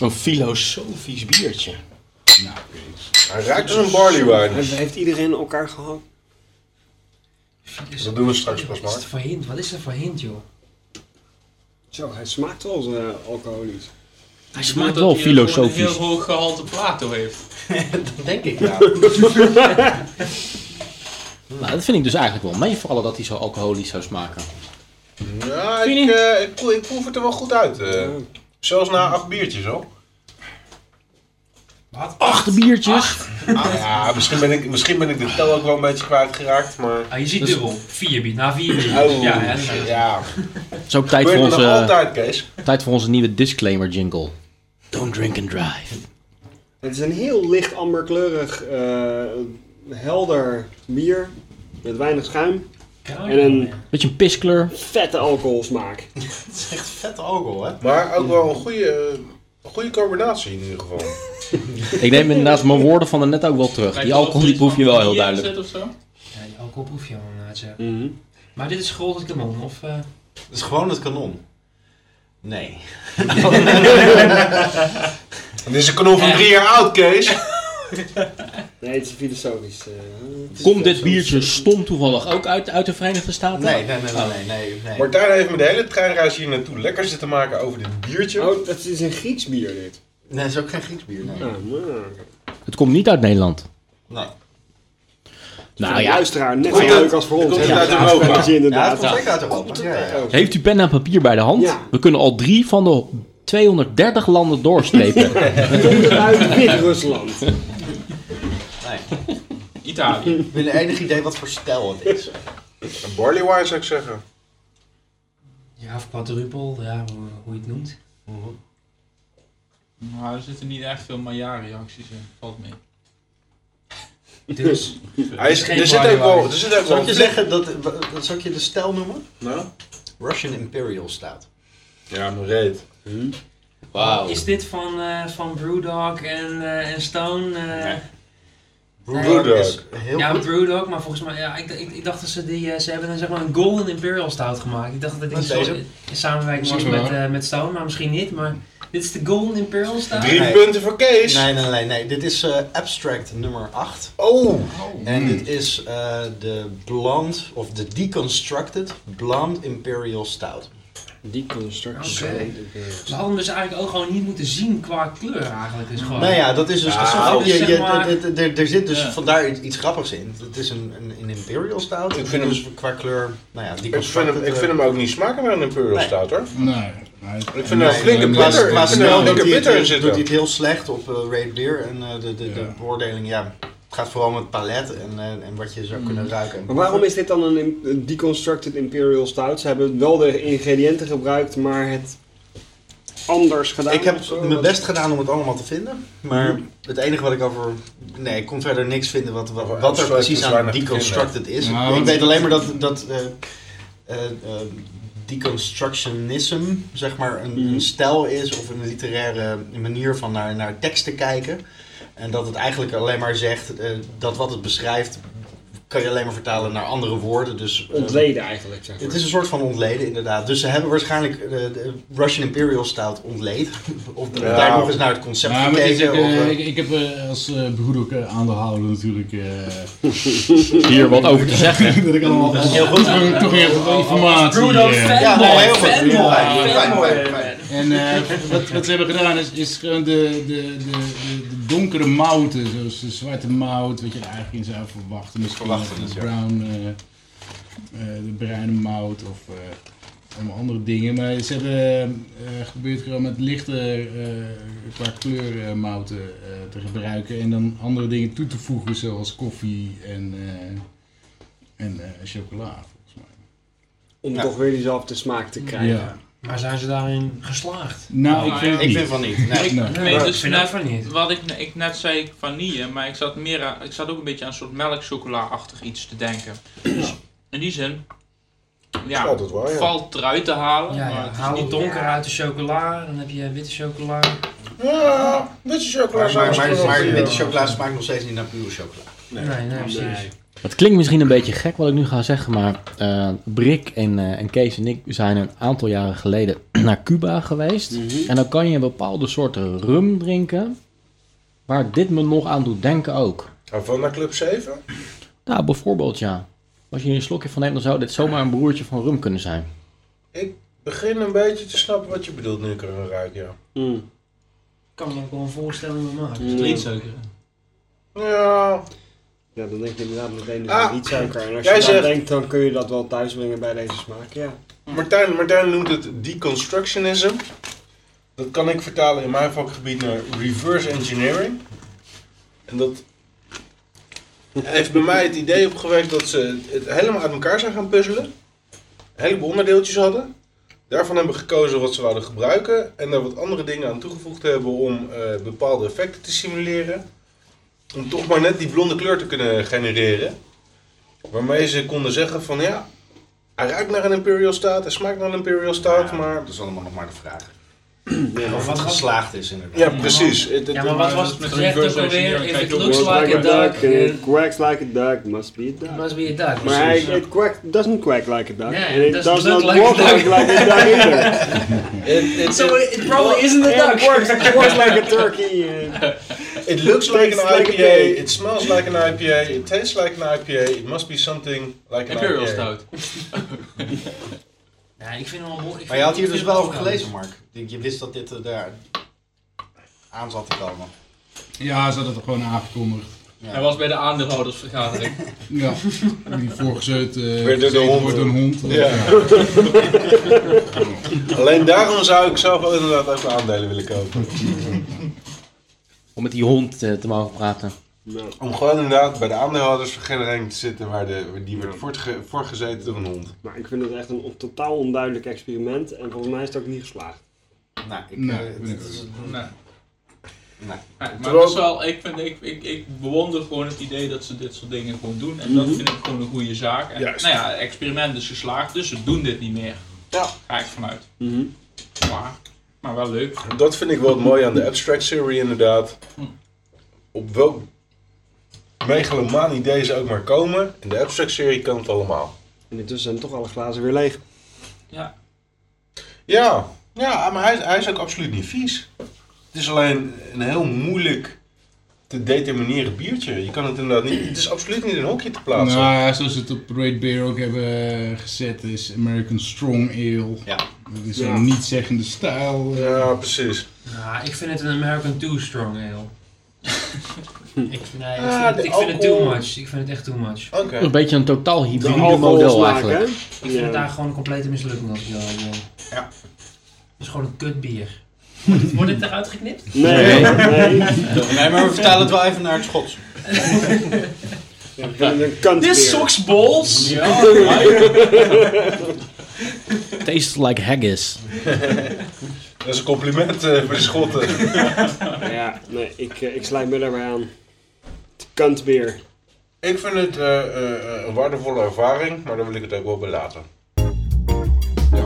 O: Een filosofisch biertje.
C: Hij ruikt als een barley wine.
B: Heeft iedereen elkaar gehad?
C: Dat doen we straks pas
I: Wat is
C: maar.
I: er voor hint? Wat is er voor hint, joh?
B: Zo, hij smaakt wel als eh, alcoholisch.
A: Hij
P: bedoelt dat hij Een heel hoog gehalte plato heeft.
F: dat denk ik
P: ja.
O: Nou, dat vind ik dus eigenlijk wel meevallen dat hij zo alcoholisch zou smaken.
C: Ja, ik, eh, ik, proef- ik proef het er wel goed uit. eh. Zelfs na acht biertjes al.
A: Acht biertjes?
C: Ah, ja, misschien ben, ik, misschien ben ik de tel ook wel een beetje kwijtgeraakt, maar...
I: Ah, je ziet dubbel. Vier bier. Na vier bier.
C: Oh,
I: ja,
C: ja,
I: hè.
A: Het is ook tijd voor,
C: Gebeurt
A: onze,
C: me nog altijd, Kees.
A: tijd voor onze nieuwe disclaimer jingle. Don't drink and drive.
B: Het is een heel licht amberkleurig, eh, helder bier met weinig schuim. En een
A: beetje een piskleur.
B: Vette alcoholsmaak.
F: Het is echt vette alcohol, hè?
C: Maar ook wel een goede, eh, goede combinatie in ieder geval.
A: Ik neem inderdaad mijn woorden van net ook wel terug. Die alcohol die proef je wel heel duidelijk.
P: of zo?
I: Ja, die alcohol proef je wel inderdaad, ja.
F: Mhm.
I: Maar dit is gewoon het kanon, of... eh,
F: Het is gewoon het kanon. Nee.
C: Dit is een kanon van drie jaar oud, Kees.
B: Nee, het is filosofisch. eh, het is
O: Komt dit
B: filosofisch.
O: biertje stom toevallig ook uit, uit de Verenigde Staten?
F: Nee, nee, nee, nee, nee, nee, nee.
C: Martijn heeft me de hele treinreis hier naartoe lekker zitten maken over dit biertje.
B: Oh, dat is een Grieks bier dit.
F: Nee, het is ook geen Grieks bier, nee.
B: Ah, maar.
A: Het komt niet uit Nederland.
F: Nee.
A: Nou
B: Voor de
A: ja.
B: luisteraar net
F: Komt
B: zo
F: het-
B: leuk als voor ons.
F: komt
B: hè?
F: het uit
B: Ja,
F: Europa?
B: dat je
F: Ja,
B: inderdaad.
F: het komt zeker uit Europa. Ja, ja. ja.
A: Heeft u pen en papier bij de hand?
B: Ja.
A: We kunnen al drie van de 230 landen doorstrepen.
B: Komt het uit Wit-Rusland.
F: Nee.
P: Italië.
F: Ik heb enig idee wat voor stijl het is.
C: Een barley wine zou ik zeggen.
I: ja, of quadruple, ja, hoe, hoe je het noemt.
P: Nou, er zitten niet echt veel Maillard-reacties in. Valt mee.
I: Dus...
C: Hij is,
I: Het is
C: er,
I: geen
C: zit
I: barley
C: ook wel,
I: wine.
C: er zit ook
F: Zal
C: wel
F: ik je
C: een
F: zeggen, dat, w- zal ik je de stijl noemen?
C: Nou?
F: Russian Imperial staat.
C: Ja, maar reet.
I: Is dit van, eh, van Brewdog en, eh, en Stone? eh,
C: Brewdog.
F: is heel
I: ja,
F: goed.
I: Brewdog, maar volgens mij, ja, ik, ik, ik dacht dat ze die, eh, ze hebben een, zeg maar een Golden Imperial Stout gemaakt. Ik dacht dat dit
F: Dat
I: in,
F: is
I: so-
F: deze.
I: in samenwerking was
D: Zien we
I: met,
D: wel.
I: eh, met Stone, maar misschien niet, maar dit is de Golden Imperial Stout.
C: Drie
F: Nee.
C: punten voor Kees.
F: Nee, nee, nee, nee. Dit is eh, abstract nummer 8.
C: Oh,
I: Hmm.
F: En dit is eh, de blond, of de deconstructed blond Imperial Stout.
B: Die constructie.
I: Oké. We hadden hem dus eigenlijk ook gewoon niet moeten zien qua kleur eigenlijk. Dus
C: Oh.
I: gewoon,
F: Nou ja, dat is dus
C: Ja,
F: de
I: dat
F: grap.
I: is
F: Je-
I: zeg
F: je-
I: maar-
F: d- d- d- Er zit dus
P: Ja.
F: vandaar iets, iets grappigs in. Het is een, een, een Imperial Stout.
C: Ik vind hem-
F: dus qua kleur, nou ja,
C: Ik vind,
F: deconstructed. eh,
C: hem, ik vind hem ook niet smaken bij een Imperial
F: Nee.
C: Stout hoor.
D: Nee. nee.
C: Ik vind hem
F: Nee,
C: eh, flinke
D: nee,
F: Qua,
C: bitter.
F: qua
C: Ik vind hem
F: snel doet
C: flinke
F: hij, het,
C: bitter in
F: doet hij
C: zitten.
F: het heel slecht op eh Raid Beer. En eh, de, de, de
D: Ja.
F: beoordeling, ja, het gaat vooral om het palet en, eh, en wat je zou
C: Hmm.
F: kunnen ruiken. en
B: Maar waarom
F: proeven.
B: is dit dan een, im- een deconstructed Imperial Stout? Ze hebben wel de ingrediënten gebruikt, maar het anders gedaan.
F: Ik heb
B: of zo? Hm.
F: mijn best gedaan om het allemaal te vinden. Maar het enige wat ik over... Nee, ik kon verder niks vinden wat, wat,
C: Over
F: wat er
C: abstract
F: precies
C: is
F: aan
C: weinig te
F: deconstructed is.
D: Ja,
B: Nou,
D: want-
F: ik weet alleen maar dat... dat eh, eh, eh, deconstructionism, zeg maar, een,
B: Hm.
F: een stijl is of een literaire manier van naar, naar teksten kijken. En dat het eigenlijk alleen maar zegt eh, dat wat het beschrijft kan je alleen maar vertalen naar andere woorden. Dus, eh,
B: Ontleden eigenlijk, zeg maar.
F: Het is een soort van ontleden, inderdaad. Dus ze hebben waarschijnlijk eh, de Russian Imperial Stout ontleed. of
D: Ja.
F: daar nog eens naar het concept
D: Ja, maar ik,
F: gekeken.
D: ik,
F: of,
D: eh,
F: eh,
D: ik, ik heb eh, als eh, broer ook eh, aandeelhouder natuurlijk... eh,
A: Hier wat over te zeggen.
D: dat ik allemaal...
A: Dat is heel goed.
D: Toch- Toch weer wat informatie.
A: Broeder,
D: eh.
A: fanboy, Ja, mooi, heel goed. fanboy,
D: Ja.
A: fijn, fijn, fijn,
D: En eh, wat, wat ze hebben gedaan is, is gewoon de, de, de, de, de donkere mouten, zoals de zwarte mout, wat je er eigenlijk in zou verwachten. Misschien
F: Verwachten, dus
D: of de
F: ja.
D: brown, eh, eh, de bruine mout of eh, allemaal andere dingen. Maar ze hebben eh, geprobeerd gewoon met lichte eh, qua kleur eh, mouten eh, te gebruiken en dan andere dingen toe te voegen, zoals koffie en, eh, en eh, chocola.
B: Om toch weer diezelfde smaak te krijgen.
D: Ja.
I: Maar zijn ze daarin geslaagd?
D: Nou, ik vind het niet. Nou.
H: Ik-
D: Nee.
H: nee,
I: ik
H: dus
I: vind
H: net
I: dat van niet.
H: Wat ik, ik net zei vanille, maar ik zat, meer aan- ik zat ook een beetje aan een soort melkchocola-achtig iets te denken. Dus in die zin, ja,
I: Altijd
C: Oh,
I: waar, ja.
H: valt eruit te halen.
I: Ja,
H: maar
I: ja.
H: het is
I: haal het
H: niet-
I: donker uit de chocola, dan heb je witte chocola.
C: Ja, witte chocola.
F: maar maar, maar,
I: smaakt
F: maar
I: wel.
F: witte chocola smaakt nog steeds niet naar pure chocola.
I: Nee, nee, precies.
A: Het klinkt misschien een beetje gek wat ik nu ga zeggen, maar eh, Brik en, eh, en Kees en ik zijn een aantal jaren geleden naar Cuba geweest. En dan kan je bepaalde soorten rum drinken, waar dit me nog aan doet denken ook.
C: Van naar Club 7?
A: Nou, bijvoorbeeld ja. Als je hier een slokje van neemt, dan zou dit zomaar een broertje van rum kunnen zijn.
C: Ik begin een beetje te snappen wat je bedoelt nu, Kruim Ruik, ja.
I: Ik kan me ook wel een voorstelling van maken.
B: Mm. Rietsuiker.
C: Ja.
B: Ja, dan denk je inderdaad meteen dus
C: Ah,
B: aan rietsuiker. En als
C: jij
B: je
C: zegt-
B: dat denkt, dan kun je dat wel thuisbrengen bij deze smaak, ja.
C: Martijn, Martijn noemt het deconstructionism. Dat kan ik vertalen in mijn vakgebied naar reverse engineering. En dat heeft bij mij het idee opgewekt dat ze het helemaal uit elkaar zijn gaan puzzelen. Een heleboel onderdeeltjes hadden. Daarvan hebben gekozen wat ze wilden gebruiken. En daar wat andere dingen aan toegevoegd hebben om eh, bepaalde effecten te simuleren. Om toch maar net die blonde kleur te kunnen genereren. Waarmee ze konden zeggen van ja, hij ruikt naar een Imperial Stout, hij smaakt naar een Imperial Stout, maar... Dat is allemaal nog maar de vraag.
F: of wat geslaagd is inderdaad.
C: Ja, precies. Het- het-
I: Ja, maar wat was het gezegd ook alweer? If it looks
B: Works
I: like a duck,
B: and
I: eh,
B: it quacks like a duck, must be a duck.
I: must be a duck.
B: Maar hij,
I: precies.
B: it quack, doesn't quack like a duck.
I: Yeah,
B: and
I: it
B: it
I: doesn't
B: does not
I: look like a
B: walk
I: duck.
B: like, like a duck either.
I: So it, it probably isn't a duck.
B: It works, it works like a turkey. eh.
C: It looks like an
B: Tastes like a
C: IPA,
B: day.
C: it smells like an IPA, it tastes like an IPA, it must be something like an
H: Imperial
C: IPA.
H: Stout.
I: Ja, ik vind hem wel mooi. ik
F: Maar je had
I: vind-
F: hier
I: ik
F: dus
I: vind
F: wel
I: hem
F: over gelezen, Mark. Je je wist dat dit eh, daar aan zat te komen.
D: Ja, ze hadden het gewoon aangekondigd.
H: Hij was bij de aandeelhoudersvergadering.
D: Ja, die voorgezeut eh,
C: Weer door de
D: gezeten
C: hond.
D: wordt door een hond.
C: Ja. Alleen daarom zou ik zelf wel inderdaad ook aandelen willen kopen.
A: Om met die hond eh, te mogen praten.
C: Om gewoon inderdaad bij de aandeelhoudersvergadering te zitten waar de, waar die wordt voortge- voorgezeten door een hond.
B: Maar ik vind het echt een on- totaal onduidelijk experiment. En volgens mij is het ook niet geslaagd.
F: Nou, ik,
C: Nee,
F: eh,
C: nee.
F: het is- Nee.
H: Nee. Nee, maar
C: Terwijl-
H: het is wel, ik, vind, ik, ik, ik bewonder gewoon het idee dat ze dit soort dingen gewoon doen. En dat
C: Mhm.
H: vind ik gewoon een goede zaak. En, nou
C: Juist.
H: ja, het experiment is geslaagd, dus ze doen dit niet meer.
C: Ja. Mhm.
H: Ga ik vanuit. Maar, maar wel leuk.
C: Dat vind ik wel het mooie aan de abstract serie inderdaad. Op welk megalomaan idee ze ook maar komen, in de abstract serie kan het allemaal.
B: En intussen zijn toch alle glazen weer leeg.
C: Ja, ja maar hij, is- hij is ook absoluut niet vies. Het is alleen een heel moeilijk te determineren biertje. Je kan het inderdaad niet, het is absoluut niet in een hokje te plaatsen.
D: Nou, ja, zoals ze het op Red Beer ook hebben eh, gezet, is American Strong Ale.
F: Ja.
D: Dat is
I: Ja.
D: een nietzeggende stijl.
C: Ja, precies.
I: Nou, ik vind het een American Too Strong Ale. ik, nee, ik
C: Ah,
I: vind,
C: de
I: het- ik vind het too
C: alcohol.
I: much. Ik vind het echt too much.
C: Oké.
A: Een beetje een totaal hybride
B: alcohol
A: model
B: smaak,
A: eigenlijk.
B: hè?
I: Ik vind het daar gewoon een complete mislukking als ik dat wil. Ja. Het is gewoon een kutbier. Wordt het, wordt het eruit geknipt?
B: Nee, nee.
F: Nee, maar we vertalen het wel even naar het Schots.
B: Ik vind het een kant
I: This
B: weer.
I: sucks balls!
A: Tastes like haggis.
C: Dat is een compliment eh, voor de schotten.
B: Ja, nee, ik, eh, ik sluit me daarbij aan. Het kant weer.
C: ik vind het eh, eh, eh, een waardevolle ervaring, maar daar wil ik het ook wel bij laten.
D: eh,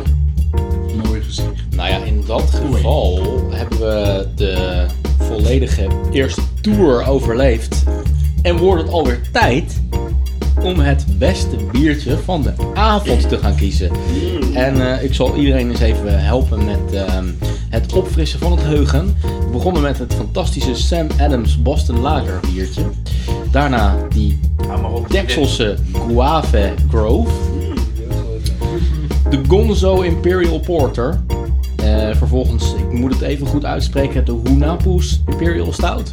D: Mooi gezicht.
A: Nou ja, in dat geval hebben we de volledige eerste tour overleefd. En wordt het alweer tijd om het beste biertje van de avond te gaan kiezen. En eh, ik zal iedereen eens even helpen met ehm, het opfrissen van het heugen. We begonnen met het fantastische Sam Adams Boston Lager biertje. Daarna die Dekselse Guave Grove. De Gonzo Imperial Porter. Eh, vervolgens, ik moet het even goed uitspreken, de Hunapus Imperial Stout.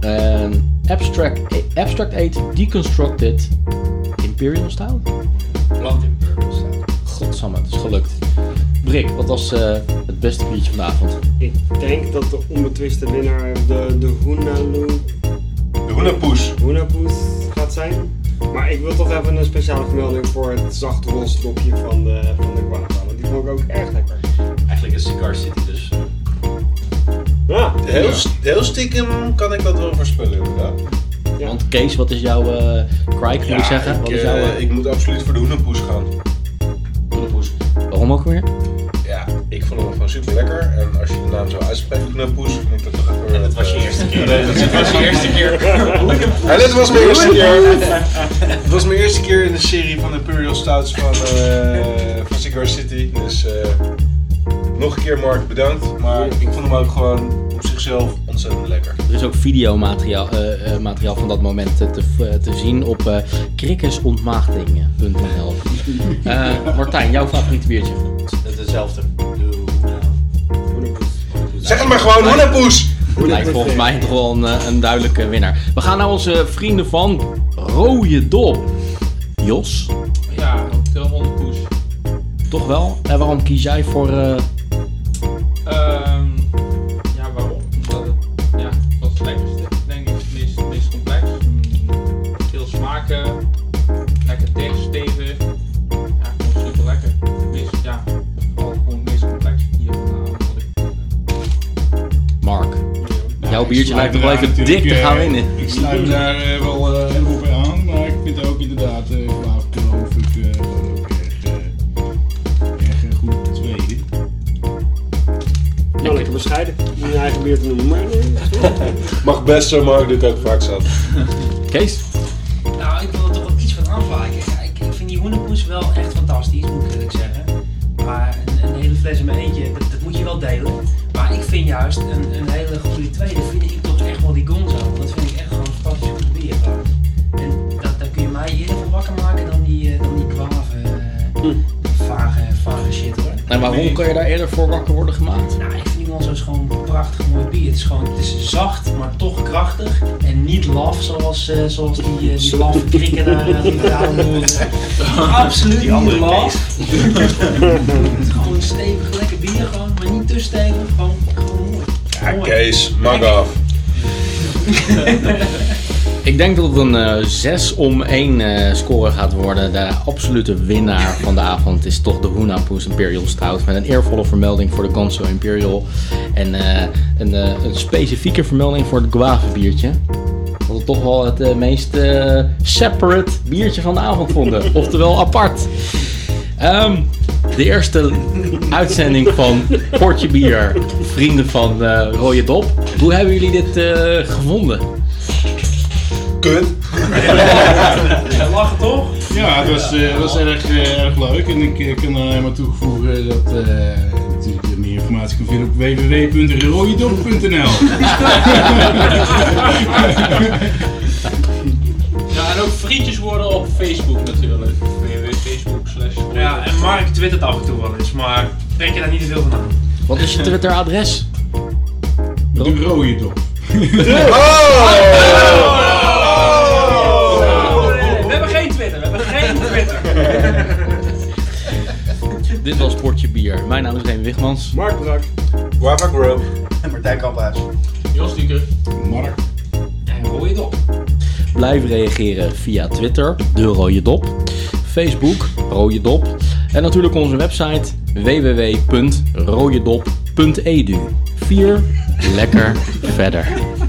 A: Een abstract, abstract 8 Deconstructed Imperial Stout.
F: Plant Imperial Stout.
A: Godsamme, het is gelukt. Brik, wat was eh, het beste biertje van de avond?
B: Ik denk dat de onbetwiste winnaar de, de Hoenalu... De
C: Hoenapoes.
B: Hoenapoes gaat zijn. Maar ik wil toch even een speciale vermelding voor het zacht roze dopje van de, van de guava. Want die vond ik ook erg lekker.
F: Eigenlijk is Cigar City dus...
B: Ja,
C: Heel,
A: Ja.
C: heel stiekem kan ik dat wel voorspellen inderdaad.
A: Want Kees, wat is jouw eh cry, moet ik zeggen?
C: ik,
A: Wat is
C: eh,
A: jouw, eh,
C: ik moet absoluut voor de hoenenpoes gaan.
A: Hoenenpoes. Waarom ook weer?
C: Ja, ik vond hem gewoon super lekker. En als je de naam zo uitspreekt, hoenenpoes, vind ik dat toch even... dat was je eerste
F: keer.
C: Nee, dat was je eerste keer.
F: Hoenenpoes.
C: En dit was mijn eerste keer. Het was mijn eerste keer in de serie van Imperial Stouts van, eh, van Cigar City. Dus eh, nog een keer Mark, bedankt. Maar ik vond hem ook gewoon op zichzelf ontzettend lekker.
A: Er is ook videomateriaal eh, eh, materiaal van dat moment eh, te, eh, te zien op eh krikkesontmaagding.nl. Eh, Martijn, jouw favoriete biertje?
F: Hetzelfde.
C: Zeg het maar gewoon, Hoenepoes!
A: Lijkt volgens mij toch wel een, eh, een duidelijke winnaar. We gaan naar onze vrienden van Rode Dol. Jos,
H: Ja, ook de hondenpoes.
A: toch wel? En waarom kies jij voor... eh,
H: Ehm, ja, waarom? Omdat het, ja, het was het lekkerste. Denk ik het meest, het meest complex. Mm, Veel smaken. Lekker dicht, stevig. Ja, gewoon super lekker. Het meest, ja, vooral gewoon het meest complex hier vanavond. wat ik-
A: Mark, jouw
J: ik
A: biertje
J: sluit
A: lijkt toch wel
J: daar
A: even dik te
J: natuurlijk,
A: gaan
J: eh,
A: winnen.
J: Ik sluit daar eh, wel eh, heel veel bij aan, maar ik vind ook inderdaad eh Klaverkloof ik eh, gewoon ook erg, eh, erg eh, goed tweede.
B: Nou, lekker bescheiden. Om je eigen bier te noemen. Maar,
C: Mag best zo Mark dit ook vaak zat.
A: Kees?
I: Nou, ik wil er toch wel iets van afwijken. Ja, Ik, ik vind die hoenenpoes wel echt fantastisch, moet ik eerlijk zeggen. Maar een, een hele fles in mijn eentje, dat, dat moet je wel delen. Maar ik vind juist een, een hele goede tweede, vind ik toch echt wel die gonzo. Want Dat vind ik echt gewoon een fantastisch goed bier. gewoon. En dat, daar kun je mij eerder voor wakker maken dan die, eh dan die kwave, eh, vage, vage shit hoor.
A: En waarom kan je daar eerder voor wakker worden gemaakt?
I: Nou, ik vind die gonzo is gewoon een prachtig mooi bier. Het is gewoon het is zacht, maar toch krachtig. En niet laf zoals, eh, zoals die, eh, die laffe krikken daar eh, gedaan worden. Absoluut
F: Die andere
I: niet laf. het is gewoon een stevig, lekker bier gewoon, maar niet te stevig. Gewoon, gewoon mooi.
C: Ja, Kees, mag af.
A: Ik denk dat het een eh, 6 om 1 eh, score gaat worden. De absolute winnaar van de avond is toch de Hoenapoes Imperial Stout. Met een eervolle vermelding voor de Gonzo Imperial. En eh, een, eh, een specifieke vermelding voor het Guave biertje. Wat we toch wel het eh, meest eh, separate biertje van de avond vonden. Oftewel apart. Ehm, de eerste uitzending van Portje Bier. Vrienden van eh Rode Dop. Hoe hebben jullie dit eh, gevonden?
C: Kut.
I: Lachen toch?
J: Ja, het was, eh, het was erg, eh, erg leuk en ik eh, kan er alleen maar toevoegen dat eh, natuurlijk je meer informatie kan vinden op www.rooiedop.nl.
H: Ja, en ook vriendjes worden op Facebook natuurlijk. www.facebook slash
I: Ja, en Mark twittert af en toe wel eens, maar trek je daar niet te veel van aan.
A: Wat is je Twitter-adres?
J: De rode dop.
C: Oh!
I: Oh! We hebben geen Twitter, we hebben geen Twitter.
A: Dit was Portje Bier. Mijn naam is Remy Wigmans.
B: Mark Brak.
C: Wafa Grove.
F: En Martijn Kamphuis.
H: Jos Dieker.
J: Mark.
I: En hoor je op.
A: Blijf reageren via Twitter, de Rode Dop, Facebook, Rode Dop en natuurlijk onze website www.rodedop.edu. Vier lekker verder.